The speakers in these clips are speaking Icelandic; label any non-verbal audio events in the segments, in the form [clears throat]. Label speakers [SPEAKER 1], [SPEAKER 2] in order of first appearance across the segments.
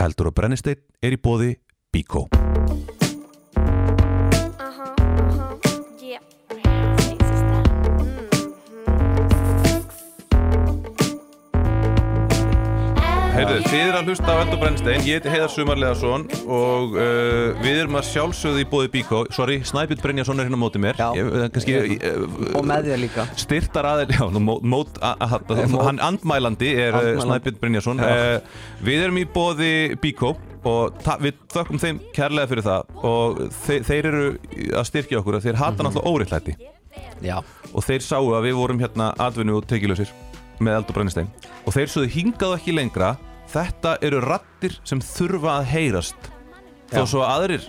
[SPEAKER 1] Eldur og brennisteinn er í bóði Bíkó.
[SPEAKER 2] Uh-huh, uh-huh, yeah. Mm-hmm. Hey, sister.
[SPEAKER 3] Heyrðu, þið er að hlusta á Eldur Brennstein, ég heiti Heiðar Sumarleðarsson og uh, við erum að sjálfsögðu í bóði Bíkó Sorry, Snæbjörn Brennjarsson er hérna á móti mér
[SPEAKER 4] Já.
[SPEAKER 3] ég, eh, kannski, ég, eh,
[SPEAKER 4] Og með þér líka
[SPEAKER 3] Styrtar aðeins, já, nú mót, mót a, a, a,
[SPEAKER 4] mót.
[SPEAKER 3] hann andmælandi er
[SPEAKER 4] Andmælandi.
[SPEAKER 3] andmælandi. Snæbjörn Brynjarsson
[SPEAKER 4] Já.
[SPEAKER 3] uh, Við erum í bóði Bíkó og ta- við þökkum þeim kærlega fyrir það og þe þeir eru að styrkja okkur og þeir hata
[SPEAKER 4] Mhm.
[SPEAKER 3] náttúrulega óreittlæti
[SPEAKER 4] Já,
[SPEAKER 3] og þeir sáu að við vorum hérna atvinnu og tekilösir með eld og brennistein og þeir sögðu hingað og ekki lengra þetta eru rattir sem þurfa að heyrast þó
[SPEAKER 4] Já.
[SPEAKER 3] svo að aðrir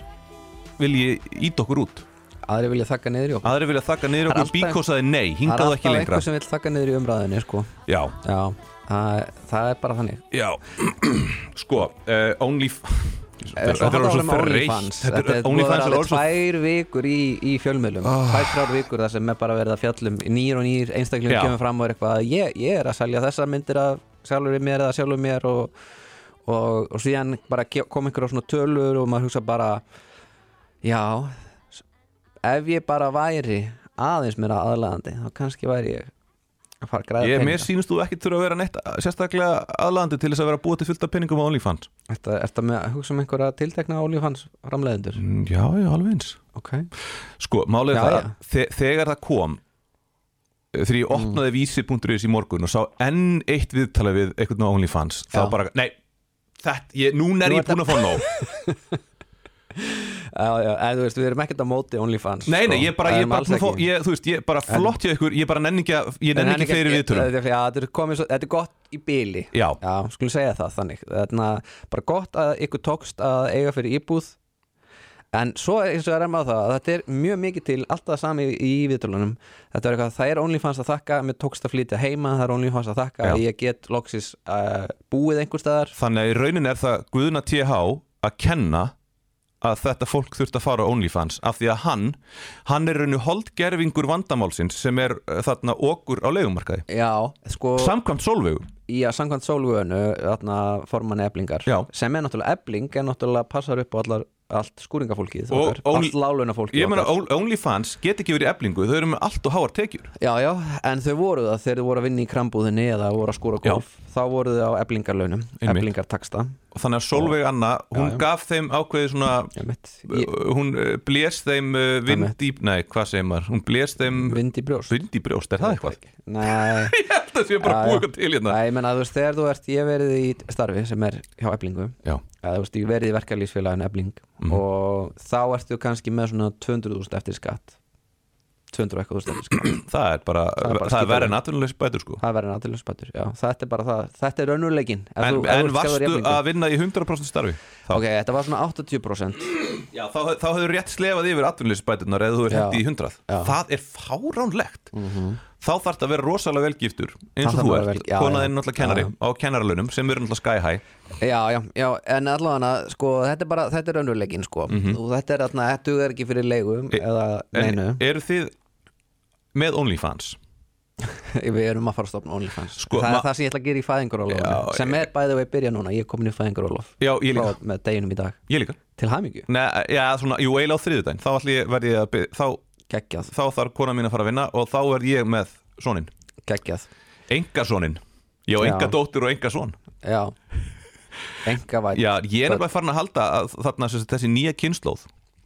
[SPEAKER 3] vilji ít okkur út
[SPEAKER 4] aðri vilja þakka niður í okkur
[SPEAKER 3] aðrir vilja þakka niður
[SPEAKER 4] Það er
[SPEAKER 3] okkur
[SPEAKER 4] alltaf-
[SPEAKER 3] Bíkó sagði nei,
[SPEAKER 4] Það er
[SPEAKER 3] hingað og
[SPEAKER 4] alltaf
[SPEAKER 3] ekki lengra
[SPEAKER 4] einhver sem vil þakka niður í umræðinni sko.
[SPEAKER 3] Já,
[SPEAKER 4] Já, það, það er bara þannig
[SPEAKER 3] Já, [clears throat] sko, uh, Only... Þetta er
[SPEAKER 4] Þetta er
[SPEAKER 3] orðið
[SPEAKER 4] orðið
[SPEAKER 3] svo þreytt.
[SPEAKER 4] OnlyFans
[SPEAKER 3] Þetta er OnlyFans er
[SPEAKER 4] alveg
[SPEAKER 3] orðið svo... Ah.
[SPEAKER 4] tvær vikur í, í fjölmjölum Tvær, þrjár vikur þar sem er bara verið að fjallum Nýr og nýr einstaklingur
[SPEAKER 3] Já.
[SPEAKER 4] kemur fram og er eitthvað ég, ég er að selja þessar myndir að sjálfur í mér eða sjálfur mér og, og, og síðan bara ge- kom einhver á svona tölur og maður hugsa bara Já, s- ef ég bara væri aðeins meira aðlaðandi þá kannski væri ég að fara að græða
[SPEAKER 3] Ég, mér
[SPEAKER 4] peninga
[SPEAKER 3] sýnist þú ekki þurfa að vera neitt sérstaklega aðlandi til þess að vera búið til fullt af penningum á OnlyFans.
[SPEAKER 4] Ertu ertu með að hugsa um einhverja tiltekna OnlyFans framleiðendur?
[SPEAKER 3] Mm, Já, já, alveg eins.
[SPEAKER 4] Ok
[SPEAKER 3] Sko, málið
[SPEAKER 4] Já,
[SPEAKER 3] er það
[SPEAKER 4] já.
[SPEAKER 3] að þe þegar það kom eh, þegar ég opnaði vísir.is í morgun og sá enn eitt viðtala við einhvern á OnlyFans, þá
[SPEAKER 4] Já.
[SPEAKER 3] bara, nei þetta, ég, núna er
[SPEAKER 4] Nú
[SPEAKER 3] ég
[SPEAKER 4] er
[SPEAKER 3] búin að fá
[SPEAKER 4] [laughs]
[SPEAKER 3] nóg
[SPEAKER 4] Já, já, eða þú veist, við erum ekkert á móti OnlyFans
[SPEAKER 3] Nei, nei,
[SPEAKER 4] sko.
[SPEAKER 3] ég bara,
[SPEAKER 4] Það
[SPEAKER 3] ég
[SPEAKER 4] erum
[SPEAKER 3] bara,
[SPEAKER 4] alls
[SPEAKER 3] búin að fá,
[SPEAKER 4] ekki.
[SPEAKER 3] ég, þú veist, ég bara flott hjá ykkur, ég bara nenni ekki, að- ég
[SPEAKER 4] En
[SPEAKER 3] nenni
[SPEAKER 4] hann
[SPEAKER 3] ekki
[SPEAKER 4] er
[SPEAKER 3] fleiri viðtölum
[SPEAKER 4] Þetta er- Já, þetta er komið svo, þetta er gott í bíli
[SPEAKER 3] Já,
[SPEAKER 4] Já, skulum segja það þannig Þarna, bara gott að ykkur tókst að eiga fyrir íbúð En svo eins og er maður það að þetta er mjög mikið til alltaf það sami í viðtölunum Þetta er eitthvað, það er OnlyFans að þakka mér tókst að flytja heima, það er OnlyFans að þakka
[SPEAKER 3] Já.
[SPEAKER 4] að ég get loksis uh, búið einhver staðar
[SPEAKER 3] Þannig að í raunin er það Guðna TH að kenna að þetta fólk þurft að fara á OnlyFans af því að hann, hann er rauninu holdgerfingur vandamálsins sem er uh, þarna okkur á leigumarkaði
[SPEAKER 4] Já, sko
[SPEAKER 3] Samkvæmt Solveig
[SPEAKER 4] í að samkvæmt sólvönu þarna forman eblingar
[SPEAKER 3] Já.
[SPEAKER 4] sem er náttúrulega ebling en náttúrulega passar upp á allar, allt skúringafólkið
[SPEAKER 3] Og
[SPEAKER 4] okkar,
[SPEAKER 3] only-
[SPEAKER 4] allt láluna fólkið
[SPEAKER 3] Ég meina On- OnlyFans get ekki verið í eblingu, þau eru með allt og háar tekjur
[SPEAKER 4] já, já, en þau voru það þegar þau voru að vinna í krambúðinni eða voru að skúra golf þá voru þau á eblingarlaunum,
[SPEAKER 3] Einmitt.
[SPEAKER 4] eblingartaksta
[SPEAKER 3] og þannig að Solveig Anna, hún
[SPEAKER 4] Já, já.
[SPEAKER 3] gaf þeim ákveði svona
[SPEAKER 4] Einmitt.
[SPEAKER 3] uh,
[SPEAKER 4] Ég-
[SPEAKER 3] hún uh, blés þeim uh,
[SPEAKER 4] Einmitt.
[SPEAKER 3] vind í, nei, hvað segir maður hún blés þeim
[SPEAKER 4] vind í brjóst
[SPEAKER 3] vind í brjóst, er það eitthvað?
[SPEAKER 4] Nei,
[SPEAKER 3] [laughs] Ég held að sé bara
[SPEAKER 4] Já, já.
[SPEAKER 3] búið eitthvað til hérna
[SPEAKER 4] nei, ég meina, þú veist, þegar þú ert ég hef verið í starfi sem er hjá eblingu
[SPEAKER 3] Já,
[SPEAKER 4] eða þú veist, ég hef verið í verkalýsfélagin ebling
[SPEAKER 3] Mhm.
[SPEAKER 4] og þá ertu kannski með svona 200.000 eftir skatt 200 og eitthvað þúsund eftir skatt
[SPEAKER 3] [clears throat] það er bara,
[SPEAKER 4] Það er bara
[SPEAKER 3] það er verið
[SPEAKER 4] skítalykt.
[SPEAKER 3] en atvinnulegs bætur sko
[SPEAKER 4] Það verður náttúrulega spætur, já, þetta er bara það, þetta er önnuleikin
[SPEAKER 3] En, en varstu að vinna í 100% starfi? Þá,
[SPEAKER 4] Ok, þetta var svona 80%
[SPEAKER 3] já, þá, þá hefur rétt slefað yfir atvinnuleysbætunar eða þú er
[SPEAKER 4] Já.
[SPEAKER 3] hendi í 100
[SPEAKER 4] Já. Mhm.
[SPEAKER 3] Það er fáránlegt Þá þarf þetta að vera rosalega velgiftur eins
[SPEAKER 4] Það
[SPEAKER 3] og
[SPEAKER 4] þarf
[SPEAKER 3] þú
[SPEAKER 4] að
[SPEAKER 3] ert,
[SPEAKER 4] vera vel- já, já.
[SPEAKER 3] konaðinn náttúrulega kennari
[SPEAKER 4] Já,
[SPEAKER 3] á kennaralunum sem eru náttúrulega sky high
[SPEAKER 4] Já, já, já, en allavega, sko, þetta er bara, þetta er önnuleikin, sko Og þetta er þarna, þetta er ekki fyrir leigum
[SPEAKER 3] Mhm. E-
[SPEAKER 4] eða
[SPEAKER 3] En
[SPEAKER 4] neinu
[SPEAKER 3] eru þið með OnlyFans?
[SPEAKER 4] [laughs] Við erum að fara að stopna OnlyFans
[SPEAKER 3] Sko,
[SPEAKER 4] Það
[SPEAKER 3] ma-
[SPEAKER 4] er það sem ég ætla að gera í fæðingarólof
[SPEAKER 3] Já, e-
[SPEAKER 4] Sem er bæðið og ég byrja núna, ég er komin í fæðingarólof
[SPEAKER 3] Já, ég líka,
[SPEAKER 4] Með deginum í dag,
[SPEAKER 3] ég líka.
[SPEAKER 4] til hamingju
[SPEAKER 3] Nei, já, svona, Jú, eiginlega á þriðudaginn þá, ætli ég- verð ég að bið- þá,
[SPEAKER 4] Geggjað,
[SPEAKER 3] þá þarf kona mín að fara að vinna og þá verð ég með sonin
[SPEAKER 4] geggjað,
[SPEAKER 3] Engasoninn Ég á
[SPEAKER 4] Já.
[SPEAKER 3] enga dóttir og enga son
[SPEAKER 4] já Enga væt
[SPEAKER 3] Já, ég er nefnilega farin að halda að þarna sem sagt þessi nýja kynnslóð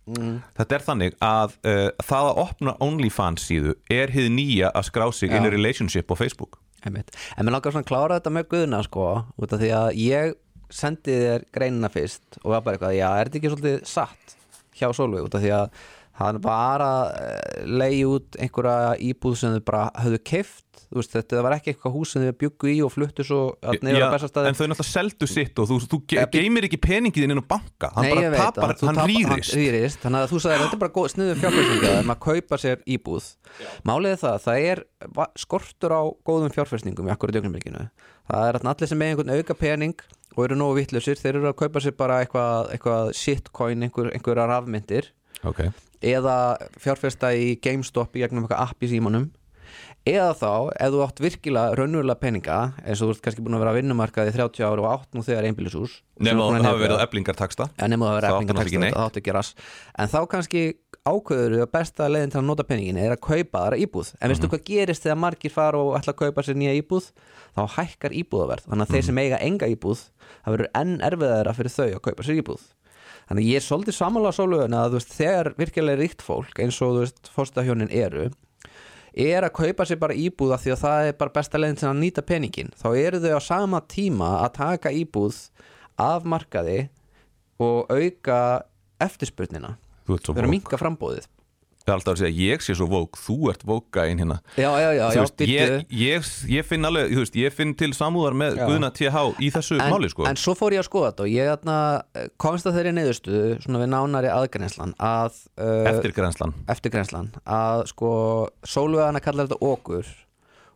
[SPEAKER 4] Mm.
[SPEAKER 3] Þetta er þannig að uh, það að opna OnlyFans síðu er hið nýja að skrá sig inn í
[SPEAKER 4] Já.
[SPEAKER 3] relationship á Facebook
[SPEAKER 4] Einmitt. En mér langar svona að klára þetta með guðna sko, út af því að ég sendi þér greinina fyrst og var bara eitthvað, já, er þetta ekki svolítið satt hjá Solveig, út af því að hann var að eh, leigja út einhverja íbúð sem þau bara höfðu keift, þú veist, þetta var ekki eitthvað hús sem þau bjuggu í og fluttu svo að neyra
[SPEAKER 3] Já,
[SPEAKER 4] á bestastaði
[SPEAKER 3] En þau náttúrulega seldu sitt og þú, þú ge
[SPEAKER 4] Epi-
[SPEAKER 3] geymir ekki peningið inn á banka Hann bara tapar, hann rýrist
[SPEAKER 4] hann rýrist þannig að þú sagðir þetta er bara góð sniðu fjárfestinga að maður kaupa sér íbúð málið er það, það er va- skortur á góðum fjárfestingum í akkur dögnumleikinu það er að allir sem með einhvern auka pening og eru nógu vittlausir, þeir eru að kaupa sér bara eitthvað, eitthvað shitcoin, einhver, einhverjar rafmyndir
[SPEAKER 3] okay.
[SPEAKER 4] eða fjárfesta í GameStop í gegnum eitthvað app í símanum eða þá, ef þú átt virkilega raunverulega peninga, eins og þú ert kannski búin að vera að vinnumarkaði í 30 ára og átt nú þegar einbílisús
[SPEAKER 3] Nefnum að það hafa verið eblingartaksta
[SPEAKER 4] en nema
[SPEAKER 3] Þá
[SPEAKER 4] það verið
[SPEAKER 3] átti náttúrulega ekki
[SPEAKER 4] efningataksta
[SPEAKER 3] neitt.
[SPEAKER 4] þá áttu ekki rass en þá kannski ákveður að besta leiðin til að nota peningin er að kaupa þaðra íbúð en
[SPEAKER 3] Mhm.
[SPEAKER 4] veistu hvað gerist þegar margir fara og ætla að kaupa sér nýja íbúð þá hækkar íbúðaverð þannig að
[SPEAKER 3] Mhm.
[SPEAKER 4] þeir sem eiga enga íbúð það verður enn erfiðara fyrir þau að kaupa sér íbúð þannig að ég er svolítið samanlega svolítið að þú veist, þegar virkilega ríkt fólk eins og þú veist fórstahjónin eru er að kaupa sér bara íbúð af því að það er bara besta leiðin til að nýta peningin þá eru þau á sama tíma að taka íbúð af markaði og auka eftirspurnina
[SPEAKER 3] Þú ert svo
[SPEAKER 4] þau eru að
[SPEAKER 3] vók
[SPEAKER 4] minka frambóðið
[SPEAKER 3] Það er alltaf að segja ég sé svo vók, þú ert vóka einn hérna
[SPEAKER 4] já, já, já,
[SPEAKER 3] Þú
[SPEAKER 4] já,
[SPEAKER 3] veist, ég,
[SPEAKER 4] bíddu.
[SPEAKER 3] ég, ég finn alveg, þú veist, ég finn til samúðar með
[SPEAKER 4] Já.
[SPEAKER 3] Guðna TH í þessu
[SPEAKER 4] en,
[SPEAKER 3] máli sko
[SPEAKER 4] en svo fór ég að skoða þetta og ég atna, komst að þeirri neyðustuðu svona við nánari aðgrenslan að uh,
[SPEAKER 3] Eftirgrenslan
[SPEAKER 4] eftirgrenslan að sko sóluveðana kallar þetta okkur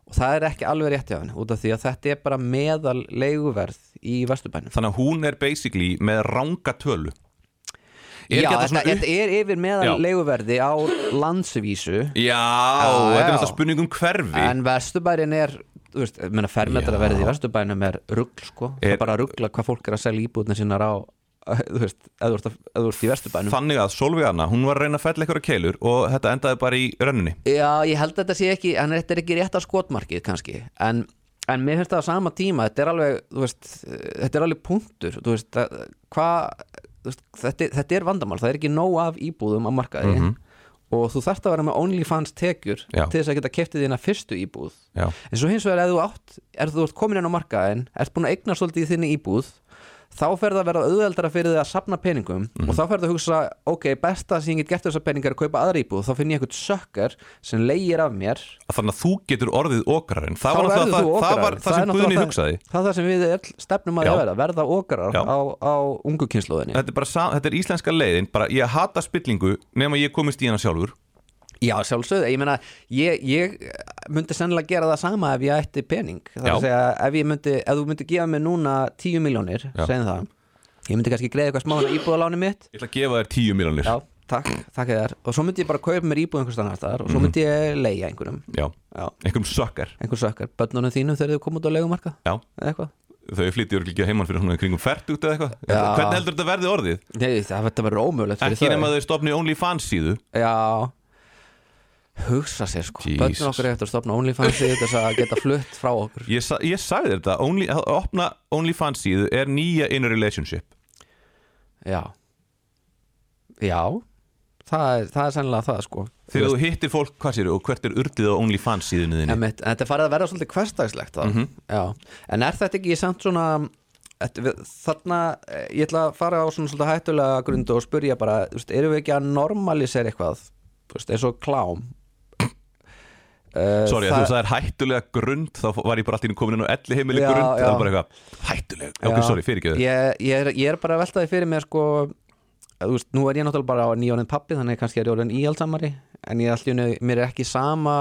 [SPEAKER 4] og það er ekki alveg rétt hjá henni út af því að þetta er bara meðal leiguverð í vesturbænum
[SPEAKER 3] Þannig að hún er basically með ranga tölu Er
[SPEAKER 4] Já,
[SPEAKER 3] ekki þetta
[SPEAKER 4] þetta,
[SPEAKER 3] svona
[SPEAKER 4] þetta er yfir meðal
[SPEAKER 3] Já.
[SPEAKER 4] leiguverði á landsvísu
[SPEAKER 3] Já,
[SPEAKER 4] Já,
[SPEAKER 3] þetta er
[SPEAKER 4] já.
[SPEAKER 3] alltaf spurning um hverfi
[SPEAKER 4] en vesturbærin er þú veist, ég meina fermetraverðið í vesturbænum er ruggl sko, það
[SPEAKER 3] Er-
[SPEAKER 4] er bara að ruggla hvað fólk er að selja íbúðna sínar á [laughs] þú veist, eða þú ert að- ef þú ert í vesturbænum
[SPEAKER 3] Þannig að Solveig Anna, hún var að reyna að fella eitthvað keilur og þetta endaði bara í rönnunni
[SPEAKER 4] Já, ég held að þetta sé ekki, en þetta er ekki rétt að skotmarkið kannski, en, en mér finnst það á sama tíma, þetta er alveg, þú veist, eh, þetta er alveg punktur, þú veist, að- hvað, þú veist, þetta, er- þetta er vandamál, það er ekki nóg af íbúðum á markaði og þú þarft að vera með OnlyFans tekjur
[SPEAKER 3] Já.
[SPEAKER 4] til þess að geta keftið þína fyrstu íbúð.
[SPEAKER 3] Já,
[SPEAKER 4] En svo hins vegar ef þú átt, er þú ert komin inn á markaðin, ert búin að eigna svolítið í þinni íbúð, þá fer það að vera auðveldara fyrir þið að safna peningum
[SPEAKER 3] Mhm.
[SPEAKER 4] og þá fer það að hugsa, ok, besta sem ég get gert þessar peningar er að kaupa aðra íbúð, þá finn ég eitthvað sökkar sem leigir af mér
[SPEAKER 3] þannig að þú getur orðið okrarinn Það
[SPEAKER 4] þá
[SPEAKER 3] var
[SPEAKER 4] verður
[SPEAKER 3] náttúrulega
[SPEAKER 4] þú
[SPEAKER 3] það, það,
[SPEAKER 4] okrar
[SPEAKER 3] var það sem Guðni hugsaði
[SPEAKER 4] Það er það sem við öll stefnum að
[SPEAKER 3] Já.
[SPEAKER 4] vera, verða okrar
[SPEAKER 3] Já.
[SPEAKER 4] á, á ungu kynsluðinni
[SPEAKER 3] þetta er, bara, sa- þetta er íslenska leiðin, bara ég hata spillingu nema ég komist í hana sjálfur
[SPEAKER 4] Já, sjálfsögðu, ég meina ég, ég myndi sennilega gera það sama ef ég ætti pening það er
[SPEAKER 3] Já.
[SPEAKER 4] að segja, ef, ég myndi, ef þú myndi gefa mér núna 10 miljónir,
[SPEAKER 3] Já.
[SPEAKER 4] segjum það ég myndi kannski greiða eitthvað smána íbúðaláni mitt
[SPEAKER 3] Ég ætla að gefa þér tíu miljonir
[SPEAKER 4] Já, takk, takk eða og svo myndi ég bara kaupa mér íbúð einhvers stannar þar og
[SPEAKER 3] Mhm.
[SPEAKER 4] svo myndi ég leigja einhverjum
[SPEAKER 3] Já,
[SPEAKER 4] Já,
[SPEAKER 3] einhverjum sökkar
[SPEAKER 4] einhver sökkar, börnunum þínum þegar þau kom út á leigumarka
[SPEAKER 3] Já,
[SPEAKER 4] eða eitthvað
[SPEAKER 3] þau flyttir ekki heimann fyrir svona kringum fært út eða eitthvað
[SPEAKER 4] Já.
[SPEAKER 3] Hvernig heldur þetta verði orðið?
[SPEAKER 4] Nei, það þetta verður ómögulegt fyrir
[SPEAKER 3] Ekki
[SPEAKER 4] þau
[SPEAKER 3] nema þau stopni OnlyFans síðu
[SPEAKER 4] Já hugsa sér sko,
[SPEAKER 3] Jesus.
[SPEAKER 4] börnun okkar eftir að stopna OnlyFans í þess að geta flutt frá okkur
[SPEAKER 3] Ég, sa ég sagði þetta, only, að opna OnlyFans síðu er nýja in a relationship
[SPEAKER 4] Já Já Það er, það er sennilega það sko
[SPEAKER 3] Þegar þú hittir fólk, hvað sér, og hvert er urtið á OnlyFans síðunni þinni?
[SPEAKER 4] Emitt, en Þetta er farið að verða svolítið hverstagslegt mm
[SPEAKER 3] Mhm.
[SPEAKER 4] En er þetta ekki samt svona þetta- við- Þarna, eh, ég ætla að fara á svona svolítið hættulega grund og spurja bara, þú veist, erum við ekki að normalisera eitthvað, þú veist, eins og klám uh,
[SPEAKER 3] Sorry, það... þú sagðir hættulega grund þá var ég bara alltaf komin inn á elli heimili
[SPEAKER 4] Já,
[SPEAKER 3] grund
[SPEAKER 4] já.
[SPEAKER 3] það var bara eitthvað hættulega, ok, sorry, fyrir ekki þau
[SPEAKER 4] ég, ég, er, ég er bara að velta því fyrir mér sko að, þú veist, nú er ég náttúrulega bara á nýjónin pappi þannig kannski er ég orðin íhaldsamari en ég er allir, mér er ekki sama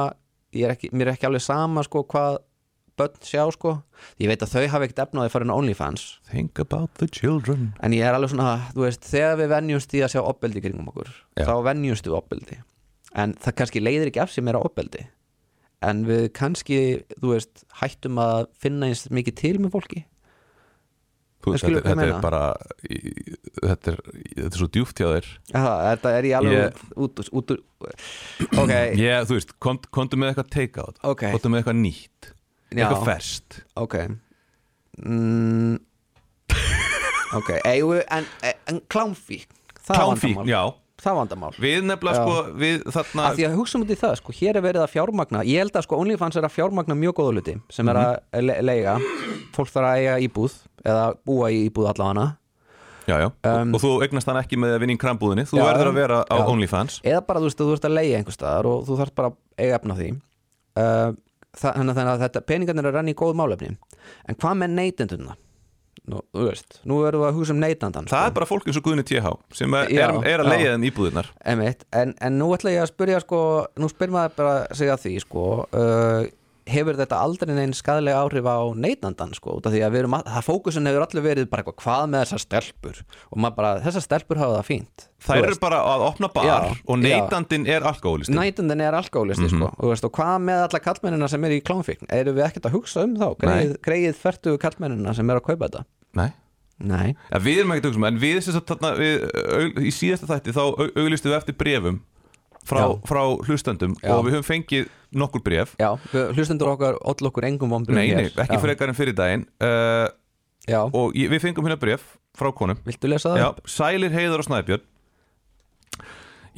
[SPEAKER 4] ég er ekki, mér er ekki alveg sama sko hvað börn sjá sko ég veit að þau hafa ekkert efnaði farin á OnlyFans
[SPEAKER 3] Think about the children
[SPEAKER 4] en ég er alveg svona, þú veist, þegar við venjumst í að sjá opbeldi kringum okkur,
[SPEAKER 3] Já.
[SPEAKER 4] þá venjumst við opbeldi, en það kannski leiðir ekki af sér meira opbeldi en við kannski, þú veist, hættum að finna eins mikið til með fólki
[SPEAKER 3] Þú,
[SPEAKER 4] Ég
[SPEAKER 3] veist,
[SPEAKER 4] skil
[SPEAKER 3] þetta,
[SPEAKER 4] hvað
[SPEAKER 3] þetta
[SPEAKER 4] meina.
[SPEAKER 3] er bara í- þetta er, þetta er svo djúft hjá þér
[SPEAKER 4] Aha, þetta er ég alveg
[SPEAKER 3] Ég-
[SPEAKER 4] út, út, út, út Ok,
[SPEAKER 3] ég, Þú veist, kom, komdu með eitthvað take out
[SPEAKER 4] Ok.
[SPEAKER 3] komdu með eitthvað nýtt,
[SPEAKER 4] Já.
[SPEAKER 3] eitthvað ferskt
[SPEAKER 4] ok mm, Ok, Eigu, en, en klámfík Það er
[SPEAKER 3] Klámfík,
[SPEAKER 4] vandamál.
[SPEAKER 3] já,
[SPEAKER 4] Það er vandamál
[SPEAKER 3] við nefnilega
[SPEAKER 4] Já.
[SPEAKER 3] sko við þarna,
[SPEAKER 4] Af því að hugsa um þetta í það, sko, hér er verið að fjármagna Ég held að sko OnlyFans er að fjármagna mjög góða hluti sem er
[SPEAKER 3] Mhm.
[SPEAKER 4] að le leiga Fólk þarf að eiga íbúð eða búa í íbúð allavega
[SPEAKER 3] já, já. og, og þú eignast hann ekki með að vinna í krambúðinni þú
[SPEAKER 4] Um, Já.
[SPEAKER 3] verður að vera á
[SPEAKER 4] Já.
[SPEAKER 3] OnlyFans
[SPEAKER 4] eða bara þú veist að þú ert að leiða einhver staðar og þú þarft bara að eiga efna því uh, það, þannig, að- þannig að þetta peningarnir er að renna í góð málefni en hvað með neytendunna? Nú, þú veist, nú erum við að hugsa um neytandan
[SPEAKER 3] það er bara fólk eins og Guðni TH sem er,
[SPEAKER 4] Já,
[SPEAKER 3] er að
[SPEAKER 4] já.
[SPEAKER 3] leiða þeim íbúðinnar
[SPEAKER 4] Einmitt, en, en nú ætla ég að spyrja sko, nú spyr maður bara að segja því sko, uh, hefur þetta aldrei neinn skadalega áhrif á neytandan sko, út af því að við erum að, það fókusin hefur allir verið bara eitthvað, hvað með þessar stelpur og maður bara, þessar stelpur hafa það fínt
[SPEAKER 3] Þær eru bara að opna bar
[SPEAKER 4] Já,
[SPEAKER 3] og neytandin er alkoholisti
[SPEAKER 4] nætundin er alkoholisti sko,
[SPEAKER 3] Mhm.
[SPEAKER 4] og, veist, og hvað með alla kallmennina sem eru í klámfíkn eru við ekkert að hugsa um þá, greið, greið færtu kallmennina sem eru að kaupa þetta
[SPEAKER 3] Nei
[SPEAKER 4] Nei,
[SPEAKER 3] ja, Við erum ekkert augstum, en við, sem sagt, þarna, við au, í síðasta þætti þá au- auglýstum við eftir brefum frá,
[SPEAKER 4] Já.
[SPEAKER 3] frá hlustendum
[SPEAKER 4] Já.
[SPEAKER 3] og við höfum fengið nokkur bref
[SPEAKER 4] já, við- hlustendur okkar all okkur engum vombrið
[SPEAKER 3] Nei, nei, ekki frekar en fyrir daginn uh,
[SPEAKER 4] Já,
[SPEAKER 3] og ég, við fengum hérna bref frá konum
[SPEAKER 4] viltu lesa það?
[SPEAKER 3] Já, sælir heiðar og snæbjörn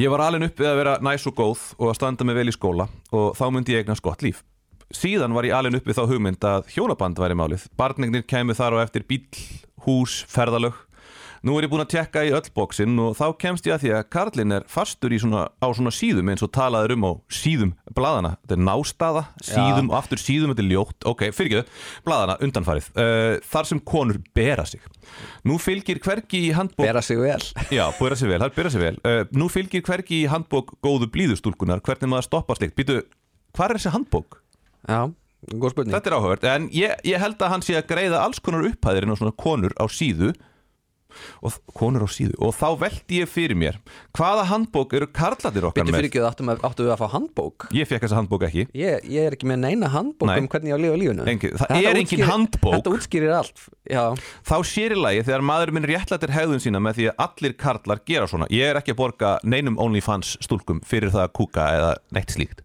[SPEAKER 3] Ég var alveg upp við að vera næs og góð og að standa mig vel í skóla og þá myndi ég eignast gott líf Síðan var ég alveg upp við þá hugmynd að hjónaband væri málið Barnignir kæmu þar og eftir bíll, hús, ferðalög Nú er ég búin að tekka í öll bóksinn og þá kemst ég að því að Karlinn er fastur í svona, á svona síðum eins og talaður um á síðum bladana Þetta er nástaða, síðum og aftur síðum, þetta er ljótt Ok, fyrirgeðu, bladana undanfarið uh, Þar sem konur bera sig Nú fylgir hvergi í handbók
[SPEAKER 4] Bera sig vel
[SPEAKER 3] Já, byrja sér vel, það er byrja sér vel uh, Nú fylgir hvergi í handbók góðu blíðustúlkunar Hvernig maður stoppar slikt Býtu, hvað er þessi handbók?
[SPEAKER 4] Já, góð spurning
[SPEAKER 3] Þetta er áhugavert En ég, ég held að hann sé að greiða alls konar upphæðir En á svona konur á síðu og, Konur á síðu Og þá veldi ég fyrir mér Hvaða handbók eru karlatir okkar
[SPEAKER 4] Býttu
[SPEAKER 3] með?
[SPEAKER 4] fyrir ekki, áttum, að- áttum við að fá handbók
[SPEAKER 3] Ég fekk þessa handbók ekki
[SPEAKER 4] Ég, ég er ekki með neina handbók
[SPEAKER 3] Nei.
[SPEAKER 4] um hvernig ég á að lifa lífinu
[SPEAKER 3] Engi- það
[SPEAKER 4] Þetta
[SPEAKER 3] er engin
[SPEAKER 4] útskýrir-
[SPEAKER 3] handbók.
[SPEAKER 4] Þetta útskýrir allt Já,
[SPEAKER 3] Þá sér í lagi þegar maður minn réttlættir hegðun sína Með því að allir karlar gera svona Ég er ekki að borga neinum OnlyFans stúlkum Fyrir það að kúka eða neitt slíkt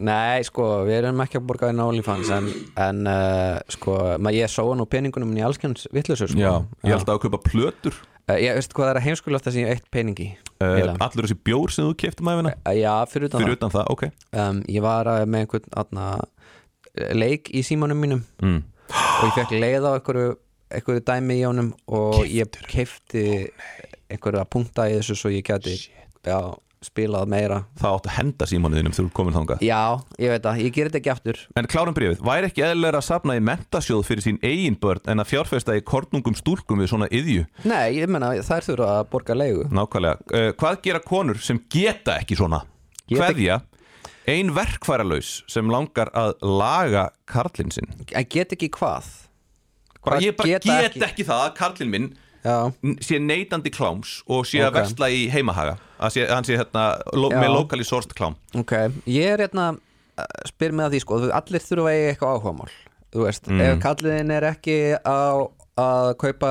[SPEAKER 4] nei, sko, við erum ekki að borga inn á OnlyFans En, en uh, sko, maður ég sóa nú peningunum minn í allskjöns vittlusur sko.
[SPEAKER 3] Ég held að að kaupa plötur
[SPEAKER 4] Eh, Ég veist hvað það er að heimskulast þessi eitt peningi
[SPEAKER 3] Uh,
[SPEAKER 4] uh,
[SPEAKER 3] allur þessi bjór sem þú kefti maður vina
[SPEAKER 4] Eh, Já, fyrir utan
[SPEAKER 3] fyrir utan það, ok
[SPEAKER 4] það um, Ég var eh, með einhvern atna, leik í símanum mínum
[SPEAKER 3] mm.
[SPEAKER 4] og ég fekk leið á einhverju, einhverju dæmi í honum og ég keifti einhverja punkta í þessu svo ég gæti já, spilað meira
[SPEAKER 3] það átt að henda símanuðinum þegar þú komin þangað
[SPEAKER 4] já, ég veit það, ég ger þetta ekki aftur
[SPEAKER 3] en klárum brífið, væri ekki eðlilega að safna í mentasjóð fyrir sín eigin börn en að fjárfesta í kornungum stúlkum við svona yðju
[SPEAKER 4] nei, ég menna, þær þurfa að borga leigu
[SPEAKER 3] nákvæmlega, uh, hvað gera konur sem geta ekki svona
[SPEAKER 4] Geta
[SPEAKER 3] hverja, ein verkfæralaus sem langar að laga karlinn sinn
[SPEAKER 4] en get ekki hvað
[SPEAKER 3] bara,
[SPEAKER 4] Hvað
[SPEAKER 3] ég bara
[SPEAKER 4] geta
[SPEAKER 3] get
[SPEAKER 4] ekki?
[SPEAKER 3] ekki. það að karlinn minn
[SPEAKER 4] já,
[SPEAKER 3] n- sé neytandi kláms og sé
[SPEAKER 4] Ok.
[SPEAKER 3] að versla í heimahaga að sé, hann sé hérna, lo,
[SPEAKER 4] Já.
[SPEAKER 3] með locally sourced klám
[SPEAKER 4] ok, ég er hérna eh, spyr mig að því sko, þú- allir þurfa að eiga eitthvað áhugamál þú veist,
[SPEAKER 3] Mm.
[SPEAKER 4] ef kalliðin er ekki á að kaupa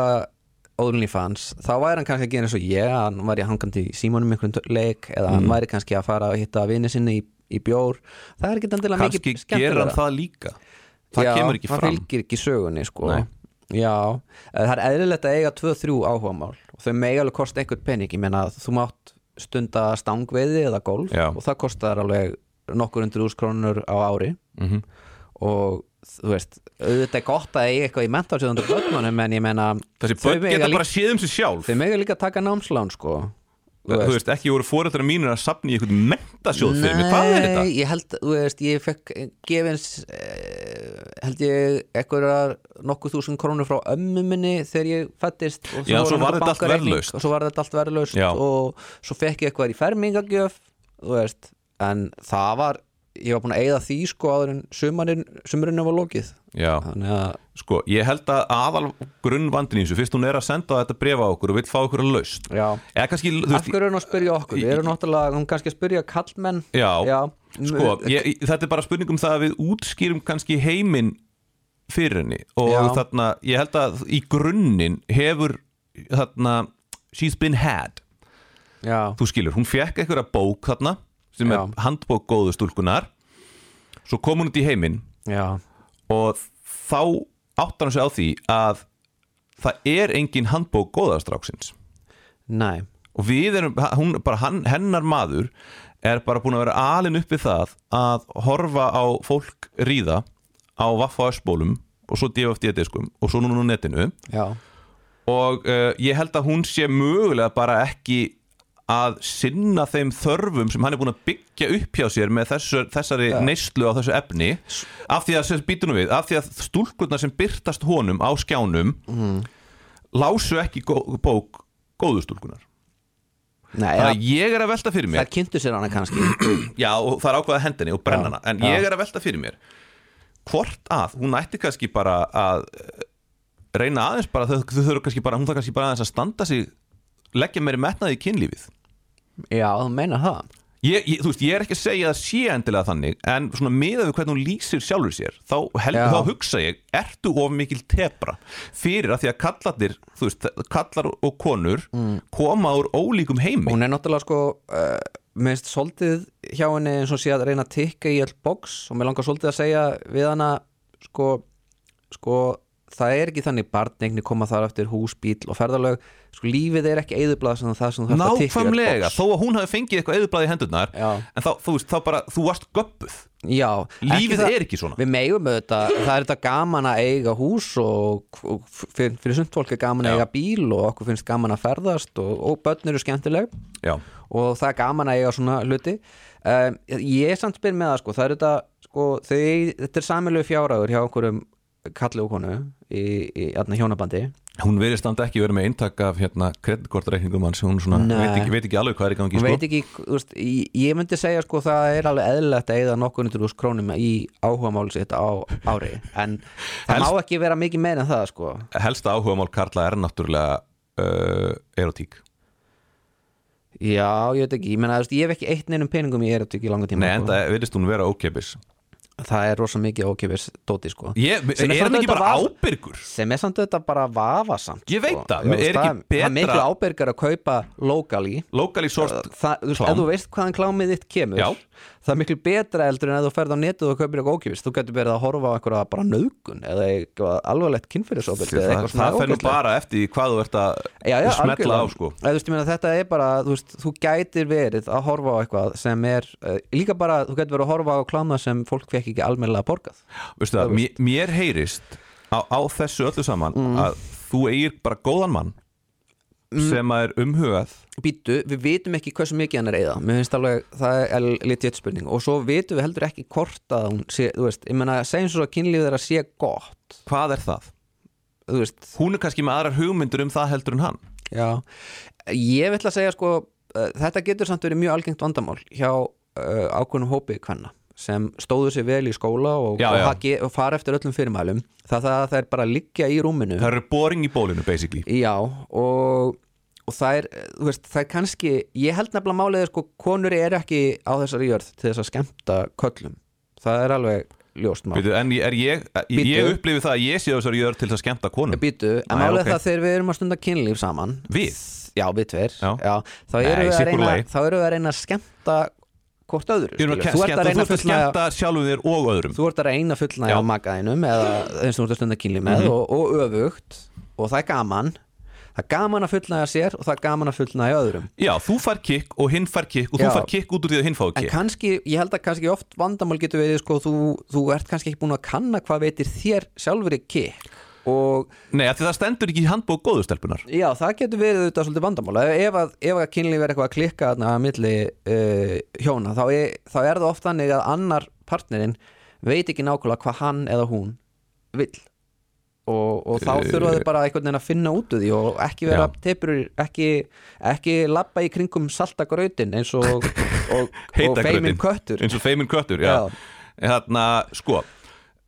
[SPEAKER 4] OnlyFans, þá væri hann kannski að gera eins og ég, hann væri hangandi í símanum einhvern tö- leik, eða
[SPEAKER 3] Mm.
[SPEAKER 4] hann væri kannski að fara að hitta vini sinni í, í bjór það er ekki endilega mikið
[SPEAKER 3] kannski gerir hann það líka það
[SPEAKER 4] Já,
[SPEAKER 3] kemur ekki fram
[SPEAKER 4] það fylgir ekki sögunni sko
[SPEAKER 3] Nei.
[SPEAKER 4] Já, eh, það er eðlilegt að eiga 2-3 áhugamál og þau megi alveg kosta einhvern pening ég meina að þú mátt stunda stangveiði eða golf
[SPEAKER 3] Já.
[SPEAKER 4] og það kostar alveg nokkur undir úrskrónur á ári
[SPEAKER 3] Mhm.
[SPEAKER 4] og þú veist, auðvitað er gott að eiga eitthvað í mentarsjóðundur börnunum en ég meina
[SPEAKER 3] þessi
[SPEAKER 4] þau
[SPEAKER 3] börn
[SPEAKER 4] mega
[SPEAKER 3] geta
[SPEAKER 4] líka-
[SPEAKER 3] bara séð um sig sjálf
[SPEAKER 4] þau megi líka taka námslán sko
[SPEAKER 3] þú veist, ekki voru fóreldra mínir að safna í einhvern mentasjóð fyrir mig, hvað er þetta?
[SPEAKER 4] Nei, ég held, þú veist, ég fekk gefins eh, held ég einhverjar nokkuð þúsund krónur frá ömmu minni þegar ég fættist og
[SPEAKER 3] Já,
[SPEAKER 4] voru
[SPEAKER 3] svo var
[SPEAKER 4] náttúrulega
[SPEAKER 3] þetta allt
[SPEAKER 4] bankareikning
[SPEAKER 3] verðlaust.
[SPEAKER 4] og svo var þetta allt verðlaust
[SPEAKER 3] Já.
[SPEAKER 4] og svo fekk ég eitthvað í fermingagjöf þú veist, en það var ég var búin að eigða því sko áður en sumarinn, sumarinn var lokið
[SPEAKER 3] Já,
[SPEAKER 4] þannig að,
[SPEAKER 3] sko, ég held að aðal grunnvandin í þessu, fyrst hún er að senda þetta brefa á okkur og vill fá okkur að laust
[SPEAKER 4] já
[SPEAKER 3] eða kannski, þú
[SPEAKER 4] Af
[SPEAKER 3] veist,
[SPEAKER 4] hverju er hún að spyrja okkur? Við erum náttúrulega, hún kannski að spyrja kallmenn
[SPEAKER 3] já,
[SPEAKER 4] já
[SPEAKER 3] sko, ég, ég- þetta er bara spurning um það að við útskýrum kannski heiminn fyrir henni og
[SPEAKER 4] Já.
[SPEAKER 3] þarna, ég held að í grunninn hefur þarna, she's been had
[SPEAKER 4] Já,
[SPEAKER 3] þú skilur, hún fekk einhverja bók þarna sem
[SPEAKER 4] Já.
[SPEAKER 3] er handbók góðu stúlkunar svo kom hún út í heiminn
[SPEAKER 4] já,
[SPEAKER 3] og þá átti hann sig á því að það er engin handbók góðastráksins
[SPEAKER 4] næ
[SPEAKER 3] og við erum, hún, bara hann, hennar maður er bara búin að vera alin upp við það að horfa á fólk ríða á vaffa össbólum og svo DFD-diskum og svo núna á netinu
[SPEAKER 4] Já,
[SPEAKER 3] og uh, ég held að hún sé mögulega bara ekki að sinna þeim þörfum sem hann er búin að byggja upp hjá sér með þessu, þessari neyslu á þessu efni af því að, sem býtunum við, af því að stúlkurnar sem byrtast honum á skjánum lásu ekki gó, bók góðu stúlkunar
[SPEAKER 4] Nei,
[SPEAKER 3] þannig
[SPEAKER 4] ja,
[SPEAKER 3] að ég er að velta fyrir mér
[SPEAKER 4] þær kynntu sér hana kannski
[SPEAKER 3] já, og það er ákveða hendinni og brennana
[SPEAKER 4] Já,
[SPEAKER 3] en
[SPEAKER 4] já.
[SPEAKER 3] ég er að velta fyrir mér hvort að hún ætti kannski bara að eh, reyna aðeins bara þau, þau þurfa kannski bara, hún þarf kannski bara aðeins að standa sig leggja meiri metnaði í kynlífið
[SPEAKER 4] Já, þú meina það
[SPEAKER 3] ég, ég, þú veist, ég er ekki að segja að sé endilega þannig en svona miðað við hvernig hún lýsir sjálfur sér þá, hel,
[SPEAKER 4] Já.
[SPEAKER 3] þá hugsa ég, ertu of mikil tebra fyrir að því að kallarnir þú veist, kallar og konur koma úr ólíkum heimi
[SPEAKER 4] Hún er náttúrulega sko uh, minnst svolítið hjá henni eins og sé að reyna að tikka í öll box og mér langar svolítið að segja við hana sko, sko það er ekki þannig barnegni koma þar eftir hús, bíl og ferðalög sko lífið er ekki eðublað sem það sem þú þarf að tikka í öll
[SPEAKER 3] nákvæmlega,
[SPEAKER 4] box
[SPEAKER 3] þó að hún hafi fengið eitthvað eðublað í hendurnar
[SPEAKER 4] Já.
[SPEAKER 3] en þá, þú veist, þá bara, þú varst göppuð
[SPEAKER 4] Já,
[SPEAKER 3] Lífið
[SPEAKER 4] það-
[SPEAKER 3] er ekki svona.
[SPEAKER 4] Við megum auðvitað, það er þetta gaman að eiga hús og, og fyrir, fyrir sumt fólk er gaman að
[SPEAKER 3] Já.
[SPEAKER 4] eiga bíl og okkur finnst gaman að ferðast og, og börn eru skemmtileg
[SPEAKER 3] Já,
[SPEAKER 4] og það er gaman að eiga svona hluti um, ég samt spyr með það sko það er þetta sko þau, þetta er samilegu fjárhagur hjá einhverjum kalli og konu í, í atna, hjónabandi
[SPEAKER 3] hún verið standa ekki verið með eintak af hérna kreditkortreikningum hans, hún svona
[SPEAKER 4] Nei.
[SPEAKER 3] veit ekki, veit ekki alveg hvað er í gangi
[SPEAKER 4] Hún
[SPEAKER 3] sko.
[SPEAKER 4] veit ekki, þú veist, ég, ég myndi segja sko það er alveg eðlilegt að eða nokkur hundur úr krónum í áhuga máli sitt á ári en það má ekki vera mikið meira en það sko
[SPEAKER 3] helsta áhugamál Karla er náttúrulega uh, erotík
[SPEAKER 4] já, ég veit ekki, ég meina, þú veist, ég hef ekki eitt neinum peningum í erotík í langa tíma
[SPEAKER 3] Nei,
[SPEAKER 4] sko.
[SPEAKER 3] enda verðist hún vera ókeipis
[SPEAKER 4] það er rosa mikið ókjöfis dóti sko
[SPEAKER 3] Ég,
[SPEAKER 4] Sem
[SPEAKER 3] er hann
[SPEAKER 4] samt
[SPEAKER 3] ekki
[SPEAKER 4] auðvitað
[SPEAKER 3] bara
[SPEAKER 4] var-
[SPEAKER 3] ábyrgur?
[SPEAKER 4] sem er samt auðvitað bara vafasamt sko.
[SPEAKER 3] Ég veit það,
[SPEAKER 4] Já,
[SPEAKER 3] er
[SPEAKER 4] þú veist,
[SPEAKER 3] ekki
[SPEAKER 4] það er miklu
[SPEAKER 3] betra-
[SPEAKER 4] ábyrgar að kaupa locally Uh,
[SPEAKER 3] Locally sourced
[SPEAKER 4] það, þú veist,
[SPEAKER 3] Klám.
[SPEAKER 4] ef þú veist hvaðan klámið þitt kemur
[SPEAKER 3] Já.
[SPEAKER 4] það er miklu betra eldur en ef þú ferð á netið og kaupir eitthvað ókjöfis, þú getur verið að horfa á einhverja bara nögun eða eitthvað alvarlegt kynfyrirsóbyrg
[SPEAKER 3] Það, það, það fennum bara eftir því hvað þú ert að
[SPEAKER 4] já, já,
[SPEAKER 3] smetla á
[SPEAKER 4] algjörlega.
[SPEAKER 3] sko
[SPEAKER 4] Eða, þú veist, ég meina, þetta er bara, þú veist, þú gætir verið að horfa á eitthvað sem er uh, líka bara, þú gætir verið að horfa á kláma sem fólk fekk ekki almennilega borgað
[SPEAKER 3] Veistu það, Mm. mér, mér heyrist á, á þessu öllu saman að þú eigir bara góðan mann sem að er umhugað
[SPEAKER 4] býtu, við vitum ekki hversu mikið hann er eða mér finnst alveg, það er litið spurning og svo vitum við heldur ekki hvort að hún sé, þú veist, ég meina, segjum svo að kynlífið er að sé gott,
[SPEAKER 3] Hvað er það?
[SPEAKER 4] þú veist,
[SPEAKER 3] Hún er kannski með aðrar hugmyndir um það heldur en hann
[SPEAKER 4] já ég vil að segja sko, uh, þetta getur samt verið mjög algengt vandamál hjá uh, ákveðnum hópi hvenna sem stóðu sér vel í skóla og,
[SPEAKER 3] Já,
[SPEAKER 4] og,
[SPEAKER 3] já.
[SPEAKER 4] það ge- og fara eftir öllum fyrirmælum það, það, það er bara að liggja í rúminu
[SPEAKER 3] Það eru boring í bólinu basically
[SPEAKER 4] Já og, og það er, þú veist, það er kannski ég held nefnilega málið er sko konur eru ekki á þessari jörð til þess að skemmta köllum, það er alveg ljóst mál.
[SPEAKER 3] Veitu, En ég, er ég, ég, ég
[SPEAKER 4] Bíddu.
[SPEAKER 3] upplifi það að ég sé á þessari jörð til þess að skemmta konum
[SPEAKER 4] Býtu, en
[SPEAKER 3] mm. Æ,
[SPEAKER 4] málið
[SPEAKER 3] ok.
[SPEAKER 4] er það þegar við erum að stunda kynlíf saman
[SPEAKER 3] Við?
[SPEAKER 4] Já, við tver
[SPEAKER 3] Já.
[SPEAKER 4] þá,
[SPEAKER 3] Nei,
[SPEAKER 4] erum við að
[SPEAKER 3] sitt hvor
[SPEAKER 4] reyna,
[SPEAKER 3] leið.
[SPEAKER 4] þá erum við að reyna að skemmta hvort öðru
[SPEAKER 3] Við erum að
[SPEAKER 4] skilur.
[SPEAKER 3] ke- skemmta, þú ert að
[SPEAKER 4] fullnægja-
[SPEAKER 3] skemmta sjálfum þér og öðrum
[SPEAKER 4] þú ert að reyna að fullnægja
[SPEAKER 3] Já. Mhm.
[SPEAKER 4] á makaðinum eða eins og þú ert að stunda kynlíf með og, og öfugt og það er gaman það er gaman að fullnægja sér og það er gaman að fullnægja öðrum
[SPEAKER 3] Já, þú fær kikk og hinn fær kikk og þú
[SPEAKER 4] Já.
[SPEAKER 3] fær kikk út úr því að hinn fái
[SPEAKER 4] En
[SPEAKER 3] kikk
[SPEAKER 4] kannski, ég held að kannski oft vandamál getur verið sko, þú, þú ert kannski ekki búin að kanna hvað veitir þér sjálfur í kikk og
[SPEAKER 3] Nei, af því það stendur ekki í handbók góðustelpunar
[SPEAKER 4] já, það getur verið auðvitað svolítið vandamál ef, ef að, ef að kynlíf er eitthvað að klikka þarna að milli uh, hjóna þá er, þá er það oft þannig að annar partnerinn veit ekki nákvæmlega hvað hann eða hún vill og, og þá þurfa þau bara einhvern veginn að finna út úr því og ekki vera tepur ekki, ekki labba í kringum saltagrautin eins og, og, og
[SPEAKER 3] Heita grötin.
[SPEAKER 4] feimin köttur
[SPEAKER 3] Eins og feimin köttur, já,
[SPEAKER 4] Já.
[SPEAKER 3] já. Þarna, sko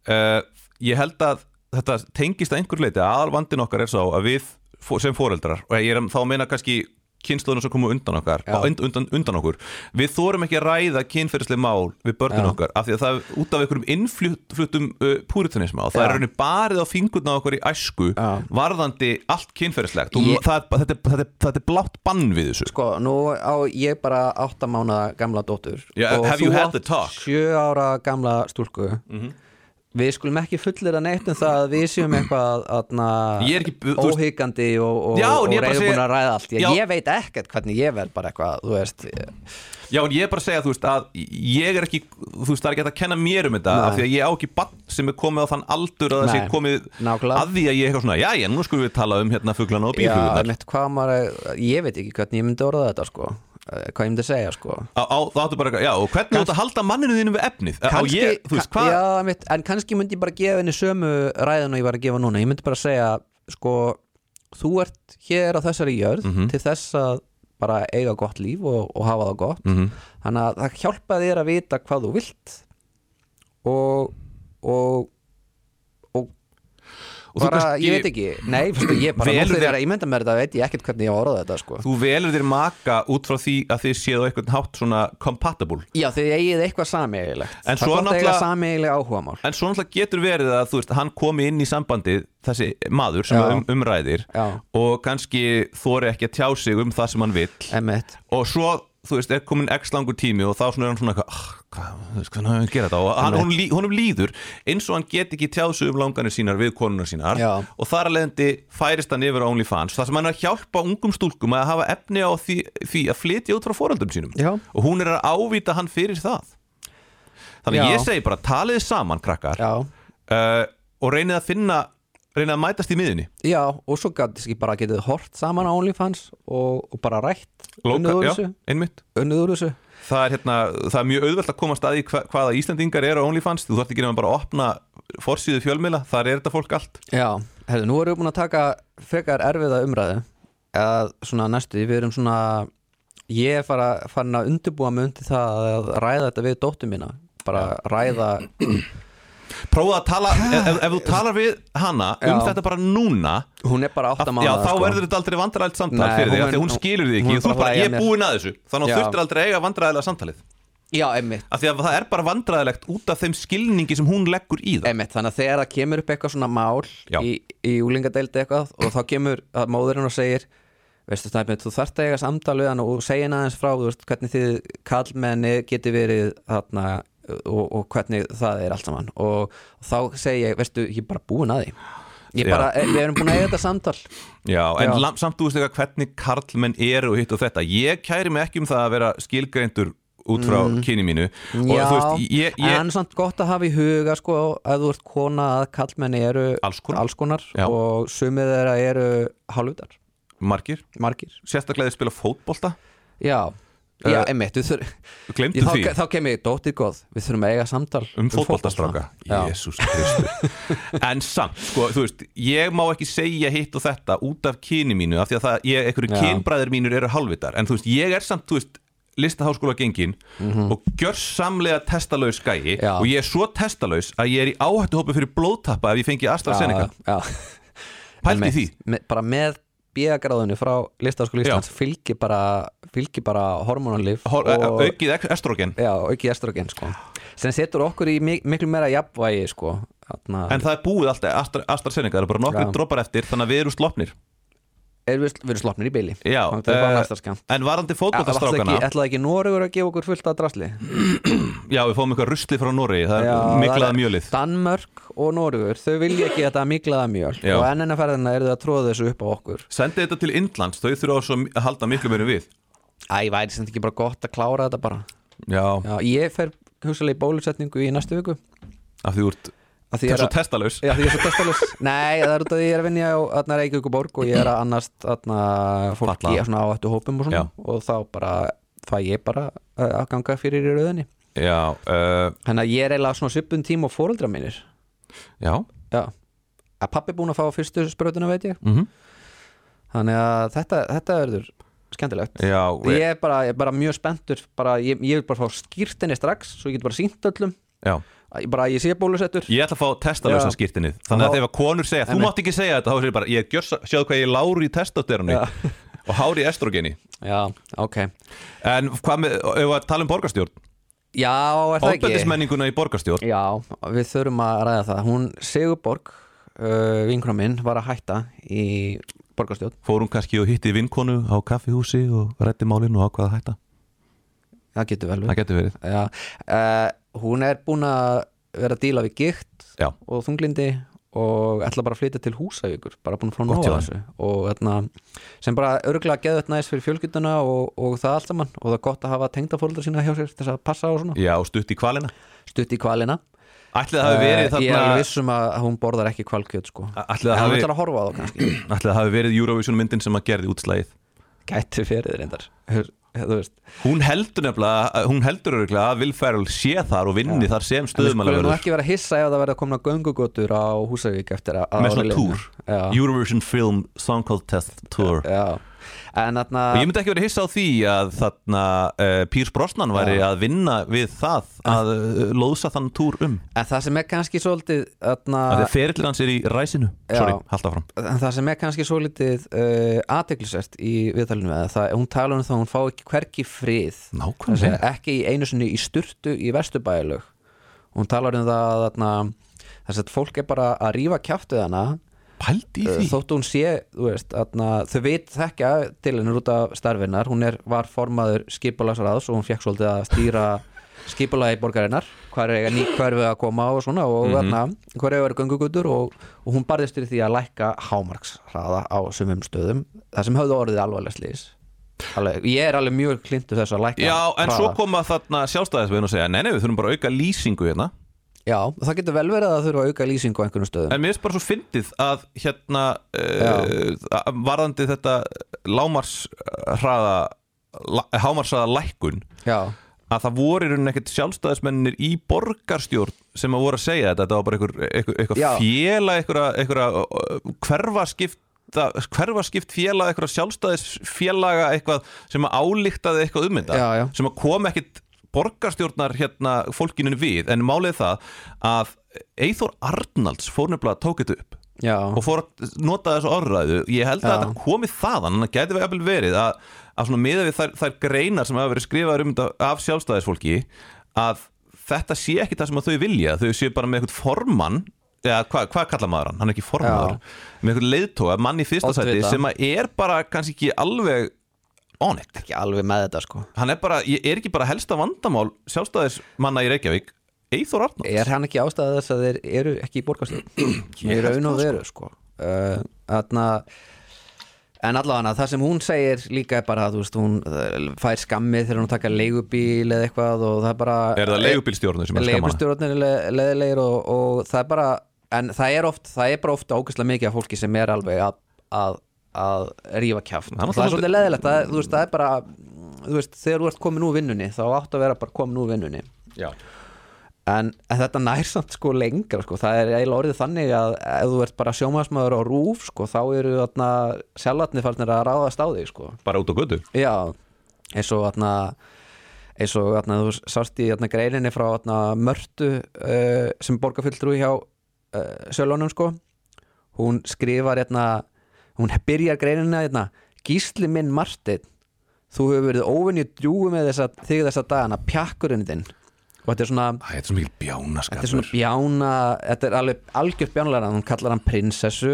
[SPEAKER 3] uh, Ég held að þetta tengist að einhver leiti að aðalvandin okkar er sá að við fó- sem foreldrar og ég er að- þá að meina kannski kynnslóðinu sem komu undan okkar
[SPEAKER 4] Já.
[SPEAKER 3] og und- undan, undan okkur við þórum ekki að ræða kynferðislega mál við börnin
[SPEAKER 4] Já.
[SPEAKER 3] okkar af því að það er út af einhverjum innfluttum uh, púritanisma og það
[SPEAKER 4] Já.
[SPEAKER 3] er raunin barið á fingurna á okkur í æsku
[SPEAKER 4] Já.
[SPEAKER 3] varðandi allt kynferðislegt
[SPEAKER 4] Ég-
[SPEAKER 3] ég... það, er- þetta, er- þetta, er- þetta er blátt bann við þessu
[SPEAKER 4] Sko, nú á ég bara átta mánaða gamla dóttur
[SPEAKER 3] Já,
[SPEAKER 4] og
[SPEAKER 3] have
[SPEAKER 4] þú
[SPEAKER 3] you had
[SPEAKER 4] átt
[SPEAKER 3] the talk? Mhm.
[SPEAKER 4] sjö ára gamla stúlku Við skulum ekki fullir að neitt um það að við séum eitthvað atna,
[SPEAKER 3] Ég er ekki- þú veist-
[SPEAKER 4] óhyggjandi og, og,
[SPEAKER 3] Já, en
[SPEAKER 4] og
[SPEAKER 3] ég er bara að
[SPEAKER 4] reyður
[SPEAKER 3] segja-
[SPEAKER 4] búin að ræða allt ég,
[SPEAKER 3] Já.
[SPEAKER 4] ég veit ekkert hvernig ég verð bara eitthvað þú veist,
[SPEAKER 3] Já, en ég er bara að segja, þú veist, að ég er ekki, þú veist, það er ekki hægt að kenna mér um þetta
[SPEAKER 4] Nei.
[SPEAKER 3] af því að ég á ekki bann sem er komið á þann aldur að það sé
[SPEAKER 4] Nei,
[SPEAKER 3] komið
[SPEAKER 4] nákvæmlega.
[SPEAKER 3] að því að ég er eitthvað svona, já, já, nú skulum við tala um hérna fuglana og
[SPEAKER 4] já,
[SPEAKER 3] bílhugunar
[SPEAKER 4] mitt, hvað maður, ég veit ekki hvernig ég myndi orða þetta sko, eh, hvað ég myndi segja sko
[SPEAKER 3] á, á, þá áttu bara, eitthvað, já, og hvernig þú ert að halda manninu þínum við efnið Á
[SPEAKER 4] kannski,
[SPEAKER 3] ég, þú veist, hvað,
[SPEAKER 4] já, mitt, en kannski myndi ég bara gefa henni sömu ræðin og ég var að gefa núna ég myndi bara segja sko, þú ert hér á þessari jörð
[SPEAKER 3] Mhm.
[SPEAKER 4] til þess að bara eiga gott líf og, og hafa það gott
[SPEAKER 3] Mhm.
[SPEAKER 4] þannig að það hjálpa þér að vita hvað þú vilt og, og, og
[SPEAKER 3] Og þú
[SPEAKER 4] bara,
[SPEAKER 3] kannski-
[SPEAKER 4] ég veit ekki nei, fyrstu, ég bara,
[SPEAKER 3] Velur
[SPEAKER 4] nú
[SPEAKER 3] þér-
[SPEAKER 4] þegar ég mynda mér þetta veit ég ekkert hvernig ég á að orða þetta sko.
[SPEAKER 3] Þú velur þér maka út frá því að þið séð á einhvern hátt svona compatible
[SPEAKER 4] já, þið eigið eitthvað sameiginlegt
[SPEAKER 3] En
[SPEAKER 4] það er
[SPEAKER 3] svo
[SPEAKER 4] gott að eiga
[SPEAKER 3] náttúrulega-
[SPEAKER 4] sameiginlega áhugamál
[SPEAKER 3] En svo náttúrulega getur verið að þú veist, hann komi inn í sambandið þessi maður sem
[SPEAKER 4] Já.
[SPEAKER 3] um, umræðir
[SPEAKER 4] Já.
[SPEAKER 3] og kannski þóri ekki að tjá sig um það sem hann vill
[SPEAKER 4] emitt
[SPEAKER 3] og svo þú veist, er komin x langur tími og þá svona er hann svona eitthvað, "Ah, hvað, þú veist, hvernig á ég að gera þetta og hann, hún, honum líður eins og hann get ekki tjáð sig um langanir sínar við konunar sínar
[SPEAKER 4] Já.
[SPEAKER 3] og þar að leiðandi færist hann yfir á OnlyFans þar sem hann er að hjálpa ungum stúlkum að hafa efni á því, því að flytja út frá foreldrum sínum
[SPEAKER 4] Já.
[SPEAKER 3] og hún er að ávita hann fyrir það þannig
[SPEAKER 4] Já.
[SPEAKER 3] ég segi bara talið saman krakkar
[SPEAKER 4] já,
[SPEAKER 3] uh, og reynið að finna reynið að mætast í miðunni
[SPEAKER 4] já, og svo gæti ekki bara getið hort saman á OnlyFans og, og bara rætt unnið úr
[SPEAKER 3] já,
[SPEAKER 4] þessu,
[SPEAKER 3] einmitt
[SPEAKER 4] unnið úr þessu.
[SPEAKER 3] það er, hérna, það er mjög auðvelt að komast að því hva, hvaða Íslandingar eru á OnlyFans þú þarf ekki nefnum bara að opna forsýðu fjölmiðla þar er þetta fólk allt
[SPEAKER 4] Já, herðu, nú erum við búin að taka frekar erfiða umræðu að svona næstu, því, við erum svona ég er fara, farin að undirbúa mig undir það að ræða þetta við dóttur mína bara ræða
[SPEAKER 3] prófa að tala, ef, ef- ef þú talar við hana um
[SPEAKER 4] Já.
[SPEAKER 3] þetta bara núna
[SPEAKER 4] hún er bara átt
[SPEAKER 3] að,
[SPEAKER 4] að
[SPEAKER 3] já,
[SPEAKER 4] mánaða sko.
[SPEAKER 3] þá verður þetta aldrei vandræðilegt samtal
[SPEAKER 4] Nei,
[SPEAKER 3] fyrir þig, af
[SPEAKER 4] hún mun-
[SPEAKER 3] því að sko. hún skilur þig
[SPEAKER 4] hún
[SPEAKER 3] ekki og þú er
[SPEAKER 4] bara
[SPEAKER 3] bara, ég
[SPEAKER 4] hlæja
[SPEAKER 3] er
[SPEAKER 4] mér.
[SPEAKER 3] búin að þessu þannig
[SPEAKER 4] Já.
[SPEAKER 3] að þú þurftir aldrei að eiga vandræðilega samtalið
[SPEAKER 4] Já, einmitt,
[SPEAKER 3] af því að það er bara vandræðilegt út af þeim skilningi sem hún leggur í það
[SPEAKER 4] einmitt, þannig að þegar það kemur upp eitthvað svona mál
[SPEAKER 3] Já.
[SPEAKER 4] í, í úlingadeildi eitthvað og þá kemur að móðurinn og segir veistu snæpið, þú þarft að eiga samtal við hann og segja hann aðeins frá, þú veist, hvernig þið kallmenni geti verið þarna og, og hvernig það er allt saman og þá segi ég, veistu, ég er bara búin að því Ég
[SPEAKER 3] Já.
[SPEAKER 4] bara, eh, við erum búin að eiga þetta samtal
[SPEAKER 3] Já, en
[SPEAKER 4] Já.
[SPEAKER 3] lam- samt þú veist eitthvað hvernig karlmenn eru og hitt og þetta Ég kæri mig ekki um það að vera skilgreindur út frá kyni mínu og
[SPEAKER 4] Já,
[SPEAKER 3] þú veist, ég,
[SPEAKER 4] en
[SPEAKER 3] ég,
[SPEAKER 4] hann er samt gott að hafa í huga sko, að þú ert kona að kallmenni eru
[SPEAKER 3] Alls konar. Já.
[SPEAKER 4] og sumið þeirra eru hálfutar,
[SPEAKER 3] margir,
[SPEAKER 4] margir
[SPEAKER 3] sérstaklega þið spila fótbolta
[SPEAKER 4] Já, já einmitt við þurfum
[SPEAKER 3] Glemdu
[SPEAKER 4] Ég,
[SPEAKER 3] Eh, því
[SPEAKER 4] þá, þá kem ég dóttir góð, við þurfum að eiga samtal
[SPEAKER 3] um fótboltastráka
[SPEAKER 4] Já.
[SPEAKER 3] Jésús Kristur
[SPEAKER 4] [laughs]
[SPEAKER 3] En samt, sko, þú veist, ég má ekki segja hitt og þetta út af kyni mínu af því að það, ég, einhverju
[SPEAKER 4] Já.
[SPEAKER 3] kynbræður mínur eru hálfvitar en þú veist, ég er samt, þú veist listaháskóla gengin og gjör samlega testalaus gæi
[SPEAKER 4] Mhm. Já.
[SPEAKER 3] og ég er svo testalaus að ég er í áhættuhópi fyrir blóðtappa ef ég fengi AstraZeneca
[SPEAKER 4] Já,
[SPEAKER 3] Pældi
[SPEAKER 4] Einmitt.
[SPEAKER 3] því
[SPEAKER 4] Me, Bara með bíagráðinu frá listaskóla Íslands fylgir bara, fylgir bara hormonalif
[SPEAKER 3] Hor,
[SPEAKER 4] og,
[SPEAKER 3] aukið ek- estrogen
[SPEAKER 4] já, auki estrogen sko. sem setur okkur í mik miklu meira jafnvægi sko. Þarna,
[SPEAKER 3] en það er búið alltaf Astra, AstraZeneca, það eru bara nokkur
[SPEAKER 4] Já.
[SPEAKER 3] droppar eftir þannig að við erum slopnir
[SPEAKER 4] er við, við erum slopnir í byli
[SPEAKER 3] Já,
[SPEAKER 4] það er bara
[SPEAKER 3] eh,
[SPEAKER 4] næsta skam
[SPEAKER 3] en varandi
[SPEAKER 4] Ætlaði
[SPEAKER 3] fótboltastrákana
[SPEAKER 4] ekki, ætlaði ekki Noregur að gefa okkur fullt að drasli
[SPEAKER 3] já, við fáum eitthvað ruslið frá Noregi það
[SPEAKER 4] Já,
[SPEAKER 3] er
[SPEAKER 4] það
[SPEAKER 3] miklaða
[SPEAKER 4] er-
[SPEAKER 3] mjölið
[SPEAKER 4] Danmörk og Noregur, þau vilja ekki þetta miklaða mjöl
[SPEAKER 3] Já.
[SPEAKER 4] og enninnaferðina eru þau að tróða þessu upp á okkur
[SPEAKER 3] sendið þetta til Indlands, þau þurfa svo að halda miklu meira við
[SPEAKER 4] Æ, væri sem ekki bara gott að klára þetta bara
[SPEAKER 3] já,
[SPEAKER 4] Já, ég fer hugsalega í bólusetningu í næstu viku
[SPEAKER 3] af því þú ert
[SPEAKER 4] Af
[SPEAKER 3] það
[SPEAKER 4] því ég
[SPEAKER 3] er svo
[SPEAKER 4] að,
[SPEAKER 3] testalaus
[SPEAKER 4] já, því ég er svo
[SPEAKER 3] [laughs]
[SPEAKER 4] testalus Nei, það er út af því ég er að vinja á atna, Reykjavík og Borg og ég er að annast atna, fólk
[SPEAKER 3] Fatlaða.
[SPEAKER 4] í svona áhættu hópum og, svona,
[SPEAKER 3] Já.
[SPEAKER 4] og þá bara fæ ég bara uh, afganga fyrir í rauðinni
[SPEAKER 3] já, uh,
[SPEAKER 4] Þannig að ég er eiginlega svona svipun tíma og fóreldra mínir
[SPEAKER 3] já
[SPEAKER 4] Já að pappi búin að fá fyrstu sprötuna veit ég
[SPEAKER 3] mhm.
[SPEAKER 4] þannig að þetta, þetta verður skemmtilegt
[SPEAKER 3] já,
[SPEAKER 4] ég er bara, ég er bara mjög spenntur bara, ég, ég vil bara fá skýrtinni strax svo ég get bara sínt öllum
[SPEAKER 3] já
[SPEAKER 4] Að ég, bara, ég sé bólusettur
[SPEAKER 3] Ég ætla að fá testalösa
[SPEAKER 4] Já.
[SPEAKER 3] skýrtinnið Þannig að
[SPEAKER 4] Og þá-
[SPEAKER 3] þegar konur segja, þú
[SPEAKER 4] Einmitt.
[SPEAKER 3] mátt ekki segja þetta Þá segir bara, ég gjör, sjáðu hvað ég er lári í testosterunni
[SPEAKER 4] Já.
[SPEAKER 3] [laughs] Og hári í estrogeni
[SPEAKER 4] Já, ok
[SPEAKER 3] En hvað með, ef að tala um borgarstjórn
[SPEAKER 4] Já, er það ekki?
[SPEAKER 3] Ofbeldismenninguna í borgarstjórn
[SPEAKER 4] Já, við þurfum að ræða það Hún Sigurborg, uh, vinkona minn var að hætta í borgarstjórn
[SPEAKER 3] Fór hún kannski og hitti vinkonu á kaffihúsi og rætti málinu og ákvaða að hætta
[SPEAKER 4] Það getur vel
[SPEAKER 3] Það
[SPEAKER 4] við
[SPEAKER 3] getur verið
[SPEAKER 4] Já, uh, Hún er búin að vera að díla við gikt
[SPEAKER 3] Já,
[SPEAKER 4] og þunglindi og ætla bara að flytja til húsavíkur bara búin að fá
[SPEAKER 3] Gott
[SPEAKER 4] nóga
[SPEAKER 3] hjá
[SPEAKER 4] þessu og þarna, sem bara örgulega geðvægt næst fyrir fjölskylduna og, og það allt saman og það er gott að hafa tengdafóldar sína hjá sér til þess að passa á svona,
[SPEAKER 3] já og stutt í kvalina
[SPEAKER 4] stutt í kvalina
[SPEAKER 3] Ætli það hafi verið
[SPEAKER 4] Eh, Ég er alveg
[SPEAKER 3] þarna
[SPEAKER 4] vissum að að hún borðar ekki kvalkjöt sko
[SPEAKER 3] Ætli það
[SPEAKER 4] En hún
[SPEAKER 3] hafi,
[SPEAKER 4] ætlar að horfa á það kannski
[SPEAKER 3] [clears throat] ætli það hafi verið Eurovision myndin sem að gerði útslægið
[SPEAKER 4] Gæti fyrir reyndar Hör- Þú veist
[SPEAKER 3] Hún heldur nefnilega, hún heldur örgulega að Will Ferrell sé þar og vinni þar sem
[SPEAKER 4] En Við skulum nú
[SPEAKER 3] stöðumælaverður
[SPEAKER 4] ekki vera hissa ef það verða komin að göngugotur á Húsavík eftir að
[SPEAKER 3] Með
[SPEAKER 4] að-
[SPEAKER 3] svona túr
[SPEAKER 4] Já, Eh,
[SPEAKER 3] Eurovision Film Song Contest Tour
[SPEAKER 4] já en þarna
[SPEAKER 3] Og ég myndi ekki verið hissa á því að þarna uh, Pírs Brosnan væri að vinna við það að uh, lóðsa þann túr um
[SPEAKER 4] En það sem er kannski svolítið þarna,
[SPEAKER 3] að því að ferillin hans er í ræsinu
[SPEAKER 4] Eh, Já.
[SPEAKER 3] Sorry, halda fram
[SPEAKER 4] en það sem er kannski svolítið uh, aðteglisvert í viðtalinu með það, hún tala um það að hún fá ekki hvergi frið Það
[SPEAKER 3] Nákvæmlega
[SPEAKER 4] segja, ekki í einu sinni í sturtu í vesturbæðilög hún talar um það að þarna, þess að fólk er bara að rífa kjaftuð hana
[SPEAKER 3] Pælt í
[SPEAKER 4] uh,
[SPEAKER 3] því
[SPEAKER 4] þótt hún sé, þú veist þarna, þau veit þekkja til hennar út af starfinnar hún er, var formaður skipulagsraðs og hún fekk svolítið að
[SPEAKER 3] [laughs]
[SPEAKER 4] stýra skipulagi borgarinnar, hvar er eiga ný hverfið að koma og svona og
[SPEAKER 3] Mhm.
[SPEAKER 4] þarna hver er göngugutur og, og hún barðist fyrir því að lækka hámarksraða á sumum stöðum, það sem höfðu orðið alvarlega slýs Alveg, ég er alveg mjög klintu þess að lækka
[SPEAKER 3] Já, en svo
[SPEAKER 4] hraða.
[SPEAKER 3] koma þarna sjálfstæðisveginn og segja Nei, nei, við þurfum bara að auka lýsingu hérna
[SPEAKER 4] Já, það getur vel verið að það þurfa að auka lýsingu á einhvernum stöðum
[SPEAKER 3] En mér finnst bara svo fyndið að hérna
[SPEAKER 4] Já.
[SPEAKER 3] uh, varðandi þetta lámars hraða hámarsraða lækkun
[SPEAKER 4] Já,
[SPEAKER 3] að það voru í rauninni ekkert sjálfstæðismennir í borgarstjórn sem að voru að segja þetta þetta var bara einhver, einhver, einhver
[SPEAKER 4] Já.
[SPEAKER 3] félag einhverja einhver, hverfaskipt hverfaskipt félag, einhverja sjálfstæðisfélaga eitthvað sem að álíktaði eitthvað um þetta
[SPEAKER 4] Já, já.
[SPEAKER 3] sem að kom ekkit borgarstjórnar hérna fólkinu við en málið er það að Eithor Arnalds fór nefnilega að tók þetta upp
[SPEAKER 4] já,
[SPEAKER 3] og fór að nota þessu orðræðu ég held að
[SPEAKER 4] Já.
[SPEAKER 3] þetta komið þaðan en það gæti jafnvel verið að, að svona miða við þær, þær greinar sem hafa verið skrifaður um þetta af sjálfstæðisfólki að þetta sé ekki það sem að þau vilja þau sé bara með eitthvað formann eða hvað hva kalla maður hann, hann er ekki formaður
[SPEAKER 4] Já.
[SPEAKER 3] með eitthvað leiðtóa, mann í fyrsta
[SPEAKER 4] Oddvita.
[SPEAKER 3] sæti sem að er bara kannski ekki alveg on it
[SPEAKER 4] ekki alveg með þetta sko
[SPEAKER 3] hann er bara, ég er ekki bara helsta vandamál sjálfstæðismanna í Reykjavík Eithor Arnalds
[SPEAKER 4] Er hann ekki ástæðið þess að þeir eru ekki í
[SPEAKER 3] [clears throat]
[SPEAKER 4] borgarstjórn? Í raun og veru sko uh, Þarna En allavega það sem hún segir líka er bara að þú veist, hún uh, fær skammið þegar hún taka leigubíl eða eitthvað og það er bara eh,
[SPEAKER 3] er það leigubílstjórnur sem er skamana
[SPEAKER 4] leigubílstjórnir leðilegir og, og það er bara en það er, oft, það er bara oft ógæslega mikið af fólki sem er alveg að, að, að rífa kjaft
[SPEAKER 3] Það er
[SPEAKER 4] það,
[SPEAKER 3] náttúrulega
[SPEAKER 4] er svolítið leðilegt það, er- þú veist, það er bara þú veist, þegar þú ert komin úr vinnunni þá átt að vera bara komin úr vinnunni
[SPEAKER 3] Já.
[SPEAKER 4] en, en þetta nær samt sko lengra sko. það er eiginlega orðið þannig að ef þú ert bara sjómaðsmaður á rúf sko, þá eru þarna sjálfatni farnir að ráðast á þig sko.
[SPEAKER 3] bara út á götu
[SPEAKER 4] Já, eins og þarna eins og þarna þú sást í þarna greininni frá þarna Mörtu uh, sem borgarfulltrú hjá uh, Sölunum sko hún skrifar þarna hún byrjar greinina þarna Gísli minn Martin þú hefur verið óvinni drjúi með þessa, þig þessa dagana pjakkurinn þinn og þetta er svona
[SPEAKER 3] Æ, þetta er svo mikil bjánaskapur
[SPEAKER 4] þetta er svona bjána þetta er alveg algjör bjánulega hún kallar hann prinsessu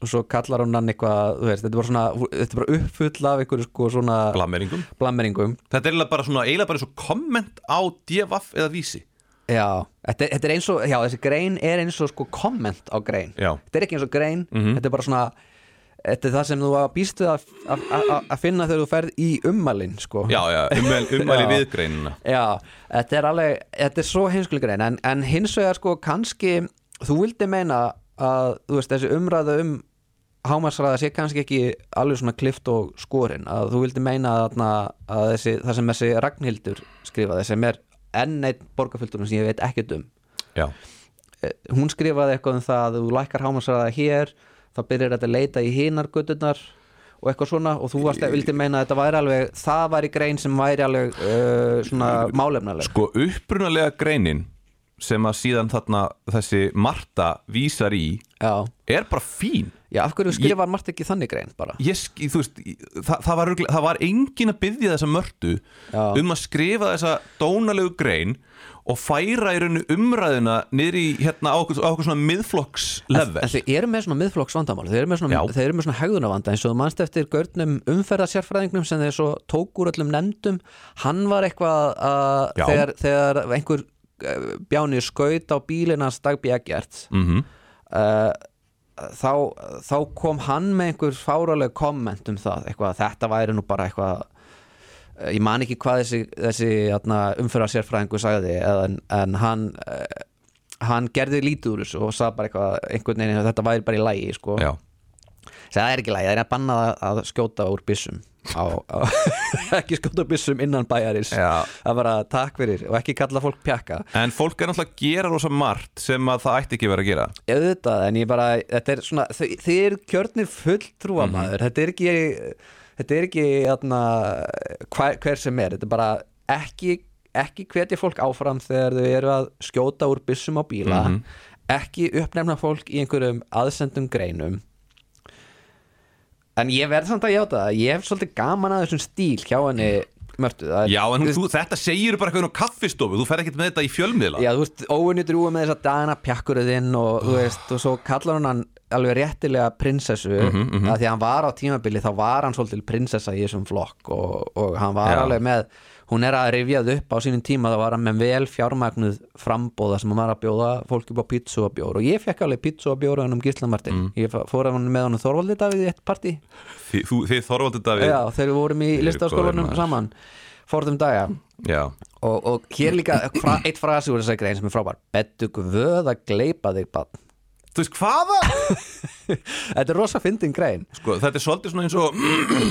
[SPEAKER 4] og svo kallar hún hann eitthvað þú veist, þetta er bara svona þetta er bara uppfull af einhverju sko svona
[SPEAKER 3] Blammeringum
[SPEAKER 4] blammeringum
[SPEAKER 3] Þetta er eiginlega bara svona, eiginlega bara svo komment á DFF eða vísi
[SPEAKER 4] já, þetta, er- þetta er eins og já, þessi grein er eins og sko komment á grein
[SPEAKER 3] Já. Mhm.
[SPEAKER 4] þetta er ekki eins og grein þetta er bara svona þetta er það sem þú var býst við að, að, að, að finna þegar þú ferð í ummalin sko
[SPEAKER 3] Já, já, ummæli, ummæli
[SPEAKER 4] Já.
[SPEAKER 3] viðgreinina
[SPEAKER 4] Já, þetta er alveg, þetta er svo heimskuleg grein en, en hins vegar sko kannski þú vildi meina að þú veist, þessi umræða um hámarsræða sé kannski ekki alveg svona klift og skorin að þú vildi meina að, þarna- að þessi, það sem þessi Ragnhildur skrifaði sem er enn eitt borgarfylgdurum sem ég veit ekkert um
[SPEAKER 3] Já,
[SPEAKER 4] Eh, hún skrifaði eitthvað um það að þú lækkar hámarsræða hér þá byrjar þetta að leita í hinar guttunar og eitthvað svona og þú varst að vildi meina að þetta væri alveg það væri grein sem væri alveg uh, svona málefnaleg
[SPEAKER 3] sko upprunalega greinin sem að síðan þarna þessi Marta vísar í
[SPEAKER 4] Já,
[SPEAKER 3] er bara fín
[SPEAKER 4] já af hverju skrifar Mart ekki þannig grein bara
[SPEAKER 3] ég, sk- þú veist, í- það, það, var, örugglega- það var engin að byggja þessa mörtu
[SPEAKER 4] Já.
[SPEAKER 3] um að skrifa þessa dónalegu grein og færa í rauninu umræðuna niður í hérna á okkur, á okkur svona miðflokks level
[SPEAKER 4] En þau eru með svona miðflokks vandamál Þau eru með svona,
[SPEAKER 3] Já.
[SPEAKER 4] þau eru með svona hegðunavanda eins og þú manst eftir gaurnum umferðarsérfræðingnum sem þeir svo tók úr öllum nefndum Hann var eitthvað að
[SPEAKER 3] Já.
[SPEAKER 4] þegar, þegar einhver eh, bjáni skaut á bílinn hans dagbjægjart mm
[SPEAKER 3] Mhm.
[SPEAKER 4] -hmm. þá, þá kom hann með einhver fáraleg komment um það eitthvað, að þetta væri nú bara eitthvað eh, ég man ekki hvað þessi, þessi umfyrra sagði en, en hann eh, hann gerði lítið úr þessu og sagði bara eitthvað einhvern veginn að þetta væri bara í lægi sko.
[SPEAKER 3] Já,
[SPEAKER 4] Sagði, það er ekki í lægi, það er að banna að skjóta úr byssum á, á, [laughs] ekki skjóta úr byssum innan bæjarins
[SPEAKER 3] Já.
[SPEAKER 4] það var að takk fyrir og ekki kalla fólk pjakka
[SPEAKER 3] En fólk er náttúrulega að gera rosa margt sem að það ætti ekki að vera að gera Mhm.
[SPEAKER 4] auðvitað en ég bara, þetta er svona þið, þið eru kjörnir fulltrúamaður þetta er ekki þetta er ekki atna, hver, hver sem er þetta er bara ekki, ekki hvetja fólk áfram þegar þau eru að skjóta úr byssum á bíla
[SPEAKER 3] Mhm.
[SPEAKER 4] ekki uppnefna fólk í einhverjum aðsendum greinum en ég verð samt að játa það ég hef svolítið gaman að þessum stíl hjá henni mörtu
[SPEAKER 3] Já, en þú, þetta segir bara eitthvað á kaffistofu, þú fer ekkert með þetta í fjölmiðla
[SPEAKER 4] Já, þú veist, óunni drúið með þess að dana pjakkuruðinn og
[SPEAKER 3] Ah.
[SPEAKER 4] þú veist, og svo kallar hún hann alveg réttilega prinsessu mm
[SPEAKER 3] Mhm,
[SPEAKER 4] að því að hann var á tímabili þá var hann svolítil prinsessa í þessum flokk og, og hann var
[SPEAKER 3] Já.
[SPEAKER 4] alveg með hún er að rifjað upp á sínum tíma þá var hann með vel fjármagnuð frambóða sem hann var að bjóða fólk upp á pítsu og bjór og ég fekk alveg pítsu og bjór á hann um Gíslamartin
[SPEAKER 3] Mm.
[SPEAKER 4] ég fa- fór að hann með hann Þorvaldi Davíð í eitt partí
[SPEAKER 3] Þi, þú, Þið þorvaldi þetta við
[SPEAKER 4] Já, þegar við vorum í
[SPEAKER 3] Þeir eru
[SPEAKER 4] listaskólanum
[SPEAKER 3] góðir maður.
[SPEAKER 4] saman forðum daga
[SPEAKER 3] Já.
[SPEAKER 4] og, og hér [clears throat] líka fra, eitt frasi úr þessari grein sem er frábær Bettu guð að gleipa þig bann
[SPEAKER 3] Þú veist hvaða?
[SPEAKER 4] Þetta er rosa fyndin grein
[SPEAKER 3] Sko, þetta er svolítið svona eins og [clears throat]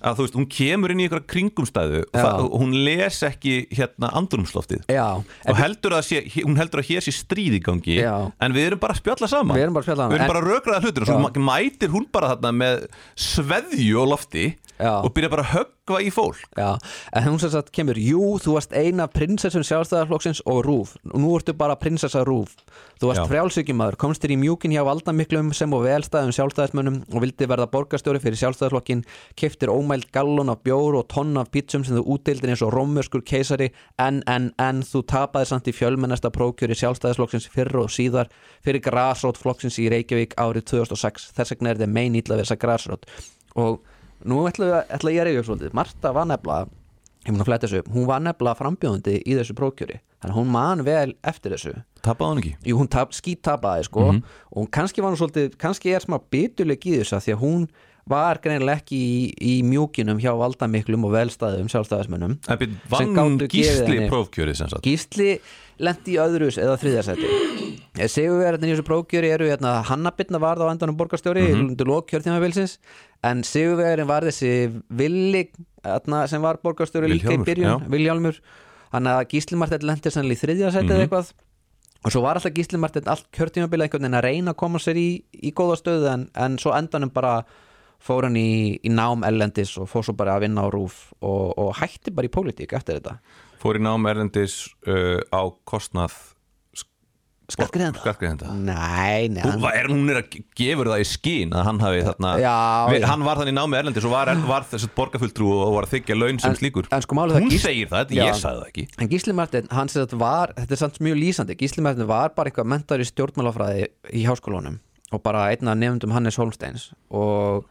[SPEAKER 3] að þú veist, hún kemur inn í einhverja kringumstæðu og,
[SPEAKER 4] Já.
[SPEAKER 3] það, og hún les ekki hérna andrumsloftið
[SPEAKER 4] Já,
[SPEAKER 3] og
[SPEAKER 4] en,
[SPEAKER 3] heldur að sé, hún heldur að hér sé stríð í gangi
[SPEAKER 4] Já.
[SPEAKER 3] en við erum bara að spjalla saman
[SPEAKER 4] Við erum bara að spjalla saman,
[SPEAKER 3] við erum
[SPEAKER 4] en-
[SPEAKER 3] bara að rökraða hlutur og svo mætir hún bara þarna með sveðju á lofti
[SPEAKER 4] Já.
[SPEAKER 3] og byrja bara að höggva í fólk
[SPEAKER 4] já, en hún sem sagt kemur Jú, þú varst eina prinsessum sjálfstæðarflokksins og rúf Nú ertu bara prinsessa rúf Þú varst
[SPEAKER 3] Já.
[SPEAKER 4] frjálsykjumadur, komst þér í mjúkin hjá valdamiklum sem og velstæðum sjálfstæðismönnum og vildi verða borgarstjóri fyrir sjálfstæðarflokkin keftir ómæld gallon af bjór og tonn af pítsum sem þú útdeildir eins og rómverskur keisari en, en, en þú tapaði samt í fjölmennasta prókjöri sjálfstæðisflokksins fyrr og síðar fyrir grasrót flokksins í Reykjavík árið 2006 þess vegna er þetta mein ítla við þessa grasrót og nú ætla, við- ætla ég að reyja upp svolítið Marta var nefnilega ég mun að fletta þessu upp, hún var nefnilega frambjóðandi í þessu prókjöri, þannig að hún man vel eftir þessu
[SPEAKER 3] tapaði hún ekki
[SPEAKER 4] Jú, hún tap, skítapaði sko og hún kannski var hún svolítið, kannski er smá bituleg í þessu af því að hún var greinilega ekki í, í mjúkinum hjá valdamiklum og velstæðum sjálfstæðismönnum
[SPEAKER 3] En byrju,
[SPEAKER 4] sem
[SPEAKER 3] vann
[SPEAKER 4] gátu gefið
[SPEAKER 3] gísli
[SPEAKER 4] henni-
[SPEAKER 3] prófkjörið sem sagt
[SPEAKER 4] Gísli lendi í öðrus eða þriðasæti Sigurverðin í þessu prókjöri eru hérna, Hannabitna varð á endanum borgarstjóri
[SPEAKER 3] Mhm.
[SPEAKER 4] mm -hmm. lók kjörtímabilsins en Sigurverðin var þessi villig hérna, sem var borgarstjóri líka í
[SPEAKER 3] Vilhjálmur,
[SPEAKER 4] byrjun
[SPEAKER 3] já.
[SPEAKER 4] Viljálmur, hann að Gísli Marteinn lendi sannlega í þriðasæti mm eða
[SPEAKER 3] Mhm.
[SPEAKER 4] eitthvað og svo var alltaf Gísli Marteinn allt kjörtímabilið einhvern veginn að reyna að koma sér í, í góða stöðu en, en svo endanum bara fór hann í, í nám ellendis og fór svo bara að vinna á rúf og, og hætti bara í pólitík eftir þetta
[SPEAKER 3] fór í nám erlendis uh, á kostnað
[SPEAKER 4] Skattgreiðenda?
[SPEAKER 3] skattgreðenda
[SPEAKER 4] Nei, nei hann-
[SPEAKER 3] Hún, var- er, hún er að ge- gefur það í skín að hann hafi þarna
[SPEAKER 4] Já,
[SPEAKER 3] við,
[SPEAKER 4] já.
[SPEAKER 3] hann var þannig í námi erlendis og var, var þessi borgarfulltrú og var að þykja laun sem
[SPEAKER 4] En-
[SPEAKER 3] slíkur
[SPEAKER 4] en sko málið er að
[SPEAKER 3] hún
[SPEAKER 4] Gísli-
[SPEAKER 3] segir það,
[SPEAKER 4] Já.
[SPEAKER 3] ég sagði það ekki
[SPEAKER 4] En Gísli Martin, hann sem þetta var, þetta er samt mjög lýsandi, Gísli Martin var bara eitthvað mentar í stjórnmálafræði í háskólanum og bara einn af nefndum Hannes Holmsteins og,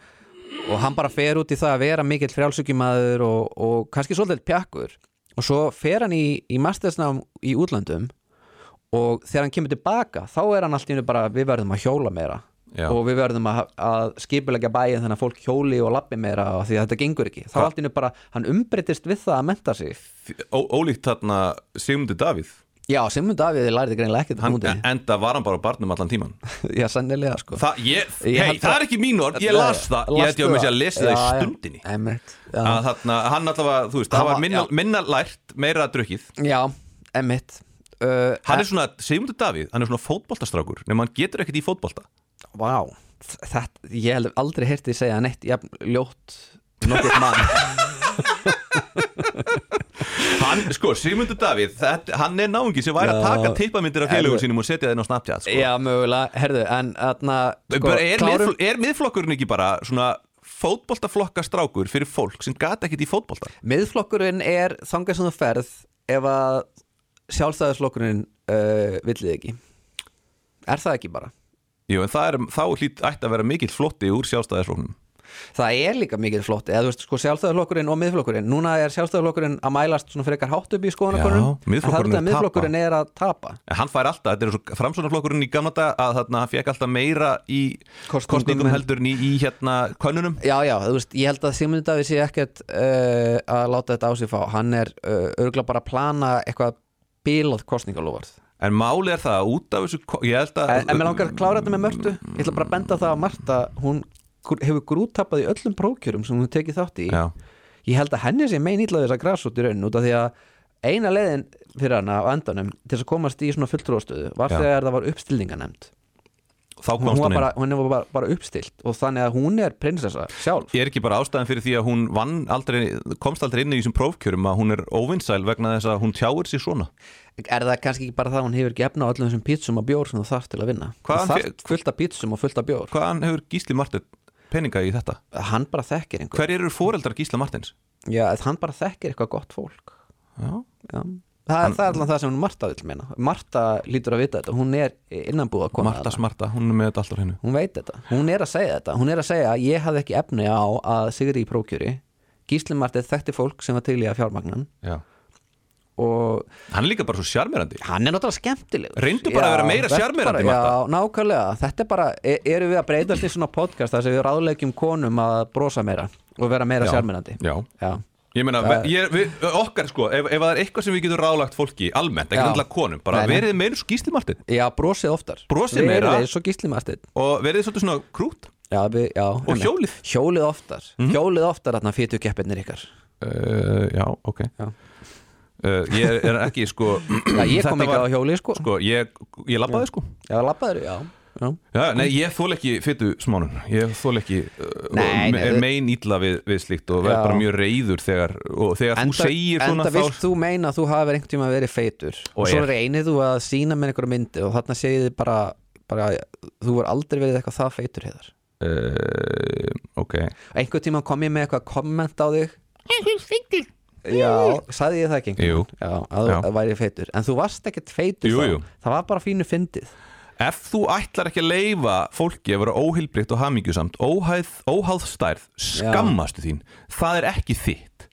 [SPEAKER 4] og hann bara fer út í það að vera mikill frjálsökjumaður og, og kannski svolítið pjakkur og svo fer hann í, í mastersnám í útlöndum og þegar hann kemur tilbaka þá er hann allt í hennu bara við verðum að hjóla meira
[SPEAKER 3] Já.
[SPEAKER 4] og við verðum að, að skipulegja bæin þannig að fólk hjóli og lappi meira og því að þetta gengur ekki þá
[SPEAKER 3] Hva-
[SPEAKER 4] allt í hennu bara, hann umbreytist við það að menta sig
[SPEAKER 3] Ó, ólíkt þarna Sigmundi Davíð
[SPEAKER 4] Já, Sigmund Davíði læriði greinilega ekkert
[SPEAKER 3] hann,
[SPEAKER 4] hann,
[SPEAKER 3] [laughs]
[SPEAKER 4] hann,
[SPEAKER 3] enda var hann bara á barnum allan tíman
[SPEAKER 4] Já, sannilega sko
[SPEAKER 3] Þa, ég,
[SPEAKER 4] Ég
[SPEAKER 3] hei,
[SPEAKER 4] held
[SPEAKER 3] það
[SPEAKER 4] að-
[SPEAKER 3] er ekki mín orð, ég las það ég held ég að mér sé að lesa það í stundinni
[SPEAKER 4] Já, emmitt
[SPEAKER 3] að
[SPEAKER 4] já.
[SPEAKER 3] þarna, hann allavega, þú veist,
[SPEAKER 4] Hann
[SPEAKER 3] það
[SPEAKER 4] var-
[SPEAKER 3] var minna,
[SPEAKER 4] já.
[SPEAKER 3] minna lært, meira drukkið
[SPEAKER 4] já, emmitt uh,
[SPEAKER 3] hann er svona, Sigmundur Davíð, hann er svona fótboltastrákur nema hann getur ekkert í fótbolta
[SPEAKER 4] Vá, þetta, ég hef aldrei heyrti segja neitt jafn ljótt nokkuð
[SPEAKER 3] [laughs] Sko.
[SPEAKER 4] mann
[SPEAKER 3] hann, sko, Sigmundur Davíð, þetta, hann er náungi sem væri að
[SPEAKER 4] Já.
[SPEAKER 3] taka tippamindir af félögum
[SPEAKER 4] Herðu.
[SPEAKER 3] sínum og setja það inn á Snapchat sko.
[SPEAKER 4] Já, mögulega, herðu, en þarna
[SPEAKER 3] sko, er, miðfl er miðflokkurinn ekki bara svona fótboltaflokkastrákur fyrir fólk sem gata ekkert í fótbolta
[SPEAKER 4] Miðflokkurinn er þangað sem þú ferð ef að sjálfstæðisflokkurinn uh, villið ekki Er það ekki bara?
[SPEAKER 3] Jú, en það er, þá hlýtt ætti að vera mikill flotti úr sjálfstæðisflóknum
[SPEAKER 4] það er líka mikið flott eða þú veist sko sjálfstæðarflokkurinn og miðflokkurinn núna er sjálfstæðarflokkurinn að mælast svona frekar hátt upp í skoðanakörnum
[SPEAKER 3] Já, miðflokkurinn
[SPEAKER 4] en
[SPEAKER 3] er að
[SPEAKER 4] það er
[SPEAKER 3] tapa.
[SPEAKER 4] miðflokkurinn er að tapa
[SPEAKER 3] En hann fær alltaf, þetta er svo framsónarflokkurinn í gamla dag að þarna hann fekk alltaf meira í
[SPEAKER 4] Kosningum
[SPEAKER 3] kostningum
[SPEAKER 4] en-
[SPEAKER 3] heldur en í, í hérna könnunum
[SPEAKER 4] já já þú veist ég held að Sigmund Davíð sé ekkert uh, að láta þetta á sig fá hann er uh, örgulega bara að plana eitthvað bílað kostningalóvarð
[SPEAKER 3] En máli er það að út af þessu, ko- ég held að
[SPEAKER 4] en, en mér langar að klára þetta með Mörtu ég ætla bara að benda á það að Marta hún gr- hefur grúttappað í öllum prókjörum sem hún hefur tekið þátt í
[SPEAKER 3] Já,
[SPEAKER 4] ég held að henni sé megin ítlaði þessa grassút í raunin út af því að eina leiðin fyrir hana á endanum til þess að komast í svona fulltrúastöðu var
[SPEAKER 3] Já.
[SPEAKER 4] þegar það var uppstilninganemnd
[SPEAKER 3] þá
[SPEAKER 4] hún
[SPEAKER 3] komst
[SPEAKER 4] var
[SPEAKER 3] hún inn
[SPEAKER 4] bara, hún var bara, bara uppstilt og þannig að hún er prinsessa sjálf
[SPEAKER 3] er ekki bara ástæðan fyrir því að hún vann aldrei, komst aldrei inn í þessum prófkjörum að hún er óvinnsæl vegna þess að hún tjáir sig svona
[SPEAKER 4] er það kannski ekki bara það að hún hefur ekki efna á öllum þessum pítsum og bjór sem þú þarft til að vinna
[SPEAKER 3] Hvaðan
[SPEAKER 4] þú þarft
[SPEAKER 3] fe-
[SPEAKER 4] fullt af pítsum og fullt af bjór
[SPEAKER 3] hvaðan hefur Gísli Martin peninga í þetta?
[SPEAKER 4] hann bara þekkir einhver
[SPEAKER 3] hver eru foreldrar Gísla Martins?
[SPEAKER 4] já, hann bara þekkir eitthvað gott fólk
[SPEAKER 3] Já.
[SPEAKER 4] já. Það, er, það er allan það sem hún Marta vil meina Marta lítur að vita þetta, hún er innanbúða kona
[SPEAKER 3] Marta Smarta, hún er með þetta allt á hennu
[SPEAKER 4] hún veit þetta, hún er að segja þetta hún er að segja að ég hafði ekki efni á að Sigri í prókjöri Gíslimartið þekkti fólk sem var til í að fjármagnan og
[SPEAKER 3] hann er líka bara svo sjarmerandi
[SPEAKER 4] hann er náttúrulega skemmtilegur
[SPEAKER 3] Reyndu bara að vera meira
[SPEAKER 4] vertu
[SPEAKER 3] sjarmerandi,
[SPEAKER 4] bara-
[SPEAKER 3] Marta.
[SPEAKER 4] Já, nákvæmlega, þetta er bara e erum við að breytast í svona podcast þar sem við ráðlegjum konum að brosa meira og vera meira
[SPEAKER 3] Já.
[SPEAKER 4] sjarmerandi
[SPEAKER 3] Já.
[SPEAKER 4] Já.
[SPEAKER 3] ég meina,
[SPEAKER 4] Það-
[SPEAKER 3] ég, við, okkar sko ef, ef það er eitthvað sem við getum rálagt fólki almennt, ekki
[SPEAKER 4] Já.
[SPEAKER 3] alltaf konum, bara
[SPEAKER 4] Nei, nei.
[SPEAKER 3] verið meira svo Gísli Martin
[SPEAKER 4] já, brosið oftar
[SPEAKER 3] Brosið
[SPEAKER 4] Verið
[SPEAKER 3] meira.
[SPEAKER 4] eins og gíslimartið
[SPEAKER 3] og verið svolítið svona krút
[SPEAKER 4] já, við, já, og
[SPEAKER 3] hjólið. Mhm.
[SPEAKER 4] Hjólið oftar, hjólið oftar þarna fytu keppinir ykkar
[SPEAKER 3] uh, já, ok
[SPEAKER 4] Já.
[SPEAKER 3] Uh, ég er ekki sko
[SPEAKER 4] [clears throat] Já, ég kom
[SPEAKER 3] þetta
[SPEAKER 4] ekki
[SPEAKER 3] var-
[SPEAKER 4] á hjólið sko,
[SPEAKER 3] sko, ég, ég labbaði sko
[SPEAKER 4] Já, labbaður, já, já.
[SPEAKER 3] Já, nei, ég þól ekki fytu smánun Ég þól ekki uh,
[SPEAKER 4] Nei, nei,
[SPEAKER 3] me-
[SPEAKER 4] þau-
[SPEAKER 3] mein ítla við, við slíkt og verð
[SPEAKER 4] Já.
[SPEAKER 3] bara mjög reyður þegar, og þegar þú segir svona
[SPEAKER 4] enda vilt þú meina að þú hafi verið einhvern tíma verið feitur og, svo
[SPEAKER 3] er.
[SPEAKER 4] reynir þú að sína með einhverja myndi og þarna segir þið bara, bara þú var aldrei verið eitthvað það feitur heiðar
[SPEAKER 3] uh, Ok,
[SPEAKER 4] einhvern tíma kom ég með eitthvað komment á þig Já, sagði ég það ekki einhvern
[SPEAKER 3] Jú.
[SPEAKER 4] tímann? Já, að þú
[SPEAKER 3] Já.
[SPEAKER 4] að væri feitur En þú varst ekkert feitur
[SPEAKER 3] Jú,
[SPEAKER 4] þá
[SPEAKER 3] jú.
[SPEAKER 4] Það var bara fínu fyndið
[SPEAKER 3] ef þú ætlar ekki að leifa fólki að vera óheilbrikt og hamingjusamt óhæð, óháðstærð, skammastu þín það er ekki þitt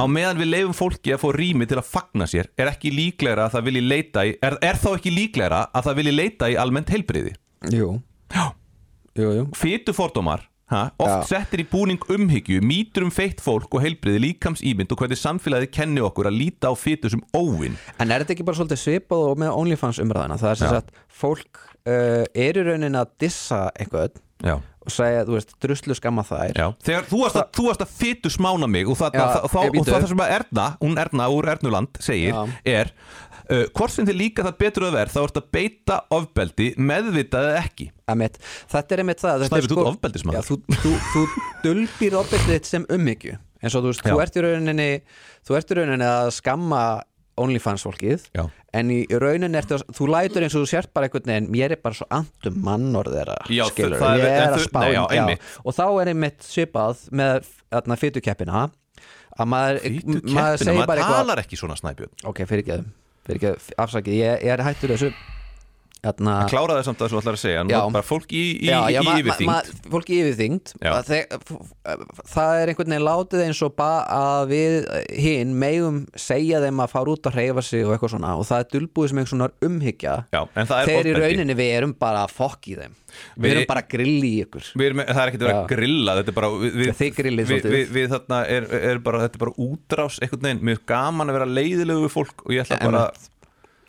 [SPEAKER 3] á meðan við leifum fólki að fá rými til að fagna sér er ekki líklegra að það vilji leita í er, er þá ekki líklegra að það vilji leita í almennt heilbriði
[SPEAKER 4] Jú,
[SPEAKER 3] Já
[SPEAKER 4] jú, jú
[SPEAKER 3] fytu fordómar ha, oft
[SPEAKER 4] Já.
[SPEAKER 3] settir í búning umhyggju mýtur um feitt fólk og heilbriði líkams ímynd og hvernig samfélagið kenni okkur að líta á fytu sem óvinn
[SPEAKER 4] En er þetta ekki bara svolítið svipað og með OnlyFans umræðina Það er sem
[SPEAKER 3] Já.
[SPEAKER 4] sagt, fólk uh, er í raunin að dissa eitthvað
[SPEAKER 3] Já.
[SPEAKER 4] og segja, þú veist, druslu skamma þær
[SPEAKER 3] þegar þú varst, að, þú varst að fytu smána mig og það,
[SPEAKER 4] Já,
[SPEAKER 3] það, það,
[SPEAKER 4] ég býtu.
[SPEAKER 3] og það sem að Erna, hún Erna úr Ernuland segir
[SPEAKER 4] Já.
[SPEAKER 3] er uh, hvort sem þið líka það betur að verð þá ertu að beita ofbeldi meðvitað eða ekki
[SPEAKER 4] Emitt. Þetta er einmitt það þetta er sko-
[SPEAKER 3] Snæbjörn, þú ert ofbeldismaður.
[SPEAKER 4] Já, Þú, þú, þú dulbir ofbeldið þitt sem umhyggju eins og þú veist, þú
[SPEAKER 3] Já.
[SPEAKER 4] ert í rauninni þú ert í rauninni að skamma OnlyFans fólkið
[SPEAKER 3] Já.
[SPEAKER 4] en í rauninni ertu, að- þú lætur eins og þú sért bara einhvern veginn, mér er bara svo andum mannorð þeirra,
[SPEAKER 3] Já, þau-
[SPEAKER 4] skilur
[SPEAKER 3] það er-
[SPEAKER 4] ég
[SPEAKER 3] en
[SPEAKER 4] er að
[SPEAKER 3] þau-
[SPEAKER 4] spá
[SPEAKER 3] nei,
[SPEAKER 4] í-
[SPEAKER 3] já, einmitt.
[SPEAKER 4] og þá er einmitt svipað með þarna fytukeppina að maður,
[SPEAKER 3] fytu
[SPEAKER 4] maður
[SPEAKER 3] keppina,
[SPEAKER 4] segir
[SPEAKER 3] maður
[SPEAKER 4] bara eitthvað
[SPEAKER 3] talar ekki svona snæbjörn
[SPEAKER 4] ok, fyrirgeðum, fyrirgeðum, afsakið ég, ég er hættur þessu Atna,
[SPEAKER 3] kláraði samt að þessu allar að segja nú
[SPEAKER 4] Ah. Já.
[SPEAKER 3] var bara fólk í, í,
[SPEAKER 4] Já,
[SPEAKER 3] í
[SPEAKER 4] já, ma- ma-
[SPEAKER 3] yfirþyngd
[SPEAKER 4] ma- fólk í yfirþyngd
[SPEAKER 3] Já.
[SPEAKER 4] að þe- f- f- það er einhvern veginn látið eins og bara að við hinn megum segja þeim að fara út að hreyfa sig og eitthvað svona og það er dulbúið sem einhvern svona umhyggja
[SPEAKER 3] Já, en það er
[SPEAKER 4] þegar í
[SPEAKER 3] ofbeldi.
[SPEAKER 4] rauninni við erum bara að fokk í þeim við,
[SPEAKER 3] Við-
[SPEAKER 4] erum bara að grilli í ykkur
[SPEAKER 3] Við erum, það er ekkert að vera
[SPEAKER 4] Já.
[SPEAKER 3] að grilla þetta er bara, við, við,
[SPEAKER 4] Þið grillið
[SPEAKER 3] við,
[SPEAKER 4] svolítið.
[SPEAKER 3] við, við þarna er, er bara, þetta er bara útrás einhvern veginn, mér er gaman að vera leiðilegu við fólk og ég ætla bara,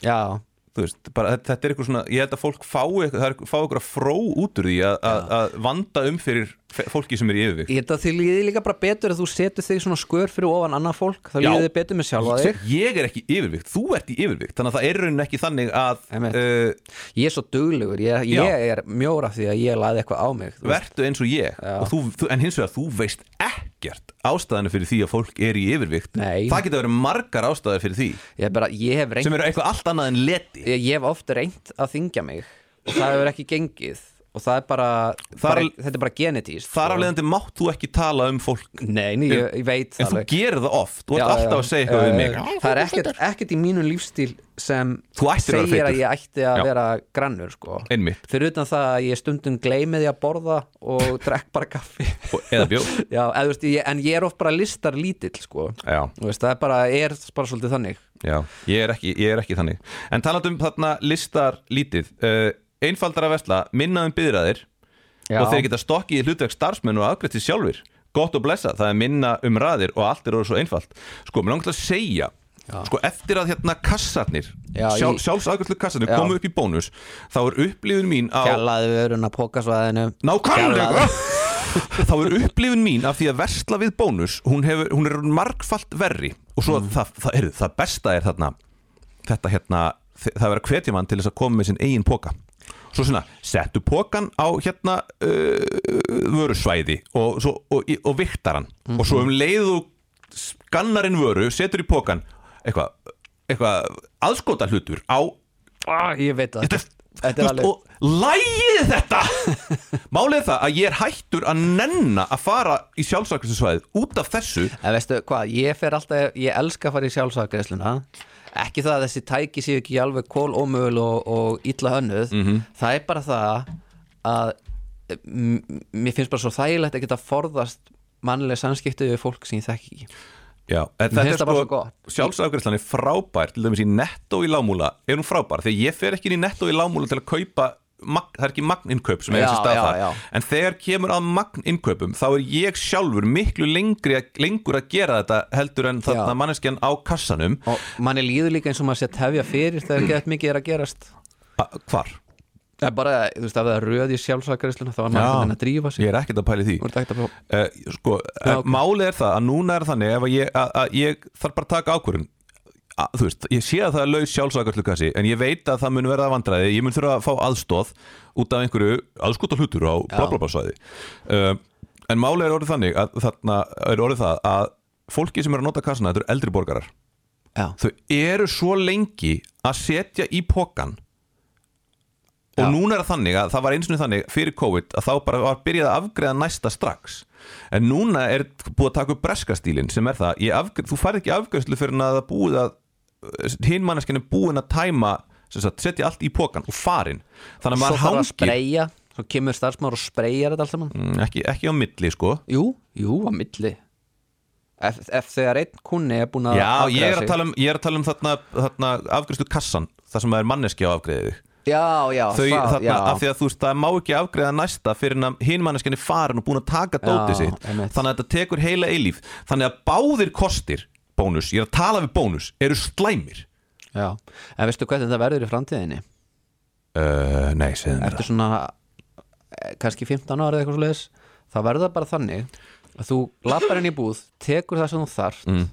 [SPEAKER 4] Já,
[SPEAKER 3] þú veist bara, þetta- þetta er eitthvað svona, ég held að fólk fái eitthvað- það er- fái eitthvað fró út úr því að, að, að vanda um fyrir fe- fólki sem er í yfirvík
[SPEAKER 4] ég held að því líði líka bara betur að þú setur þig svona skör fyrir ofan annað fólk þá
[SPEAKER 3] Já.
[SPEAKER 4] líði þið betur með sjálfa þig
[SPEAKER 3] Ég er ekki yfirvíkt, þú ert í yfirvíkt þannig að það er í rauninni ekki þannig að
[SPEAKER 4] Einmitt.
[SPEAKER 3] uh,
[SPEAKER 4] Ég er svo duglegur, ég,
[SPEAKER 3] Já.
[SPEAKER 4] ég er mjóra því að ég laði eitthvað á mig þú veist.
[SPEAKER 3] vertu eins og ég og þú, þú, en hins vegar þú veist ekkert ástæðinu fyrir því að fólk er í yfirvíkt
[SPEAKER 4] Nei.
[SPEAKER 3] það getur verið margar ástæður fyrir því
[SPEAKER 4] Ég, er bara, ég hef reynt
[SPEAKER 3] sem eru eitthvað allt annað en leti
[SPEAKER 4] ég, ég hef oft reynt að þingja mig og það hefur ekki gengið og það er bara, bara
[SPEAKER 3] al-
[SPEAKER 4] þetta er bara genetíst
[SPEAKER 3] Þar af
[SPEAKER 4] sko.
[SPEAKER 3] leiðandi mátt þú ekki tala um fólk
[SPEAKER 4] Nei, nei, ég, ég veit
[SPEAKER 3] En
[SPEAKER 4] það
[SPEAKER 3] þú
[SPEAKER 4] alveg.
[SPEAKER 3] gerir það oft, þú
[SPEAKER 4] Já,
[SPEAKER 3] ert alltaf
[SPEAKER 4] já.
[SPEAKER 3] að segja eitthvað við
[SPEAKER 4] Já,
[SPEAKER 3] mig
[SPEAKER 4] já, já. Það er ekkert, ekkert í mínum lífstíl sem
[SPEAKER 3] Þú ættir að vera
[SPEAKER 4] segir að
[SPEAKER 3] feitur.
[SPEAKER 4] ég ætti að
[SPEAKER 3] Já.
[SPEAKER 4] vera grannur sko.
[SPEAKER 3] Einmitt.
[SPEAKER 4] Fyrir utan það að ég stundum gleymi því að borða og [laughs] drekk bara kaffi
[SPEAKER 3] Og- Eða bjó
[SPEAKER 4] [laughs] Já, eða, þú veist, ég, en ég er oft bara listar lítill sko.
[SPEAKER 3] Já,
[SPEAKER 4] Þú veist, Það er bara, er bara svolítið þannig
[SPEAKER 3] já, ég er ekki, ég er ekki þannig En talandi um þarna listar lítið uh, Einfaldar að vesla, minna um byðraðir
[SPEAKER 4] Já.
[SPEAKER 3] Og þeir geta stokkið í hlutverk starfsmenn og afgreitt til sjálfur Gott og blessa, það er minna um raðir og allt er orðið svo einfalt Sko, mér langt að segja Sko, eftir að hérna kassarnir
[SPEAKER 4] Já,
[SPEAKER 3] sjálf,
[SPEAKER 4] ég-
[SPEAKER 3] Sjálfsafgreiðslu kassarnir
[SPEAKER 4] Já.
[SPEAKER 3] komu upp í bónus Þá er upplifun mín á
[SPEAKER 4] Kjallaði við örun að pókasvæðinu
[SPEAKER 3] Nákvæmlega [laughs] Þá er upplifun mín af því að versla við bónus hún, hefur, hún er margfalt verri og svo það, það, er, það besta er þarna þetta hérna þ- það er að hvetja mann til þess að koma með sinn eigin póka svo svona, settu pokan á hérna uh, vörusvæði og, svo, og, og viktar hann og svo um leið og skannar inn vöru, setur í pokan eitthvað, eitthvað aðskota hlutur á
[SPEAKER 4] ah, Ég veit það
[SPEAKER 3] þetta,
[SPEAKER 4] Þetta er alveg
[SPEAKER 3] og lægið þetta
[SPEAKER 4] [laughs]
[SPEAKER 3] málið er það að ég er hættur að nenna að fara í sjálfsakræstisvæðið út af þessu
[SPEAKER 4] En veistu hvað, ég fer alltaf, ég elska að fara í sjálfsagresluna Ekki það að þessi tæki séu ekki alveg kól ómögul og, og illa hönnuð
[SPEAKER 3] Mhm.
[SPEAKER 4] Það er bara það að m- mér finnst bara svo þægilegt að geta forðast mannlega samskipti við fólk sem ég þekki ekki
[SPEAKER 3] Já, en þetta
[SPEAKER 4] finnst
[SPEAKER 3] er
[SPEAKER 4] það bara svo
[SPEAKER 3] sko,
[SPEAKER 4] gott.
[SPEAKER 3] sjálfsafgræslan er frábær til dæmis í netto í lámúla er hún frábær, þegar ég fer ekki inn í netto í lámúla til að kaupa, magn, það er ekki magninnkaup sem er
[SPEAKER 4] Já,
[SPEAKER 3] þessi stað
[SPEAKER 4] já,
[SPEAKER 3] þar,
[SPEAKER 4] já.
[SPEAKER 3] en þegar kemur að magninnkaupum þá er ég sjálfur miklu lengri að, lengur að gera þetta heldur en
[SPEAKER 4] Já.
[SPEAKER 3] þarna manneskjan á kassanum
[SPEAKER 4] Og manni líður líka eins og maður sé að tefja fyrir þegar gett mikið er að gerast
[SPEAKER 3] A, hvar?
[SPEAKER 4] Það er bara, þú veist, ef það er röð í sjálfsagreisluna þá er maður
[SPEAKER 3] Já.
[SPEAKER 4] einhvern veginn að drífa sig
[SPEAKER 3] Ég er ekkert að pæli því
[SPEAKER 4] Þú ert ekkert að fá-
[SPEAKER 3] Uh, sko,
[SPEAKER 4] Já,
[SPEAKER 3] uh,
[SPEAKER 4] ok.
[SPEAKER 3] málið er það að núna er þannig ef að ég, að, að ég þarf bara að taka ákvörðun að, þú veist, ég sé að það er laus sjálfsakarslu en ég veit að það mun verða vandræði ég mun þurfa að fá aðstóð út af einhverju aðskota hlutur á blablablasvæði uh, en málið er orðið þannig að þarna er orðið það að fólki sem er að nota kassana, þetta eru eldri borgarar
[SPEAKER 4] Já,
[SPEAKER 3] þau eru svo lengi að setja í pokan og
[SPEAKER 4] Já.
[SPEAKER 3] núna er það þannig að það var eins og þannig fyrir COVID að þá bara var byrjað að afgreða næsta strax en núna er búið að taka upp breskastílin sem er það, ég afgreð, þú færð ekki afgreðslu fyrir að það búið að hinn manneskinn er búin að tæma sem sagt, setja allt í pokan og farin þannig að
[SPEAKER 4] svo
[SPEAKER 3] maður
[SPEAKER 4] þarf að
[SPEAKER 3] hangir
[SPEAKER 4] spreja Svo kemur starfsmáður og spreyjar þetta allt saman
[SPEAKER 3] Mm, ekki, ekki á milli sko
[SPEAKER 4] Jú, jú, á milli Ef, ef þegar einn kunni er búin að
[SPEAKER 3] Já,
[SPEAKER 4] afgreiða
[SPEAKER 3] ég er að
[SPEAKER 4] sig.
[SPEAKER 3] tala um, ég er að tala um þarna, þarna afgreðslu kassan, það sem það er manneski á afgreðið
[SPEAKER 4] Já, já,
[SPEAKER 3] þau,
[SPEAKER 4] það,
[SPEAKER 3] þarna,
[SPEAKER 4] já.
[SPEAKER 3] af því að þú veist, það má ekki afgreða næsta fyrir að hinn manneskinn er farin og búin að taka dótið sitt
[SPEAKER 4] einmitt.
[SPEAKER 3] þannig að þetta tekur heila eilíf þannig að báðir kostir, bónus, ég er að tala við bónus eru slæmir
[SPEAKER 4] já En veistu hvernig það verður í framtíðinni?
[SPEAKER 3] uh, Nei, segðu mér það
[SPEAKER 4] Eftir svona, eh, kannski 15 ára eða eitthvað svo leiðis Það verður það bara þannig að þú lappar inn í búð, tekur það sem þú þarft
[SPEAKER 3] Mm.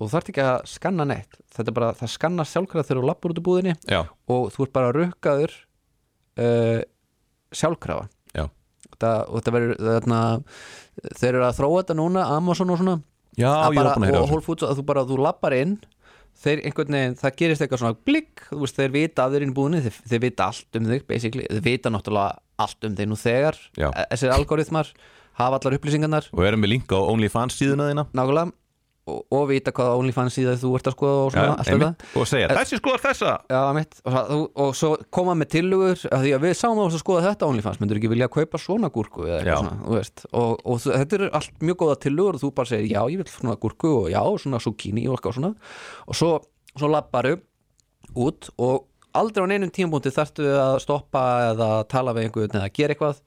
[SPEAKER 4] og þú þarft ekki að skanna neitt Þetta er bara, það skanna sjálfkrafa þegar þú lappar út í búðinni
[SPEAKER 3] Já,
[SPEAKER 4] og þú ert bara rukkaður uh, sjálfkrafa
[SPEAKER 3] já,
[SPEAKER 4] þetta, og þetta verður þarna, þeir eru að þróa þetta núna Amazon og svona
[SPEAKER 3] já ég
[SPEAKER 4] Að
[SPEAKER 3] er
[SPEAKER 4] bara,
[SPEAKER 3] opnað að heyra á
[SPEAKER 4] og
[SPEAKER 3] þessu
[SPEAKER 4] Whole Foods að þú bara, þú lappar inn þeir einhvern veginn, það gerist eitthvað svona blikk, þú veist, þeir vita af þeir inn búinni þeir, þeir vita allt um þig, basically þeir vita náttúrulega allt um þig nú þegar
[SPEAKER 3] Já.
[SPEAKER 4] E- þessir algoritmar, hafa allar upplýsingarnar
[SPEAKER 3] Og erum við linka á OnlyFans síðuna þína
[SPEAKER 4] nákvæmlega, og, og vita hvaða OnlyFans síða þú ert að skoða og svona, allt um þetta
[SPEAKER 3] einmitt, Og segja, þessi skoðar þessa
[SPEAKER 4] Já, mitt, og, það- þú- og svo koma með tillugur að því að við sáum á þess að skoða þetta OnlyFans myndur ekki vilja kaupa svona gúrku eða
[SPEAKER 3] Já.
[SPEAKER 4] eitthvað svona, þú veist, og, og þú- þetta eru allt mjög góða tillugur og þú bara segir já, ég vil svona gúrku og já, svona zucchini og eitthvað svona og svo, svo labbaru út og aldrei á neinum tímpúnti þarftu að stoppa eða tala við einhvern eða gera eitthvað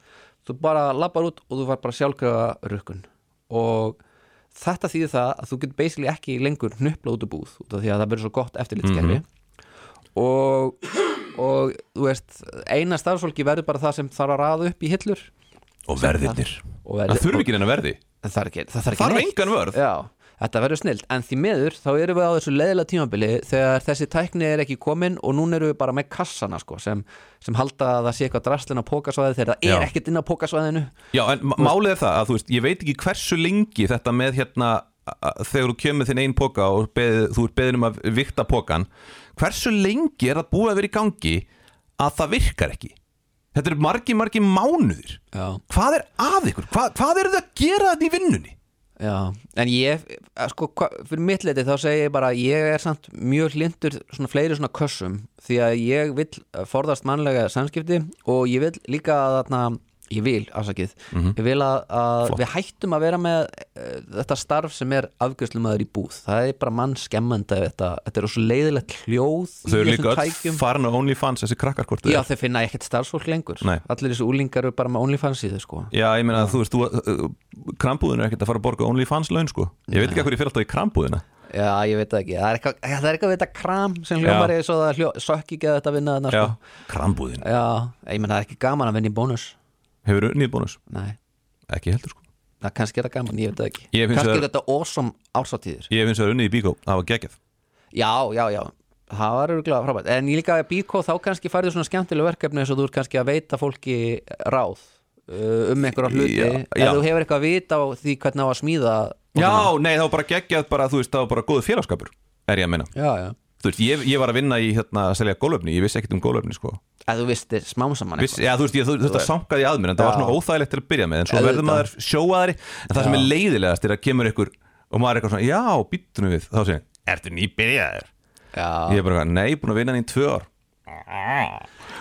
[SPEAKER 4] þú bara labbar út og þú var bara sjálfkrafa rukkun og þetta þýðir það að þú getur basically ekki lengur hnupla út úr búð út af því að það verður svo gott eftirlitskerfi og, og þú veist eina starfsfólki verður bara það sem þarf að raða upp í hillur
[SPEAKER 3] Og verðirnir
[SPEAKER 4] og
[SPEAKER 3] Það
[SPEAKER 4] verður,
[SPEAKER 3] þurfi ekki neina verði
[SPEAKER 4] það þarf ekki, það þarf ekki
[SPEAKER 3] Þarf
[SPEAKER 4] neitt.
[SPEAKER 3] engan vörð
[SPEAKER 4] Já, þetta verður snilt En því miður, þá erum við á þessu leiðilega tímabili þegar þessi tækni er ekki komin og núna erum við bara með kassana sko, sem, sem halda að það sé eitthvað drastlinn á pókasvæði þegar það
[SPEAKER 3] Já.
[SPEAKER 4] er ekkert inn á pókasvæðinu
[SPEAKER 3] Já, en ma- málið er það að þú veist, ég veit ekki hversu lengi þetta með hérna a- a- þegar þú kemur þinn einn póka og beð, þú ert beðin um að vikta pókan hversu lengi er það búið að vera í gangi að það virkar ekki Þetta eru margi, margi mánuðir
[SPEAKER 4] Já,
[SPEAKER 3] Hvað er að ykkur? Hvað, hvað eru það að gera þetta í vinnunni?
[SPEAKER 4] já En ég, eh, sko, hva, fyrir mitt leiti þá segi ég bara að ég er samt mjög hlindur svona fleiri svona kössum því að ég vil eh, forðast mannlega samskipti og ég vil líka að þarna Ég vil, afsakið,
[SPEAKER 3] Mhm.
[SPEAKER 4] ég vil að, að við hættum að vera með uh, þetta starf sem er afgjöfslumæður í búð það er bara mann skemmandi þetta, þetta er svo leiðilegt hljóð
[SPEAKER 3] Þau eru
[SPEAKER 4] í þessum
[SPEAKER 3] líka öll
[SPEAKER 4] tækjum.
[SPEAKER 3] farin á OnlyFans þessi krakkarkortu
[SPEAKER 4] Já, þeir finna ekkert starfsfólk lengur
[SPEAKER 3] Nei.
[SPEAKER 4] Allir þessi úlingar eru bara með OnlyFans í þau sko
[SPEAKER 3] Já, ég meina að þú veist, þú, uh, krambúðin er ekkert að fara að borga OnlyFans laun sko Ég veit ekki að hverju fyrir alltaf í krambúðina
[SPEAKER 4] Já, ég veit það ekki, það er eitthvað, það er eitthvað við þetta kram sem hljómar
[SPEAKER 3] Já.
[SPEAKER 4] eða svo það hljó, sökki ekki að þetta vinna þarna
[SPEAKER 3] Já,
[SPEAKER 4] sko.
[SPEAKER 3] krambúðin,
[SPEAKER 4] Já, ég menn það er ekki gaman að vinna í bónus
[SPEAKER 3] hefur nýð bónus?
[SPEAKER 4] Nei,
[SPEAKER 3] Ekki heldur sko
[SPEAKER 4] það er kannski er það gaman, ég veit það ekki
[SPEAKER 3] Ég finnst
[SPEAKER 4] Kannski
[SPEAKER 3] það-
[SPEAKER 4] er þetta awesome ársatíður
[SPEAKER 3] Ég hef eins og unnið í bíkó, það var geggjað
[SPEAKER 4] Já, já, já, það var örgulega frábært en ég líka að bíkó þá kannski færðu svona skemmtileg verkefni eins og þú er kannski að veita fólki ráð uh, um einhverja hluti
[SPEAKER 3] Já, já.
[SPEAKER 4] ef þú hefur eitthvað að vita á því hvernig á að smíða
[SPEAKER 3] Já, nei, það var bara geggjað bara, þú veist, það var bara góð félagskapur er ég að minna,
[SPEAKER 4] já, já
[SPEAKER 3] þú veist, ég, ég var að vinna í hérna, að selja gólöfni, ég vissi ekkert um gólöfni sko.
[SPEAKER 4] að þú vistir smám saman
[SPEAKER 3] Viss, já, þú veist, ég, þú- þetta sankaði að mér en það var
[SPEAKER 4] Já.
[SPEAKER 3] svona óþægilegt til að byrja með en svo
[SPEAKER 4] Auðvitað.
[SPEAKER 3] verður maður sjóaðari en það sem er leiðilegast er að kemur ykkur og maður er eitthvað svona, já, býttunum við þá segir, hann, ertu nýbyrjaðir?
[SPEAKER 4] já,
[SPEAKER 3] Ég er bara, eitthvað, nei, búin að vinna hann í tvö ár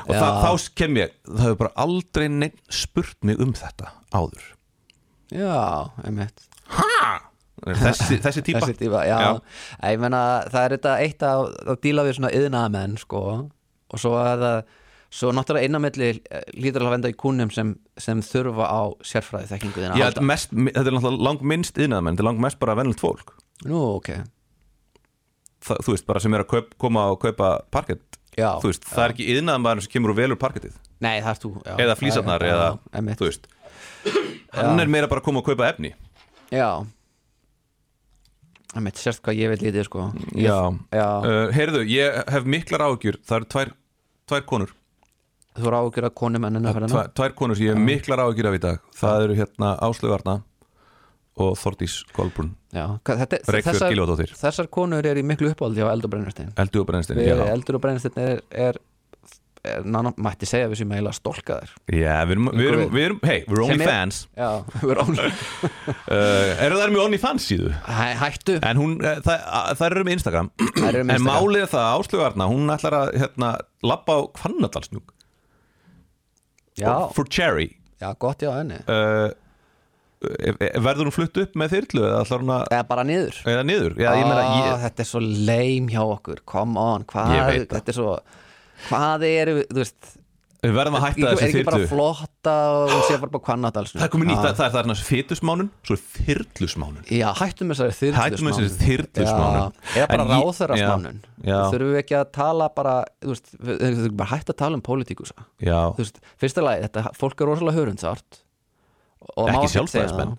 [SPEAKER 3] og það, þá kem ég það hefur bara aldrei neitt spurt mig um þetta áður
[SPEAKER 4] já, einmitt
[SPEAKER 3] þessi,
[SPEAKER 4] [laughs]
[SPEAKER 3] þessi típa
[SPEAKER 4] Þessi típa, já,
[SPEAKER 3] Já.
[SPEAKER 4] Æ, Ég meina, það er þetta eitt að, að díla við svona yðnaðamenn sko. og svo er það svo náttúrulega innamilli lítur eh, að venda í kúnum sem, sem þurfa á sérfræði þekkingu þín að
[SPEAKER 3] Já,
[SPEAKER 4] halda
[SPEAKER 3] þetta, er mest, þetta er náttúrulega lang minnst yðnaðamenn, þetta er lang mest bara venlult fólk
[SPEAKER 4] Nú, ok,
[SPEAKER 3] Þa, þú veist, bara sem er að kaup, koma og kaupa parkett,
[SPEAKER 4] Já.
[SPEAKER 3] þú veist, það er ekki yðnaðamenn sem kemur og velur parkettið
[SPEAKER 4] nei það ert þú já.
[SPEAKER 3] eða flýsarnar
[SPEAKER 4] Já, já,
[SPEAKER 3] eða,
[SPEAKER 4] já, einmitt.
[SPEAKER 3] þú veist hann er meira bara að koma og kaupa efni
[SPEAKER 4] Já Einmitt, sérst hvað ég veit lítið sko Ég- já.
[SPEAKER 3] Uh, heyrðu, ég hef miklar áhyggjur það eru tvær, tvær konur
[SPEAKER 4] Þú eru ágjur að konum ennina fyrir
[SPEAKER 3] tvær, tvær konur sem ég hef miklar áhyggjur af í dag það eru hérna Áslöf Arna og Þordís Kolbrún Reykjavík
[SPEAKER 4] hennar
[SPEAKER 3] Gylfadóttir.
[SPEAKER 4] Þessar konur eru í miklu uppáldi á Eldur Brennurstein
[SPEAKER 3] Eldu og Brennstein
[SPEAKER 4] Við
[SPEAKER 3] já.
[SPEAKER 4] erum eldur og brennsteinn er, er, er nána, mætti segja við sem eiginlega stólkaðir
[SPEAKER 3] Já, við erum, við erum, við erum hey, we're only
[SPEAKER 4] Sem er-
[SPEAKER 3] fans
[SPEAKER 4] Já, [laughs] við erum ánum
[SPEAKER 3] uh, eru það með only fans síðu
[SPEAKER 4] Hæ, Hættu
[SPEAKER 3] en hún, eh, það, að- það eru með Instagram
[SPEAKER 4] Þær eru með
[SPEAKER 3] en
[SPEAKER 4] Instagram.
[SPEAKER 3] málið er það að Áslöf Arna hún ætlar að hérna, labba á Hvannadalsnúk
[SPEAKER 4] Já,
[SPEAKER 3] for cherry
[SPEAKER 4] já gott já henni
[SPEAKER 3] uh, eh, verður hún flutt upp með þyrlu eða ætlar hún að
[SPEAKER 4] Eða bara niður
[SPEAKER 3] eða niður já, ég meina,
[SPEAKER 4] Ah,
[SPEAKER 3] ég,
[SPEAKER 4] Þetta er svo leim hjá okkur, come on hvað,
[SPEAKER 3] Ég veit það.
[SPEAKER 4] Þetta er svo Hvað eru, þú veist
[SPEAKER 3] við verðum að hætta
[SPEAKER 4] Er
[SPEAKER 3] þessi
[SPEAKER 4] ekki bara
[SPEAKER 3] þyrlu
[SPEAKER 4] flotta og hún sé bara bara hvannat alls
[SPEAKER 3] það er komið nýtt, það, það er þarna fytusmánun svo er þyrlusmánun
[SPEAKER 4] Já, hættum þessari þyrlusmánun
[SPEAKER 3] Hættum þessari þyrlusmánun.
[SPEAKER 4] Já, Eða bara
[SPEAKER 3] En ég-
[SPEAKER 4] ráðherrasmánun
[SPEAKER 3] Já, já.
[SPEAKER 4] Þurfum við ekki að tala bara Þú veist, við við þurfum bara hætt að tala um pólitíkusa
[SPEAKER 3] já,
[SPEAKER 4] Þú veist, fyrsta lagi, þetta fólk er rosalega hörundsart og
[SPEAKER 3] ekki
[SPEAKER 4] má ekkert segja
[SPEAKER 3] sjálfstæðismenn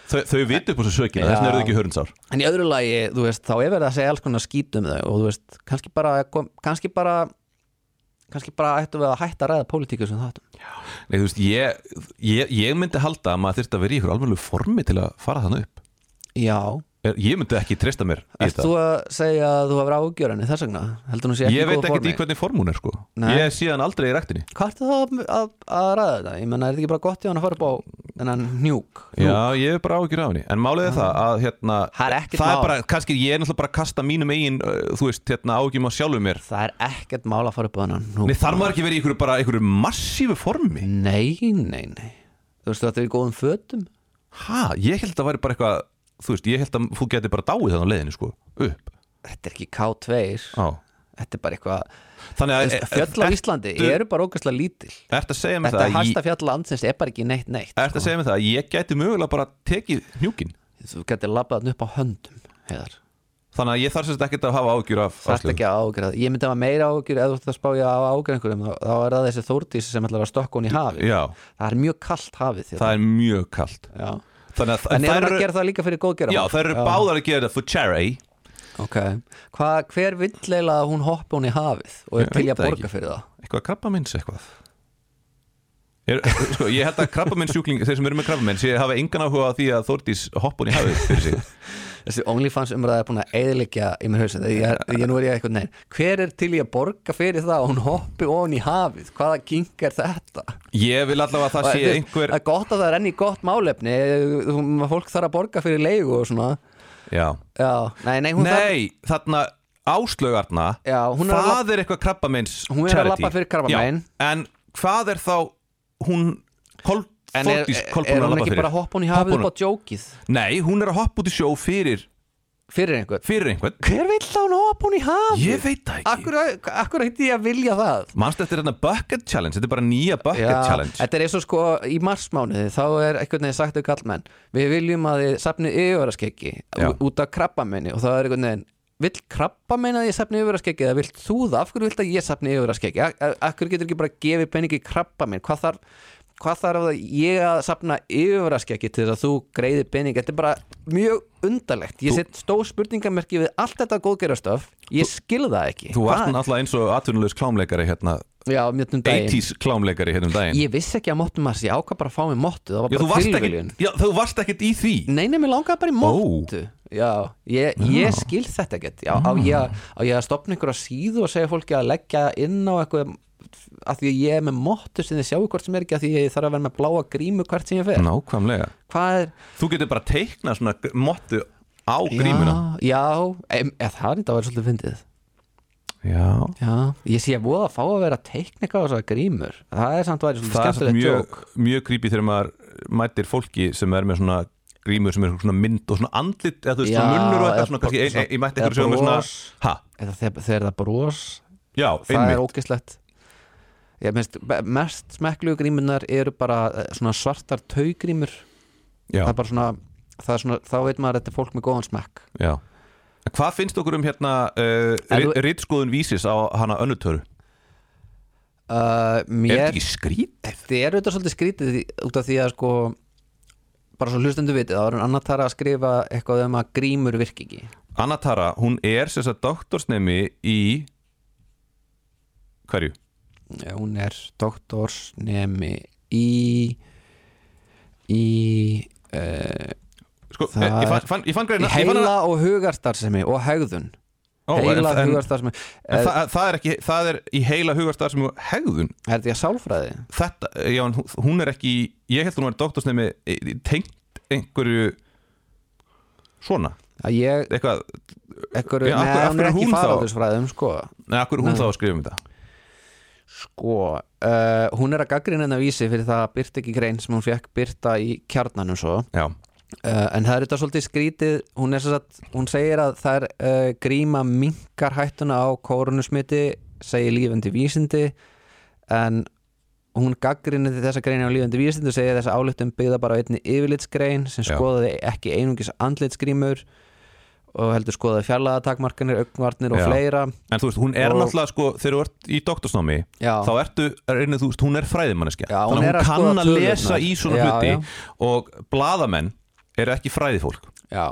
[SPEAKER 4] það.
[SPEAKER 3] þau, þau vitu upp þessu sökina, þess vegna eru þau ekki hörnsár
[SPEAKER 4] En í öðru lagi, þú veist, þá er verið að segja alls konar skítum þau og þú veist, kannski bara kom- kannski bara kannski bara ættum við að hætta að ræða pólitíkusum þáttum
[SPEAKER 3] Nei, þú veist, ég, ég, ég myndi halda að maður þyrst að vera í ykkur alveg formi til að fara þannig upp
[SPEAKER 4] Já,
[SPEAKER 3] Er- ég myndi ekki treysta mér í
[SPEAKER 4] Erst
[SPEAKER 3] þetta.
[SPEAKER 4] þú að segja að þú hefur ágjör henni þess vegna? Heldur hún sé ekki
[SPEAKER 3] ég veit
[SPEAKER 4] góð
[SPEAKER 3] ekki
[SPEAKER 4] formi?
[SPEAKER 3] í hvernig form hún er sko
[SPEAKER 4] Nei.
[SPEAKER 3] ég sé hann aldrei í ræktinni
[SPEAKER 4] Hvað ertu þá að, að, að ræða þetta? Ég menna, er þetta ekki bara gott í hann að fara upp á þennan njúk?
[SPEAKER 3] Já, ég er bara áhyggjur af henni En málið er það að hérna
[SPEAKER 4] Það er ekkert mál.
[SPEAKER 3] bara, kannski ég er náttúrulega bara að kasta mínum eigin uh, Þú veist, hérna áhyggjum á sjálfu mér
[SPEAKER 4] Það er ekkert mál að fara upp á þennan njúk
[SPEAKER 3] Nei, þar maður ekki verið í einhverju bara einhverju massífu formi
[SPEAKER 4] Nei, nei, nei Þú veistu þetta er í góðum fötum?
[SPEAKER 3] Ha, ég held að það væri bara eitthvað Þú veist, ég held að þú geti bara dáið þannig á leiðinni sko Upp
[SPEAKER 4] Þetta er ekki K2
[SPEAKER 3] Á.
[SPEAKER 4] Þetta er bara eitthvað
[SPEAKER 3] Þannig að
[SPEAKER 4] Þú
[SPEAKER 3] e,
[SPEAKER 4] veist, Fjöll á Íslandi eru bara ógæslega lítil
[SPEAKER 3] Ertu að segja mér
[SPEAKER 4] Þetta
[SPEAKER 3] það
[SPEAKER 4] er
[SPEAKER 3] að
[SPEAKER 4] hæsta
[SPEAKER 3] ég-
[SPEAKER 4] fjall landsins er bara ekki neitt neitt sko.
[SPEAKER 3] Ertu að segja mér það að ég gæti mögulega bara tekið hnjúkin
[SPEAKER 4] Þú getur labbað hann upp á höndum heiðar.
[SPEAKER 3] Þannig að ég þarf sérst ekkert að hafa áhyggjur af
[SPEAKER 4] Það er
[SPEAKER 3] Áslaugu.
[SPEAKER 4] ekki að ágjöra Ég myndi að hafa meira ágjöra eða þú ert að spája á ágjöra einhverjum þá, þá er það þessi þórdís sem ætlar að stökka hún í hafi
[SPEAKER 3] Já,
[SPEAKER 4] Það er mjög kalt hafið
[SPEAKER 3] það er mjög kalt
[SPEAKER 4] er,
[SPEAKER 3] Þannig að
[SPEAKER 4] En
[SPEAKER 3] þær
[SPEAKER 4] er það
[SPEAKER 3] eru-
[SPEAKER 4] að gera það líka fyrir góðgera
[SPEAKER 3] Já, það eru báðar að gera þetta for charity
[SPEAKER 4] Ok, Hva, hver vill leila að hún hoppa hún í hafið og er
[SPEAKER 3] Ég
[SPEAKER 4] til í
[SPEAKER 3] veit
[SPEAKER 4] að
[SPEAKER 3] það
[SPEAKER 4] borga
[SPEAKER 3] ekki.
[SPEAKER 4] fyrir það
[SPEAKER 3] eitthvað krabba minns eitthvað er, [laughs] sko, ég held að krabba minns sjúkling þeir sem eru með krabba minns, ég hafa engan áhuga á því að Þórdís hoppun í hafið fyrir
[SPEAKER 4] [laughs]
[SPEAKER 3] sig
[SPEAKER 4] Þessi OnlyFans umræða er búin að eðilegja í mér hausin, ég, er- ég nú er ég eitthvað neinn Hver er til í að borga fyrir það að hún hoppi ofan í hafið, hvaða kink er þetta?
[SPEAKER 3] ég vil allavega að það
[SPEAKER 4] Og, þú
[SPEAKER 3] sé
[SPEAKER 4] veist,
[SPEAKER 3] einhver
[SPEAKER 4] Það er gott að það er enn í gott málefni þú- fólk þarf að borga fyrir leigu og svona
[SPEAKER 3] já.
[SPEAKER 4] Já, nei, nei, hún þarf
[SPEAKER 3] nei, þarna áslaugarna
[SPEAKER 4] Já, hún er að
[SPEAKER 3] það er eitthvað krabba minns
[SPEAKER 4] Hún er að labba fyrir krabbamein.
[SPEAKER 3] en hvað er þá hún Kol,
[SPEAKER 4] En er,
[SPEAKER 3] Þórdís
[SPEAKER 4] er,
[SPEAKER 3] Kolbrún
[SPEAKER 4] er
[SPEAKER 3] að
[SPEAKER 4] hún
[SPEAKER 3] labba
[SPEAKER 4] ekki
[SPEAKER 3] fyrir
[SPEAKER 4] bara að hoppa hún í hafið
[SPEAKER 3] Hoppa
[SPEAKER 4] upp á djókið
[SPEAKER 3] nei, hún er að hoppa út í sjó fyrir,
[SPEAKER 4] fyrir einhvern?
[SPEAKER 3] fyrir
[SPEAKER 4] [laughs]
[SPEAKER 3] einhvern
[SPEAKER 4] Hver vill að hún hoppa hún í hafið?
[SPEAKER 3] ég veit það ekki
[SPEAKER 4] Akkur, akkur hætti ég að vilja það?
[SPEAKER 3] Manstu eftir þetta bucket challenge, þetta er bara nýja bucket challenge
[SPEAKER 4] þetta er eins og sko í marsmánuði þá er einhvern veginn sagt auðvitað allmenn við viljum að þið safnið yfirvaraskeggi
[SPEAKER 3] Já.
[SPEAKER 4] út af krabbamenni og þá er einhvern veginn vill krabbamenn að ég safni yfirvaraskeggi eða vill þú það, af hverju vilt að ég safni yfirvaraskeggi af af hverju getur ekki bara gefið peningi krabbamenn hvað þarf hvað þarf það ég að sapna yfirraskeggi til þess að þú greiði pening þetta er bara mjög undarlegt ég set stór spurningamerki við allt þetta góðgerastöf ég skil það ekki
[SPEAKER 3] Þú ert
[SPEAKER 4] Hvað-
[SPEAKER 3] náttúrulega eins og atvinnulegs klámleikari hérna
[SPEAKER 4] já, mjög um daginn
[SPEAKER 3] 80s klámleikari hérna um daginn
[SPEAKER 4] ég vissi ekki að móttum að þessi ég ákvað bara að fá mér móttu það var
[SPEAKER 3] já, þú
[SPEAKER 4] bara
[SPEAKER 3] varst ekkit-
[SPEAKER 4] tilviljun
[SPEAKER 3] já, þú varst ekkit í því
[SPEAKER 4] Nei, nei, mér langaði bara í móttu Já, ég, ég skil þetta ekkert Já, á ég, að- á ég að stopna einhverja síðu og segja fólki að leggja inn á eitthvað að því að ég er með móttu sem þið sjáu hvort sem er ekki að því ég þarf að vera með bláa grímu hvert sem ég fer
[SPEAKER 3] Nákvæmlega
[SPEAKER 4] Hvað er,
[SPEAKER 3] Þú getur bara teikna svona g- mottu á grímuna
[SPEAKER 4] Já, já em, eða það er þetta að vera svolítið fyndið
[SPEAKER 3] Já,
[SPEAKER 4] Já, ég sé að voða að fá að vera teiknika á þessar grímur Það er samt væri svolítið
[SPEAKER 3] það er samt
[SPEAKER 4] skemmtilegt
[SPEAKER 3] mjög,
[SPEAKER 4] joke.
[SPEAKER 3] mjög creepy þegar maður mætir fólki sem er með svona grímur sem er svona mynd og svona andlit eða þú veist, svona
[SPEAKER 4] Já,
[SPEAKER 3] munnur og
[SPEAKER 4] eða
[SPEAKER 3] eitthvað svona, kannski,
[SPEAKER 4] bara
[SPEAKER 3] ein, ein, ég mætti
[SPEAKER 4] eða
[SPEAKER 3] einhverju sem er svona
[SPEAKER 4] bros.
[SPEAKER 3] ha,
[SPEAKER 4] Eða þegar, þegar það bros
[SPEAKER 3] já,
[SPEAKER 4] það er
[SPEAKER 3] einmitt,
[SPEAKER 4] ógislegt ég minnst, be- mest smekklu grímunar eru bara eh, svona svartar taugrímur
[SPEAKER 3] já,
[SPEAKER 4] það er bara svona, það er svona þá veit maður að þetta er fólk með góðan smekk
[SPEAKER 3] já Hvað finnst okkur um hérna uh,
[SPEAKER 4] þú-
[SPEAKER 3] rittskoðun vísis á hana önnutöru?
[SPEAKER 4] uh,
[SPEAKER 3] Er
[SPEAKER 4] mér,
[SPEAKER 3] þetta ekki skrítið?
[SPEAKER 4] þetta er auðvitað svolítið skrítið því- út af því að sko bara svo hlustendu vitið, það var en annar þar að skrifa eitthvað um að grímur virki ekki
[SPEAKER 3] Anatara, hún er sem sagt doktorsnemi í hverju?
[SPEAKER 4] Eh, hún er doktorsnemi í í uh,
[SPEAKER 3] Sko,
[SPEAKER 4] Það
[SPEAKER 3] ég, ég,
[SPEAKER 4] er-
[SPEAKER 3] fann, fann, ég fann greina ég fann hana-
[SPEAKER 4] heila og hugarstarfsemi og hegðun
[SPEAKER 3] Ó, en-
[SPEAKER 4] heila
[SPEAKER 3] en-
[SPEAKER 4] hugarstarfsemi Eh,
[SPEAKER 3] En það, það, er ekki, það er í heila hugastar sem hegðun
[SPEAKER 4] er þetta ég sálfræði?
[SPEAKER 3] þetta, eh, já, en hún- hún er ekki ég held hún var doktorsnemi tengt einhverju svona,
[SPEAKER 4] að ég,
[SPEAKER 3] eitthvað
[SPEAKER 4] ekkur,
[SPEAKER 3] Já, af
[SPEAKER 4] neða,
[SPEAKER 3] hverju- af
[SPEAKER 4] hún er
[SPEAKER 3] hverju
[SPEAKER 4] ekki
[SPEAKER 3] hún þá?
[SPEAKER 4] faraldursfræðum sko,
[SPEAKER 3] Nei, akkur er hún
[SPEAKER 4] Nei.
[SPEAKER 3] þá að skrifa um þetta
[SPEAKER 4] sko uh, hún er að gaggrina hennar vísi fyrir það að byrta ekki grein sem hún fekk byrta í kjarnanum svo,
[SPEAKER 3] Já,
[SPEAKER 4] uh, en það er þetta svolítið skrítið, hún er svo að hún segir að það er uh, gríma minkar hættuna á kórunusmiti segir lífandi vísindi en hún gaggrinni þessa grein á lífandi vísindi og segir þessa álöftum byggða bara á einni yfirlitsgrein sem
[SPEAKER 3] Já.
[SPEAKER 4] skoðaði ekki einungis andlitsgrímur og heldur skoðaði fjarlagatakmarkanir, augnvarnir og
[SPEAKER 3] Já.
[SPEAKER 4] fleira
[SPEAKER 3] en þú veist, hún er
[SPEAKER 4] Og-
[SPEAKER 3] náttúrulega sko, þegar þú ert í doktorsnámi
[SPEAKER 4] Já.
[SPEAKER 3] þá ertu, reynið þú veist, hún er fræðimanneskja
[SPEAKER 4] Já, hún
[SPEAKER 3] þannig að
[SPEAKER 4] er að
[SPEAKER 3] hún
[SPEAKER 4] skoða
[SPEAKER 3] kann að
[SPEAKER 4] tölurnar.
[SPEAKER 3] lesa í svona
[SPEAKER 4] Já,
[SPEAKER 3] hluti
[SPEAKER 4] já.
[SPEAKER 3] og bladamenn eru ekki fræðifólk
[SPEAKER 4] Já,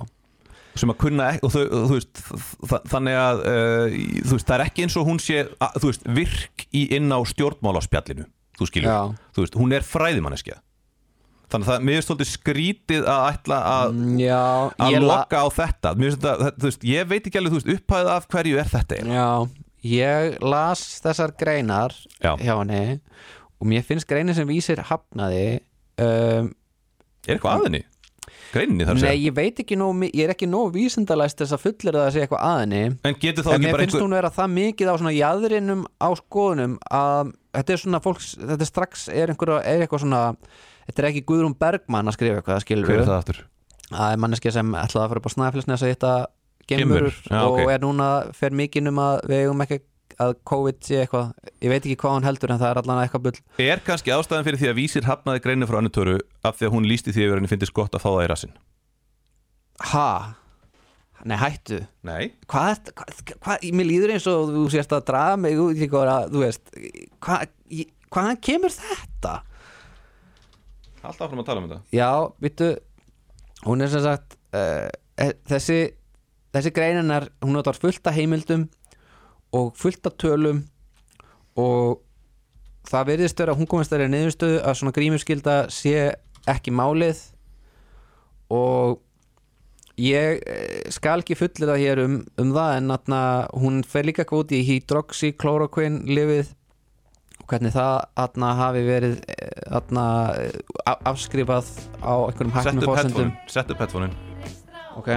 [SPEAKER 3] sem að kunna ekki, og þau, og þú veist þa- þannig að uh, þú veist, það er ekki eins og hún sé að, þú veist, virk í inn á stjórnmálaspjallinu þú skilur,
[SPEAKER 4] Já.
[SPEAKER 3] þú veist, hún er fræðimanneskja þannig að það, mér er stóldið skrítið að ætla að
[SPEAKER 4] já
[SPEAKER 3] að
[SPEAKER 4] Mm, ég la-
[SPEAKER 3] loka á þetta, mér finnst þetta, þetta þú veist, ég veit ekki alveg, þú veist, upphæðið af hverju er þetta eiginlega?
[SPEAKER 4] Já, ég las þessar greinar
[SPEAKER 3] Já.
[SPEAKER 4] hjá henni og mér finnst greinin sem vísir hafnaði um,
[SPEAKER 3] er eitthvað að henni? greininni þarf að
[SPEAKER 4] Nei,
[SPEAKER 3] segja
[SPEAKER 4] ég veit ekki nóg, mi- ég er ekki nóg vísindalæst þess að fullir það að segja eitthvað að henni
[SPEAKER 3] en getur þá
[SPEAKER 4] En
[SPEAKER 3] ekki
[SPEAKER 4] mér
[SPEAKER 3] bara
[SPEAKER 4] finnst
[SPEAKER 3] einhver
[SPEAKER 4] hún vera það mikið á svona jæðrinum á skoðunum að þetta er svona fólks, þetta er strax er, einhver, er eitthvað svona Þetta er ekki Guðrún Bergmann að skrifa eitthvað, skilur
[SPEAKER 3] hver er það aftur?
[SPEAKER 4] það er manneskja sem ætlaði að fara upp á snæfilsnes að hitta
[SPEAKER 3] Geimverur,
[SPEAKER 4] gemurur
[SPEAKER 3] já,
[SPEAKER 4] og
[SPEAKER 3] ok.
[SPEAKER 4] er núna fer mikið um að við eigum ekki að COVID sé eitthvað ég veit ekki hvað hann heldur en það er allan eitthvað bull
[SPEAKER 3] er kannski ástæðan fyrir því að vísir hafnaði greinu frá annutöru af því að hún lísti því að henni finnist gott að fá það í rassin
[SPEAKER 4] ha, nei hættu
[SPEAKER 3] nei,
[SPEAKER 4] hvað, ert- hvað, hvað, mér líður eins og þú sérst að draga mig út í góra þú veist, hvað, ég- hvaðan kemur þetta
[SPEAKER 3] Alltaf áfram að tala um þetta
[SPEAKER 4] já, vittu hún er sem sagt uh, þessi, þessi greininar hún notar fullt af heimildum og fullt af tölum og það verðist vera að hún komist þeirri niðurstöðu að svona grímuskylda sé ekki málið og ég eh, skal ekki fullir það hér um, um það en atna, hún fer líka góð í hydroxychloroquine lifið og hvernig það atna, hafi verið eh, atna, eh, a- afskrifað á einhverjum
[SPEAKER 3] Sett
[SPEAKER 4] hæknum
[SPEAKER 3] upp
[SPEAKER 4] fórsendum
[SPEAKER 3] headphone, sett upp headphone
[SPEAKER 4] ok,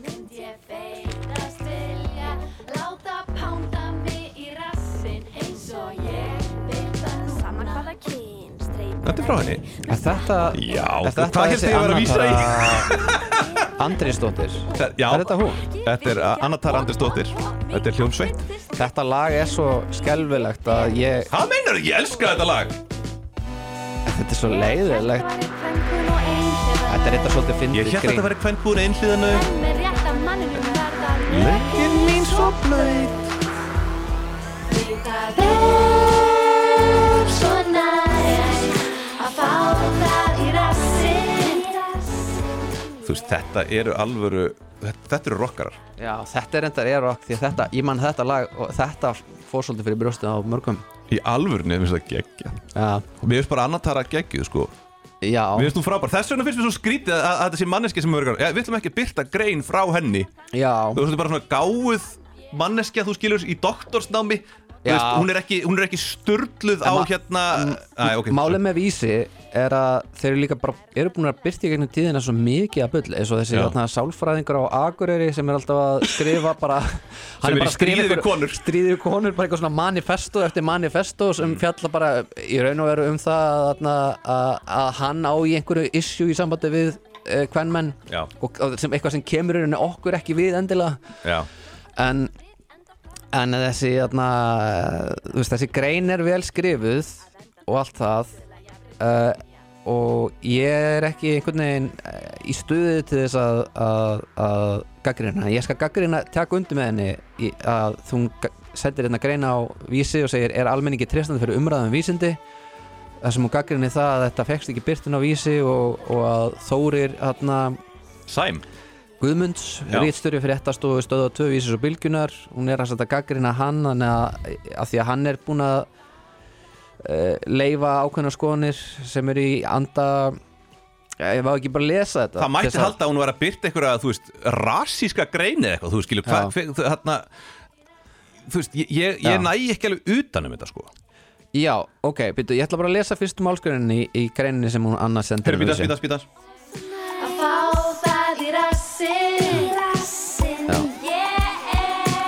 [SPEAKER 2] Myndi ég feitast vilja láta pánda mig í rassinn eins og ég vil það Saman hvaða kyn, streit
[SPEAKER 3] Þetta er frá henni
[SPEAKER 4] er þetta
[SPEAKER 3] Já,
[SPEAKER 4] er þetta
[SPEAKER 3] hvað hélst
[SPEAKER 4] þessi
[SPEAKER 3] þið að vera að vísa í?
[SPEAKER 4] Anna- Andrésdóttir
[SPEAKER 3] Þetta- Já,
[SPEAKER 4] er þetta hún?
[SPEAKER 3] Þetta er uh, Annatar Andersdóttir Þetta er hljómsveit
[SPEAKER 4] Þetta lag er svo skelfilegt að ég,
[SPEAKER 3] Hvað meinar ég elska þetta lag?
[SPEAKER 4] þetta er svo leiðilegt Þetta er eitthvað svolítið fyndið
[SPEAKER 3] Ég hélt að þetta væri hvern búin einhliðinu
[SPEAKER 2] Með rétta manninum verða
[SPEAKER 3] Leggin mín svo blöð
[SPEAKER 2] Það er svo næst að fá
[SPEAKER 3] þú veist, þetta eru alvöru þetta, þetta eru rockarar
[SPEAKER 4] Já, þetta er endar er okk því að þetta, ég man þetta lag og þetta fór svolítið fyrir brjóstið á mörgum
[SPEAKER 3] í alvörunni, mér finnst það geggja
[SPEAKER 4] Já,
[SPEAKER 3] og mér finnst bara annatara geggjuð sko
[SPEAKER 4] já,
[SPEAKER 3] mér finnst hún frábær, þess vegna finnst mér svo skrítið að, að þetta sé manneski sem mörgar, ja, við ætlum ekki að byrta grein frá henni, þú
[SPEAKER 4] já,
[SPEAKER 3] veist, þetta er bara svona gáð manneski að þú skilur í doktorsnámi þú
[SPEAKER 4] Já.
[SPEAKER 3] veist, hún er ekki, hún er ekki sturluð á
[SPEAKER 4] En ma-
[SPEAKER 3] hérna Æ, ok.
[SPEAKER 4] Málið með vísi er að þeir eru líka bara, eru búin að byrta í gegnum tíðina svo mikið að bull eins og þessi
[SPEAKER 3] Já.
[SPEAKER 4] hérna, sálfræðingur á Akureyri sem er alltaf að skrifa
[SPEAKER 3] [laughs]
[SPEAKER 4] bara Sem
[SPEAKER 3] er í stríði við konur.
[SPEAKER 4] Stríði við konur, bara eitthvað svona manifesto eftir manifesto
[SPEAKER 3] Mm.
[SPEAKER 4] sem fjalla bara í raun og veru um það að, þarna, að, að hann á í einhverju issue í sambandi við uh, kvenmenn
[SPEAKER 3] Já.
[SPEAKER 4] og, og sem, eitthvað sem kemur í rauninni okkur ekki við endilega
[SPEAKER 3] já,
[SPEAKER 4] en en þessi þarna, þú veist, þessi grein er vel skrifuð og allt það uh, og ég er ekki einhvern veginn eh, í stuði til þess að, að, að gaggrina, ég skal gaggrina taka undir með henni í, að þú sendir hérna greina á vísi og segir er almenningi tristandi fyrir umræðum vísindi þar sem hún gaggrinni það að þetta fekst ekki byrtin á vísi og, og að Þórir hérna,
[SPEAKER 3] sæm
[SPEAKER 4] Guðmunds,
[SPEAKER 3] Já.
[SPEAKER 4] rítstjóri fyrir ettastofu stöðu á tvö vísis og bylgjunar hún er að setja gaggrina hann þannig að, að því að hann er búin að uh, leifa ákveðna skoðanir sem eru í anda ég var ekki bara að lesa þetta
[SPEAKER 3] það mætti
[SPEAKER 4] Þess að-
[SPEAKER 3] halda að hún var að byrta einhverja, þú veist, rasíska grein eða eitthvað, þú skilur, hva,
[SPEAKER 4] Já.
[SPEAKER 3] hve- þú- þarna þú veist, ég, ég,
[SPEAKER 4] Já.
[SPEAKER 3] ég næ ekki alveg utan um þetta sko
[SPEAKER 4] Já, ok, byrju, ég ætla bara að lesa fyrstu málskurinn í, í greininni sem hún annars sendir
[SPEAKER 3] Herru, býtas, býtas, býtas
[SPEAKER 2] Að fá það í rassin Í rassin Yeah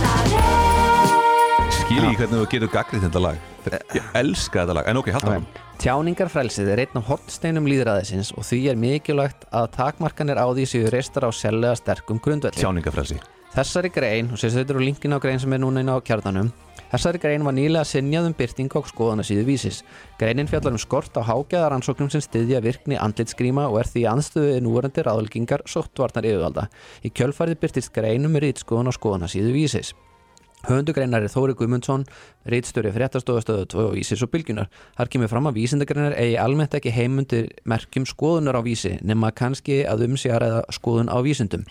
[SPEAKER 2] Það er
[SPEAKER 3] Skil ég hvernig þú getur gagrið þetta lag Ég elska þetta lag, en ok, halda hann
[SPEAKER 4] Tjáningarfrelsið er einn af hortsteinum líðræðisins og því er mikilvægt að takmarkanir á því séu reistar á sérlega sterkum grundvelli
[SPEAKER 3] Tjáningafrelsi
[SPEAKER 4] Þessari grein, og sérst þetta eru linkin á grein sem er núna inn á kjarnanum, þessari grein var nýlega sinjað um byrtingu á skoðanasíðu vísis. Greinin fjallar um skort á hágæðaransóknum sem styðja virkni andlitsgríma og er því andstöðið núverandi ráðlíkingar sóttvarnar yfirvalda. Í kjölfærið byrtist greinum með rítskoðan um á skoðanasíðu vísis. Höfundugreinar er Þóri Guðmundsson, rítstjóri fréttastofastöðu 2 og Ísis og Bylgjunar. Þar kemur fram að vísindagreinar eigi almennt ekki heimundir merkjum skoðunar á vísi nema kannski að um sig að ræða skoðun á vísindum.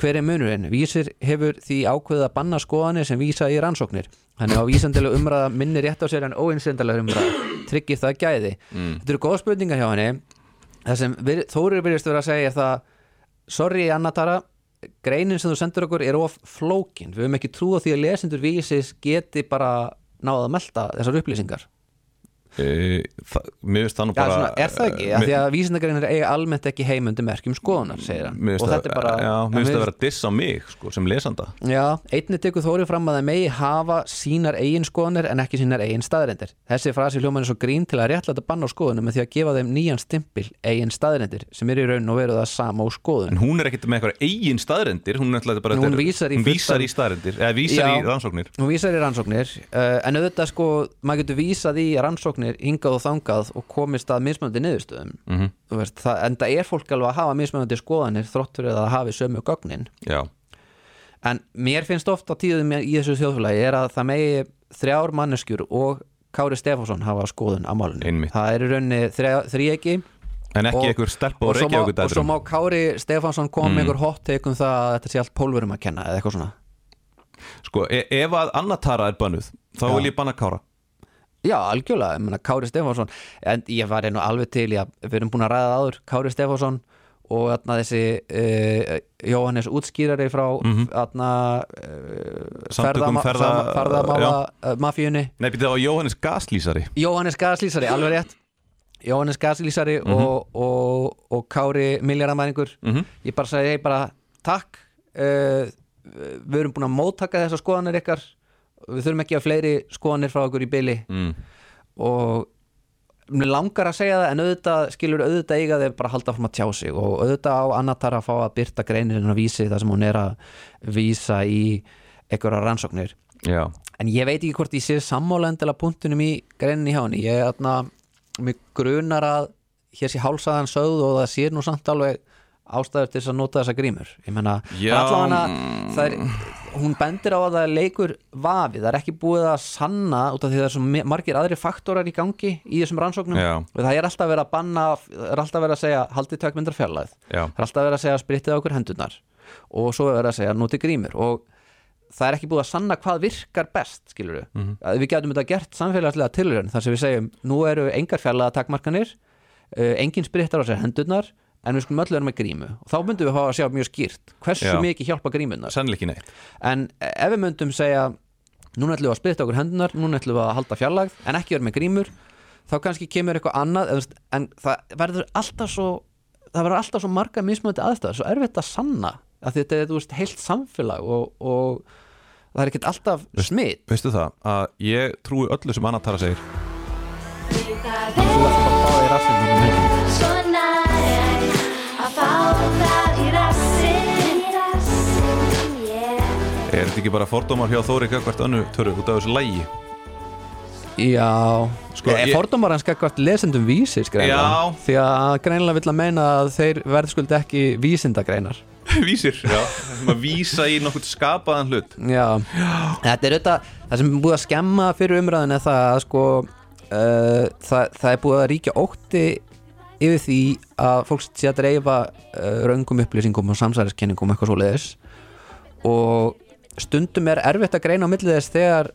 [SPEAKER 4] Hver er munurinn? Vísir hefur því ákveðið að banna skoðanir sem vísa í rannsóknir. Þannig á vísandilega umræða minni rétt á sér en óinsendalega umræða. Tryggir það gæði. Þetta eru góð spurningar hjá henni. Það sem vir- Þórir virðist vera að segja er það Sorry Annatara greinin sem þú sendur okkur er of flókin við höfum ekki trú á því að lesendur vísis geti bara náða að melta þessar upplýsingar
[SPEAKER 3] e, það, Mér finnst það nú
[SPEAKER 4] Já,
[SPEAKER 3] bara eh,
[SPEAKER 4] svona, er það ekki? Af
[SPEAKER 3] mér-
[SPEAKER 4] því að vísindagreinar eiga almennt ekki heimundi merkjum um skoðunar, segir hann
[SPEAKER 3] Mm, Mér
[SPEAKER 4] og
[SPEAKER 3] finnst
[SPEAKER 4] þetta er
[SPEAKER 3] það
[SPEAKER 4] bara
[SPEAKER 3] já, mér finnst
[SPEAKER 4] en
[SPEAKER 3] það vera diss á mig, sko, sem lesanda
[SPEAKER 4] Já, einni tekur Þóri fram að það megi hafa sínar eigin skoðanir en ekki sínar eigin staðrendir. Þessi frasi hljóman er svo grín til að réttlæta bann á skoðunum með því að gefa þeim nýjan stimpil eigin staðrendir sem er í raun og veru það sama á skoðun.
[SPEAKER 3] En hún er ekkert með eitthvað eigin staðrendir Hún, er náttúrulega bara,
[SPEAKER 4] En hún
[SPEAKER 3] þetta er-
[SPEAKER 4] vísar í
[SPEAKER 3] hún
[SPEAKER 4] fullt
[SPEAKER 3] vísar
[SPEAKER 4] af-
[SPEAKER 3] í staðrendir Eða vísar
[SPEAKER 4] Já.
[SPEAKER 3] í rannsóknir
[SPEAKER 4] Hún vísar í rannsóknir uh, en auðvitað sko, maður getur vísað í rannsóknir hingað og þangað og komist að mismunandi niðurstöðum. Mm
[SPEAKER 3] Mhm.
[SPEAKER 4] veist, það, en það er fólk alveg að hafa mismunandi skoðanir þrótt fyrir að það hafi sömu gögnin.
[SPEAKER 3] Já,
[SPEAKER 4] En mér finnst ofta tíðum í þessu þjóðfélagi er að það megi þrjár manneskjur og Kári Stefánsson hafa skoðun á málunni.
[SPEAKER 3] Einmitt.
[SPEAKER 4] Það er í rauninni þrjegi
[SPEAKER 3] en ekki
[SPEAKER 4] Og-
[SPEAKER 3] einhver stelpa Mhm.
[SPEAKER 4] og,
[SPEAKER 3] og
[SPEAKER 4] svo
[SPEAKER 3] reykja
[SPEAKER 4] má-
[SPEAKER 3] okkur
[SPEAKER 4] og svo
[SPEAKER 3] dætrum
[SPEAKER 4] má Kári Stefánsson koma með einhver hot take um það að þetta sé allt pólverum að kenna eða eitthvað svona.
[SPEAKER 3] Sko, e ef að annatara er bannuð Þá
[SPEAKER 4] Já.
[SPEAKER 3] vil ég banna kára
[SPEAKER 4] Já, algjörlega, ég meina Kári Stefánsson en ég var einu alveg til, já, við erum búin að ræða það áður Kári Stefánsson og atna, þessi uh, Jóhannes útskýrari frá mm -hmm. atna, uh,
[SPEAKER 3] Mhm. Samtökum ferða-
[SPEAKER 4] ferðamála uh, mafíunni
[SPEAKER 3] Nei, býttu það var Jóhannes Gaslýsari
[SPEAKER 4] Jóhannes Gaslýsari, alveg rétt Jóhannes Gaslýsari
[SPEAKER 3] Mhm.
[SPEAKER 4] og, og, og Kári miljardamæringur ég bara sagði, ég bara takk uh, við erum búin að móttaka þessar skoðanir ykkar við þurfum ekki að fleiri skoðanir frá okkur í byli
[SPEAKER 3] mm.
[SPEAKER 4] og mér langar að segja það en auðvitað skilur auðvitað eiga þeir bara að halda fram að tjá sig og auðvitað á annatar að fá að byrta greinirinn að vísi þar sem hún er að vísa í einhverja rannsóknir
[SPEAKER 3] Já,
[SPEAKER 4] en ég veit ekki hvort ég sé sammálendilega punktunum í greininni hjá henni ég er þarna mig grunar að hér sé hálsaðan sögð og það sé nú samt alveg ástæður til þess að nota þessa grímur ég menna
[SPEAKER 3] Já,
[SPEAKER 4] allavega
[SPEAKER 3] mm.
[SPEAKER 4] það er hún bendir á að það er leikur vafi, það er ekki búið að sanna út af því það er svo mi- margir aðri faktórar í gangi í þessum rannsóknum
[SPEAKER 3] Já.
[SPEAKER 4] og það er alltaf verið að banna, það er alltaf verið að segja haldið tökmyndar fjarlæð,
[SPEAKER 3] Já.
[SPEAKER 4] það er alltaf verið að segja spritið á okkur hendunar og svo er verið að segja notið grímur og það er ekki búið að sanna hvað virkar best skilur við, mm við getum þetta gert samfélagslega tilhörun þar sem við segjum nú eru engar fjarlæða takmarkanir uh, engin sprittar á sér hendunar en við skulum öll vera með grímu og þá myndum við fá að sjá mjög skýrt hversu
[SPEAKER 3] Já.
[SPEAKER 4] mikið hjálpa grímunar
[SPEAKER 3] Sannleik ekki neitt
[SPEAKER 4] en ef við myndum segja núna ætlum við að spyrta okkur hendunar núna ætlum við að halda fjarlægð en ekki vera með grímur þá kannski kemur eitthvað annað eða þú veist, en það verður alltaf svo það verður alltaf svo marga mismöndi aðstæður svo erfitt að sanna að þetta er þú veist, heilt samfélag og, og það er ekkert alltaf smitt
[SPEAKER 3] Veistu það að ég trúi öllu sem Anna Tara segir
[SPEAKER 2] Það
[SPEAKER 4] þú ætlum bara að fá því rassin þarna með.
[SPEAKER 2] er svona er að fá það í rassinn Í rassinn, yeah
[SPEAKER 3] Er þetta ekki bara fordómar hjá Þóri Gagvart önnu törru út af þessu lægi?
[SPEAKER 4] Já,
[SPEAKER 3] Sko,
[SPEAKER 4] sko, ég,
[SPEAKER 3] ég-
[SPEAKER 4] ég fordómar hans gagvart lesendum vísis greinlega
[SPEAKER 3] Já.
[SPEAKER 4] því að greinlega vill að meina að þeir verðskuldi ekki vísindagreinar
[SPEAKER 3] Vísir Já Maður vísa í nokkurt skapaðan hlut
[SPEAKER 4] Já, þetta er auðvitað það sem er búið að skemma fyrir umræðin er það að sko uh, það, það er búið að ríkja ótti yfir því að fólk sé að dreifa uh, raungum upplýsingum og samsæriskenningum eitthvað svoleiðis og stundum er erfitt að greina á milli þess þegar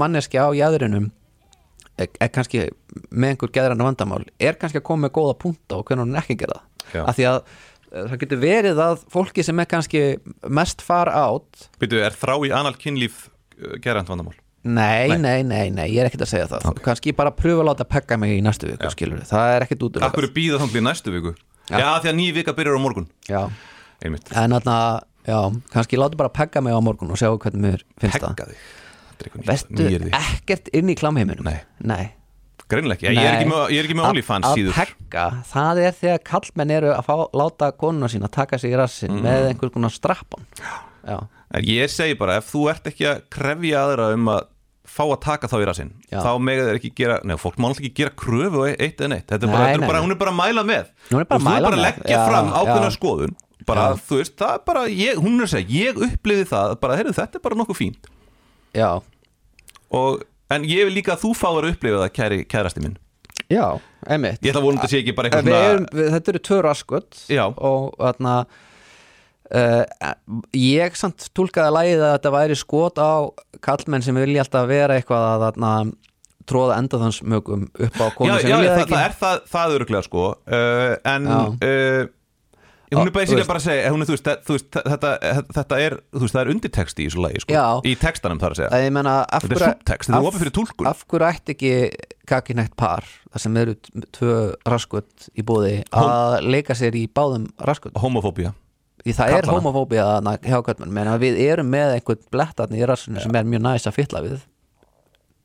[SPEAKER 4] manneski á jæðrinum er, er kannski með einhver geðrann vandamál er kannski að koma með góða punta og hvernig hún er ekki að gera
[SPEAKER 3] Já.
[SPEAKER 4] það af því að eh, það getur verið að fólki sem er kannski mest far átt
[SPEAKER 3] Býtu, er þrá í anal kynlíf uh, gerand vandamál?
[SPEAKER 4] Nei,
[SPEAKER 3] Nei.
[SPEAKER 4] nei, nei, nei, ég er ekkert að segja það okay. kannski bara pröfa að láta pekka mig í næstu viku, skilur það er ekkert út
[SPEAKER 3] Akkur er býða þannig í næstu viku? Já,
[SPEAKER 4] Já.
[SPEAKER 3] því að ný vika byrjar á morgun
[SPEAKER 4] Já,
[SPEAKER 3] Einmitt
[SPEAKER 4] en þarna, já, kannski láta bara pekka mig á morgun og sjá hvernig mér finnst
[SPEAKER 3] Hegga þig Þetta er eitthvað
[SPEAKER 4] það
[SPEAKER 3] nýtt-
[SPEAKER 4] Vestu
[SPEAKER 3] nýyrði.
[SPEAKER 4] ekkert inn í klamheiminum
[SPEAKER 3] Nei.
[SPEAKER 4] nei.
[SPEAKER 3] Greinilega ekki, ég er
[SPEAKER 4] Nei.
[SPEAKER 3] ekki með, ég er ekki með
[SPEAKER 4] Að-
[SPEAKER 3] OnlyFans síður
[SPEAKER 4] Að pekka, það er þegar kallmenn eru að fá, láta konuna sína taka sig í rassin
[SPEAKER 3] Mm.
[SPEAKER 4] með einhvers konar strappan Já,
[SPEAKER 3] En ég segi bara, ef þú ert ekki að krefja aðra um að fá að taka þá í rasinn
[SPEAKER 4] Já.
[SPEAKER 3] þá mega þeir ekki gera, neða, fólk má alltaf ekki gera kröfu á e- eitt eða neitt, þetta er bara,
[SPEAKER 4] Nei,
[SPEAKER 3] þetta
[SPEAKER 4] nei,
[SPEAKER 3] er bara
[SPEAKER 4] nei.
[SPEAKER 3] hún er bara að mæla með
[SPEAKER 4] Hún er bara
[SPEAKER 3] Þú ert
[SPEAKER 4] að mæla
[SPEAKER 3] bara að
[SPEAKER 4] með.
[SPEAKER 3] leggja
[SPEAKER 4] Já,
[SPEAKER 3] fram ákveðna
[SPEAKER 4] já.
[SPEAKER 3] skoðun bara,
[SPEAKER 4] Já.
[SPEAKER 3] þú veist, það er bara, ég, hún er að segja ég uppliði það, bara, heyrðu, þetta er bara nokkuð fínt
[SPEAKER 4] já,
[SPEAKER 3] og, en ég vil líka að þú fáir að upplifa það kæri, kærasti minn,
[SPEAKER 4] já, einmitt
[SPEAKER 3] ég ætla að vonum þetta sé ekki bara
[SPEAKER 4] við
[SPEAKER 3] eitthvað
[SPEAKER 4] erum, við, þetta eru tvö raskut
[SPEAKER 3] Já.
[SPEAKER 4] og þarna uh, ég samt tólkaði lagið að þetta væri skot á kallmenn sem vilja alltaf vera eitthvað að þarna tróða enda þanns mögum upp á konu
[SPEAKER 3] já,
[SPEAKER 4] sem
[SPEAKER 3] já,
[SPEAKER 4] vilja
[SPEAKER 3] það,
[SPEAKER 4] ekki
[SPEAKER 3] það er það, það öruglega sko uh, en
[SPEAKER 4] Já.
[SPEAKER 3] uh, hún er
[SPEAKER 4] Á, þú
[SPEAKER 3] basically
[SPEAKER 4] veist-
[SPEAKER 3] bara að segja eh, hún er, þú veist, þe- þú veist, þe- þetta, eh, þetta er þú veist, það er undirteksti í svo lagi sko,
[SPEAKER 4] Já.
[SPEAKER 3] í textanum þar að segja
[SPEAKER 4] Það ég menna, af
[SPEAKER 3] Þetta er
[SPEAKER 4] hverju-
[SPEAKER 3] subtext, þetta er
[SPEAKER 4] af-
[SPEAKER 3] opið fyrir túlkun.
[SPEAKER 4] Af hverju ætti ekki kakinætt par það sem eru t- tvö raskut í búði að leika sér í báðum raskut
[SPEAKER 3] homofóbía
[SPEAKER 4] Því það er
[SPEAKER 3] Kallana.
[SPEAKER 4] homofóbía þarna hjá kallmenn menn að við erum með einhvern blettarni í rassunum sem er mjög næs að fylla við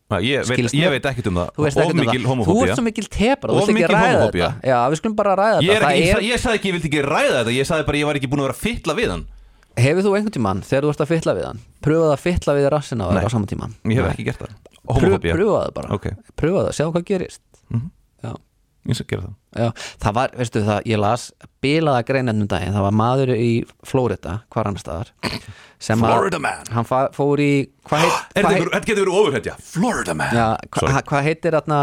[SPEAKER 3] Næ, ég, veit,
[SPEAKER 4] Skilst
[SPEAKER 3] ég
[SPEAKER 4] mér.
[SPEAKER 3] veit ekkert um
[SPEAKER 4] Þú
[SPEAKER 3] það
[SPEAKER 4] veist
[SPEAKER 3] of
[SPEAKER 4] ekkert um
[SPEAKER 3] mikil
[SPEAKER 4] það. Þú
[SPEAKER 3] homofóbía
[SPEAKER 4] ert svo mikil tepra,
[SPEAKER 3] Of
[SPEAKER 4] þú veist ekki
[SPEAKER 3] mikil
[SPEAKER 4] að ræða
[SPEAKER 3] homofóbía.
[SPEAKER 4] þetta Já, við skulum bara ræða
[SPEAKER 3] ég, er
[SPEAKER 4] þetta
[SPEAKER 3] ekki,
[SPEAKER 4] Það
[SPEAKER 3] ég, ég sagði ekki, ég vildi ekki ræða þetta ég sagði bara, ég var ekki búin að vera að fylla við hann
[SPEAKER 4] Hefur þú einhvern tímann þegar þú ert að fylla við hann Pröfaðu að fylla við rassin á
[SPEAKER 3] Nei.
[SPEAKER 4] þér á sama tíma
[SPEAKER 3] ég hef ekki gert það, homofóbía
[SPEAKER 4] Pröfaðu bara
[SPEAKER 3] Ok. Mhm.
[SPEAKER 4] Pröfaðu, sjáðu hvað gerist Já,
[SPEAKER 3] ég skal gera það
[SPEAKER 4] já Það var, veistu það, ég las bilaða greinennum daginn, það var maður í Florida, hvar annars staðar sem að-
[SPEAKER 3] Florida man.
[SPEAKER 4] Hann fa- fór í, hvað heit,
[SPEAKER 3] [gasps] Er
[SPEAKER 4] hvað
[SPEAKER 3] þetta
[SPEAKER 4] heit-
[SPEAKER 3] einhver- þetta getur verið ofurhetja Florida man
[SPEAKER 4] Já, hva-
[SPEAKER 3] Sorry.
[SPEAKER 4] ha- hvað heitir þarna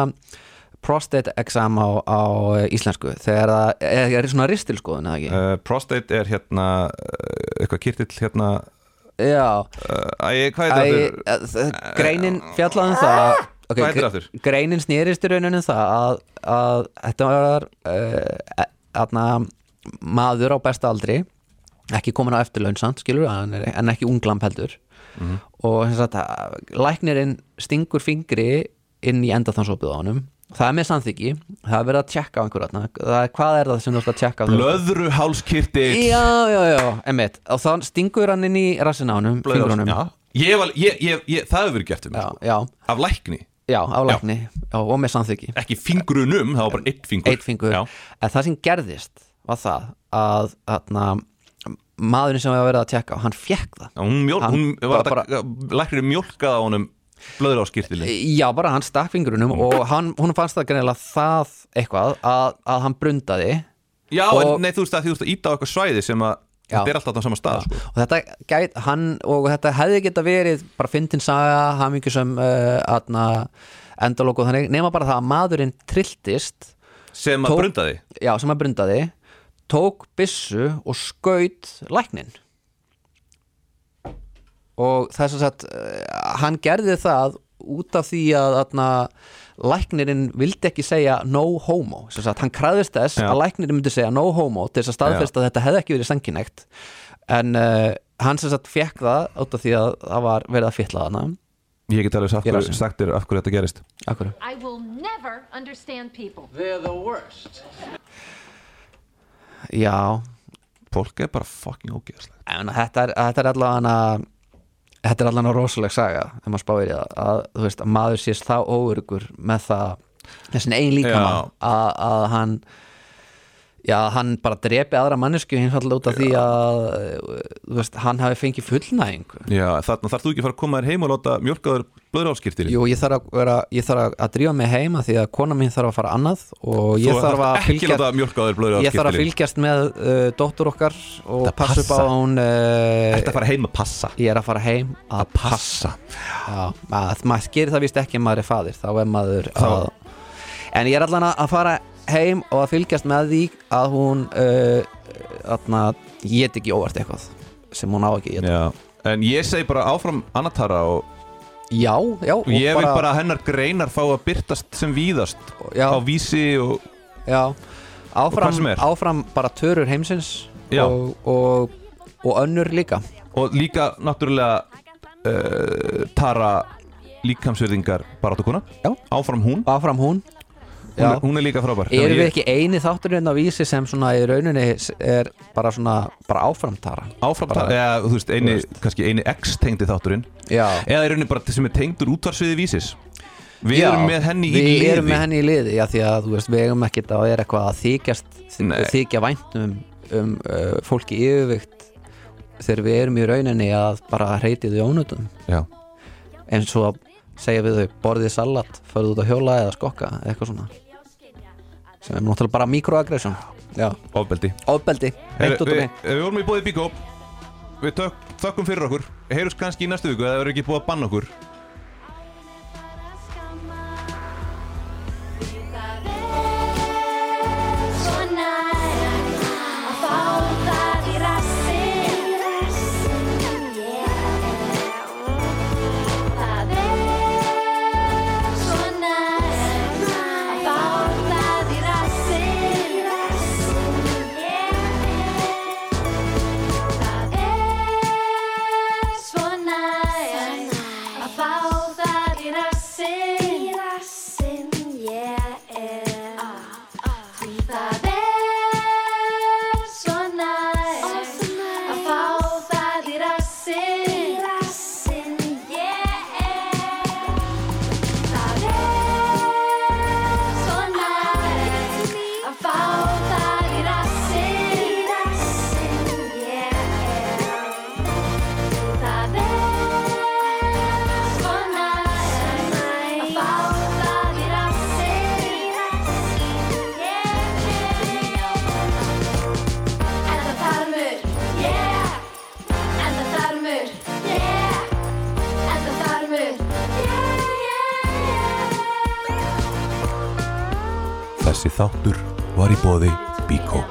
[SPEAKER 4] prostate exam á, á eh, íslensku þegar það er, er svona ristilskoðun eða ekki?
[SPEAKER 3] Uh, prostate er hérna uh,
[SPEAKER 4] eh,
[SPEAKER 3] eitthvað kirtill hérna
[SPEAKER 4] Já,
[SPEAKER 3] uh, æ, hvað er
[SPEAKER 4] Æ,
[SPEAKER 3] þetta?
[SPEAKER 4] eh, þ- greinin fjallaði um það Ok,
[SPEAKER 3] Hvað heitir
[SPEAKER 4] gre-
[SPEAKER 3] Ah! það aftur?
[SPEAKER 4] Greinin snýrist í rauninu um það að, að þetta var uh, aðna, maður á besta aldri ekki komin á eftirlaun samt skilur en, en ekki unglamp heldur
[SPEAKER 3] Mhm.
[SPEAKER 4] og sem sagt, að læknirinn stingur fingri inn í endaþansopið á honum það er með samþyggi, það er verið að tjekka á einhverja þarna. Það er- hvað er það sem þú ert að tjekka á þegar-
[SPEAKER 3] Blöðruhálskirtill
[SPEAKER 4] já, já, já, emmitt og þá stingur hann inn í rassin á honum fingrunum
[SPEAKER 3] Já. ég var, ég, ég, ég, það hefur verið gert um
[SPEAKER 4] já,
[SPEAKER 3] sko.
[SPEAKER 4] já,
[SPEAKER 3] af lækni,
[SPEAKER 4] Já, álækni já. og með samþyggi
[SPEAKER 3] ekki fingrunum það var bara eitt fingur,
[SPEAKER 4] Eitt fingur
[SPEAKER 3] Já.
[SPEAKER 4] En það sem gerðist var það að atna, maðurinn sem var verið að tjekka á, hann fekk það
[SPEAKER 3] Já, hún, mjól,
[SPEAKER 4] Hann
[SPEAKER 3] hún var
[SPEAKER 4] bara-
[SPEAKER 3] bara, læknir mjólkaði á honum blöðruhálskirtilinn
[SPEAKER 4] Já, bara hann stakk fingrunum og hann, hún fannst það greinilega það eitthvað að, að hann brundaði
[SPEAKER 3] já,
[SPEAKER 4] Og-
[SPEAKER 3] en nei, þú veist að þú veist að íta á eitthvað svæði sem að
[SPEAKER 4] Já.
[SPEAKER 3] þetta er alltaf á sama stað sko.
[SPEAKER 4] og þetta, gæt, hann, og þetta hefði geta verið bara fyndin saga, hamingjusum uh, atna, endalók og þannig nema bara það að maðurinn trilltist
[SPEAKER 3] sem
[SPEAKER 4] Tó-
[SPEAKER 3] að brunda því
[SPEAKER 4] já, sem að brundaði tók byssu og skaut læknin og þess að sagt, eh, hann gerði það út af því að atna, læknirinn vildi ekki segja no homo, sem sagt, hann kræðist þess
[SPEAKER 3] Já.
[SPEAKER 4] að læknirinn myndi segja no homo til þess að staðfesta að þetta hefði ekki verið sanginægt en uh, hann sem sagt fekk það út af því að það var verið að fytla þarna
[SPEAKER 3] ég get alveg sagt,
[SPEAKER 4] Ég er að
[SPEAKER 3] hverju-
[SPEAKER 4] segja.
[SPEAKER 3] sagt þér af hverju þetta gerist
[SPEAKER 4] Akkur.
[SPEAKER 2] I will never understand people.
[SPEAKER 5] They're the worst.
[SPEAKER 4] Já,
[SPEAKER 3] fólk er bara fucking ógeðslega
[SPEAKER 4] En þetta er, þetta er allan að þetta er allan að rosaleg saga þegar maður spáir í það að, þú veist, að maður sést þá óurugur með það þessin ein líkama
[SPEAKER 3] Já.
[SPEAKER 4] að, að hann já, hann bara drepi aðra mannesku hins alltaf út af því að þú veist, hann hafi fengið fullnæðingu
[SPEAKER 3] já, þarna þarf þú ekki að fara að koma þér heim og láta mjölkaður blöðrálskirtir
[SPEAKER 4] Jú, ég þarf að, vera, ég þarf að- að drífa mig heima því að kona mín þarf að fara annað og ég þarf að
[SPEAKER 3] ekki
[SPEAKER 4] fylgja
[SPEAKER 3] láta mjölkaður
[SPEAKER 4] ég þarf að
[SPEAKER 3] blöðrálskirtir
[SPEAKER 4] fylgjast með uh, dóttur okkar og
[SPEAKER 3] Þetta
[SPEAKER 4] passa upp á
[SPEAKER 3] passa.
[SPEAKER 4] að hún uh,
[SPEAKER 3] þetta fara heim að passa
[SPEAKER 4] ég er að fara heim að
[SPEAKER 3] passa
[SPEAKER 4] Já, að maður gerir það vist ekki ef maður er fadir þá er maður að... en ég er allan að- að fara heim og að fylgjast með því að hún uh, atna, get ekki óvart eitthvað sem hún á ekki já,
[SPEAKER 3] já. en ég segi bara áfram Anatara og
[SPEAKER 4] já, já og
[SPEAKER 3] ég vil bara að hennar greinar fá að byrtast sem víðast
[SPEAKER 4] já,
[SPEAKER 3] á vísi og
[SPEAKER 4] já,
[SPEAKER 3] hvað sem
[SPEAKER 4] áfram,
[SPEAKER 3] er.
[SPEAKER 4] áfram bara törur heimsins
[SPEAKER 3] Já.
[SPEAKER 4] og, og, og önnur líka
[SPEAKER 3] og líka náttúrulega uh, Tara líkamsverðingar baráttukona
[SPEAKER 4] Já.
[SPEAKER 3] áfram hún,
[SPEAKER 4] áfram hún
[SPEAKER 3] hún
[SPEAKER 4] Já.
[SPEAKER 3] er, hún er líka frábær
[SPEAKER 4] Erum við
[SPEAKER 3] Þannig að ég-
[SPEAKER 4] ekki eini þátturinn hérna á vísi sem svona í rauninni er bara svona bara áframtara?
[SPEAKER 3] áfram
[SPEAKER 4] Bara-
[SPEAKER 3] Tara, eða þú veist, eini,
[SPEAKER 4] Þú
[SPEAKER 3] kannski eini X tengdi þátturinn
[SPEAKER 4] Já.
[SPEAKER 3] eða í rauninni bara sem er tengdur útvarsviði vísis við
[SPEAKER 4] Já,
[SPEAKER 3] erum með henni í
[SPEAKER 4] við
[SPEAKER 3] liði
[SPEAKER 4] erum með henni í liði, já því að þú veist við eigum ekkert að vera eitthvað að þykjast
[SPEAKER 3] Nei.
[SPEAKER 4] þykja vænt um, um uh, fólki í yfirvikt þegar við erum í rauninni að bara hreitið í ónutum
[SPEAKER 3] Já.
[SPEAKER 4] eins og að segja við þau borðið salat, farið út að hjóla eða skokka eitthvað svona sem er náttúrulega bara mikroagressjón já,
[SPEAKER 3] ofbeldi
[SPEAKER 4] ofbeldi,
[SPEAKER 3] Heru,
[SPEAKER 4] eitt út
[SPEAKER 3] við,
[SPEAKER 4] um einn
[SPEAKER 3] við vorum í bóði Bíkó Við tök, þökkum fyrir okkur Heyrjus kannski í næstu viku eða það verður ekki búið að banna okkur
[SPEAKER 2] Svona er að fá það í rassinn. Það er svona að fá það í rassinn. Það er svo næs að fá það í rassinn Í rassinn, ég er Því það er svo næs að fá það í rassinn Í rassinn, ég er Það er svo næst að fá það í rassinn Það er svo næst að fá það í rassinn Enda þarmur, yeah Enda þarmur, yeah Enda þarmur, yeah, yeah, yeah
[SPEAKER 1] Þessi þáttur var í bóði Bíkó.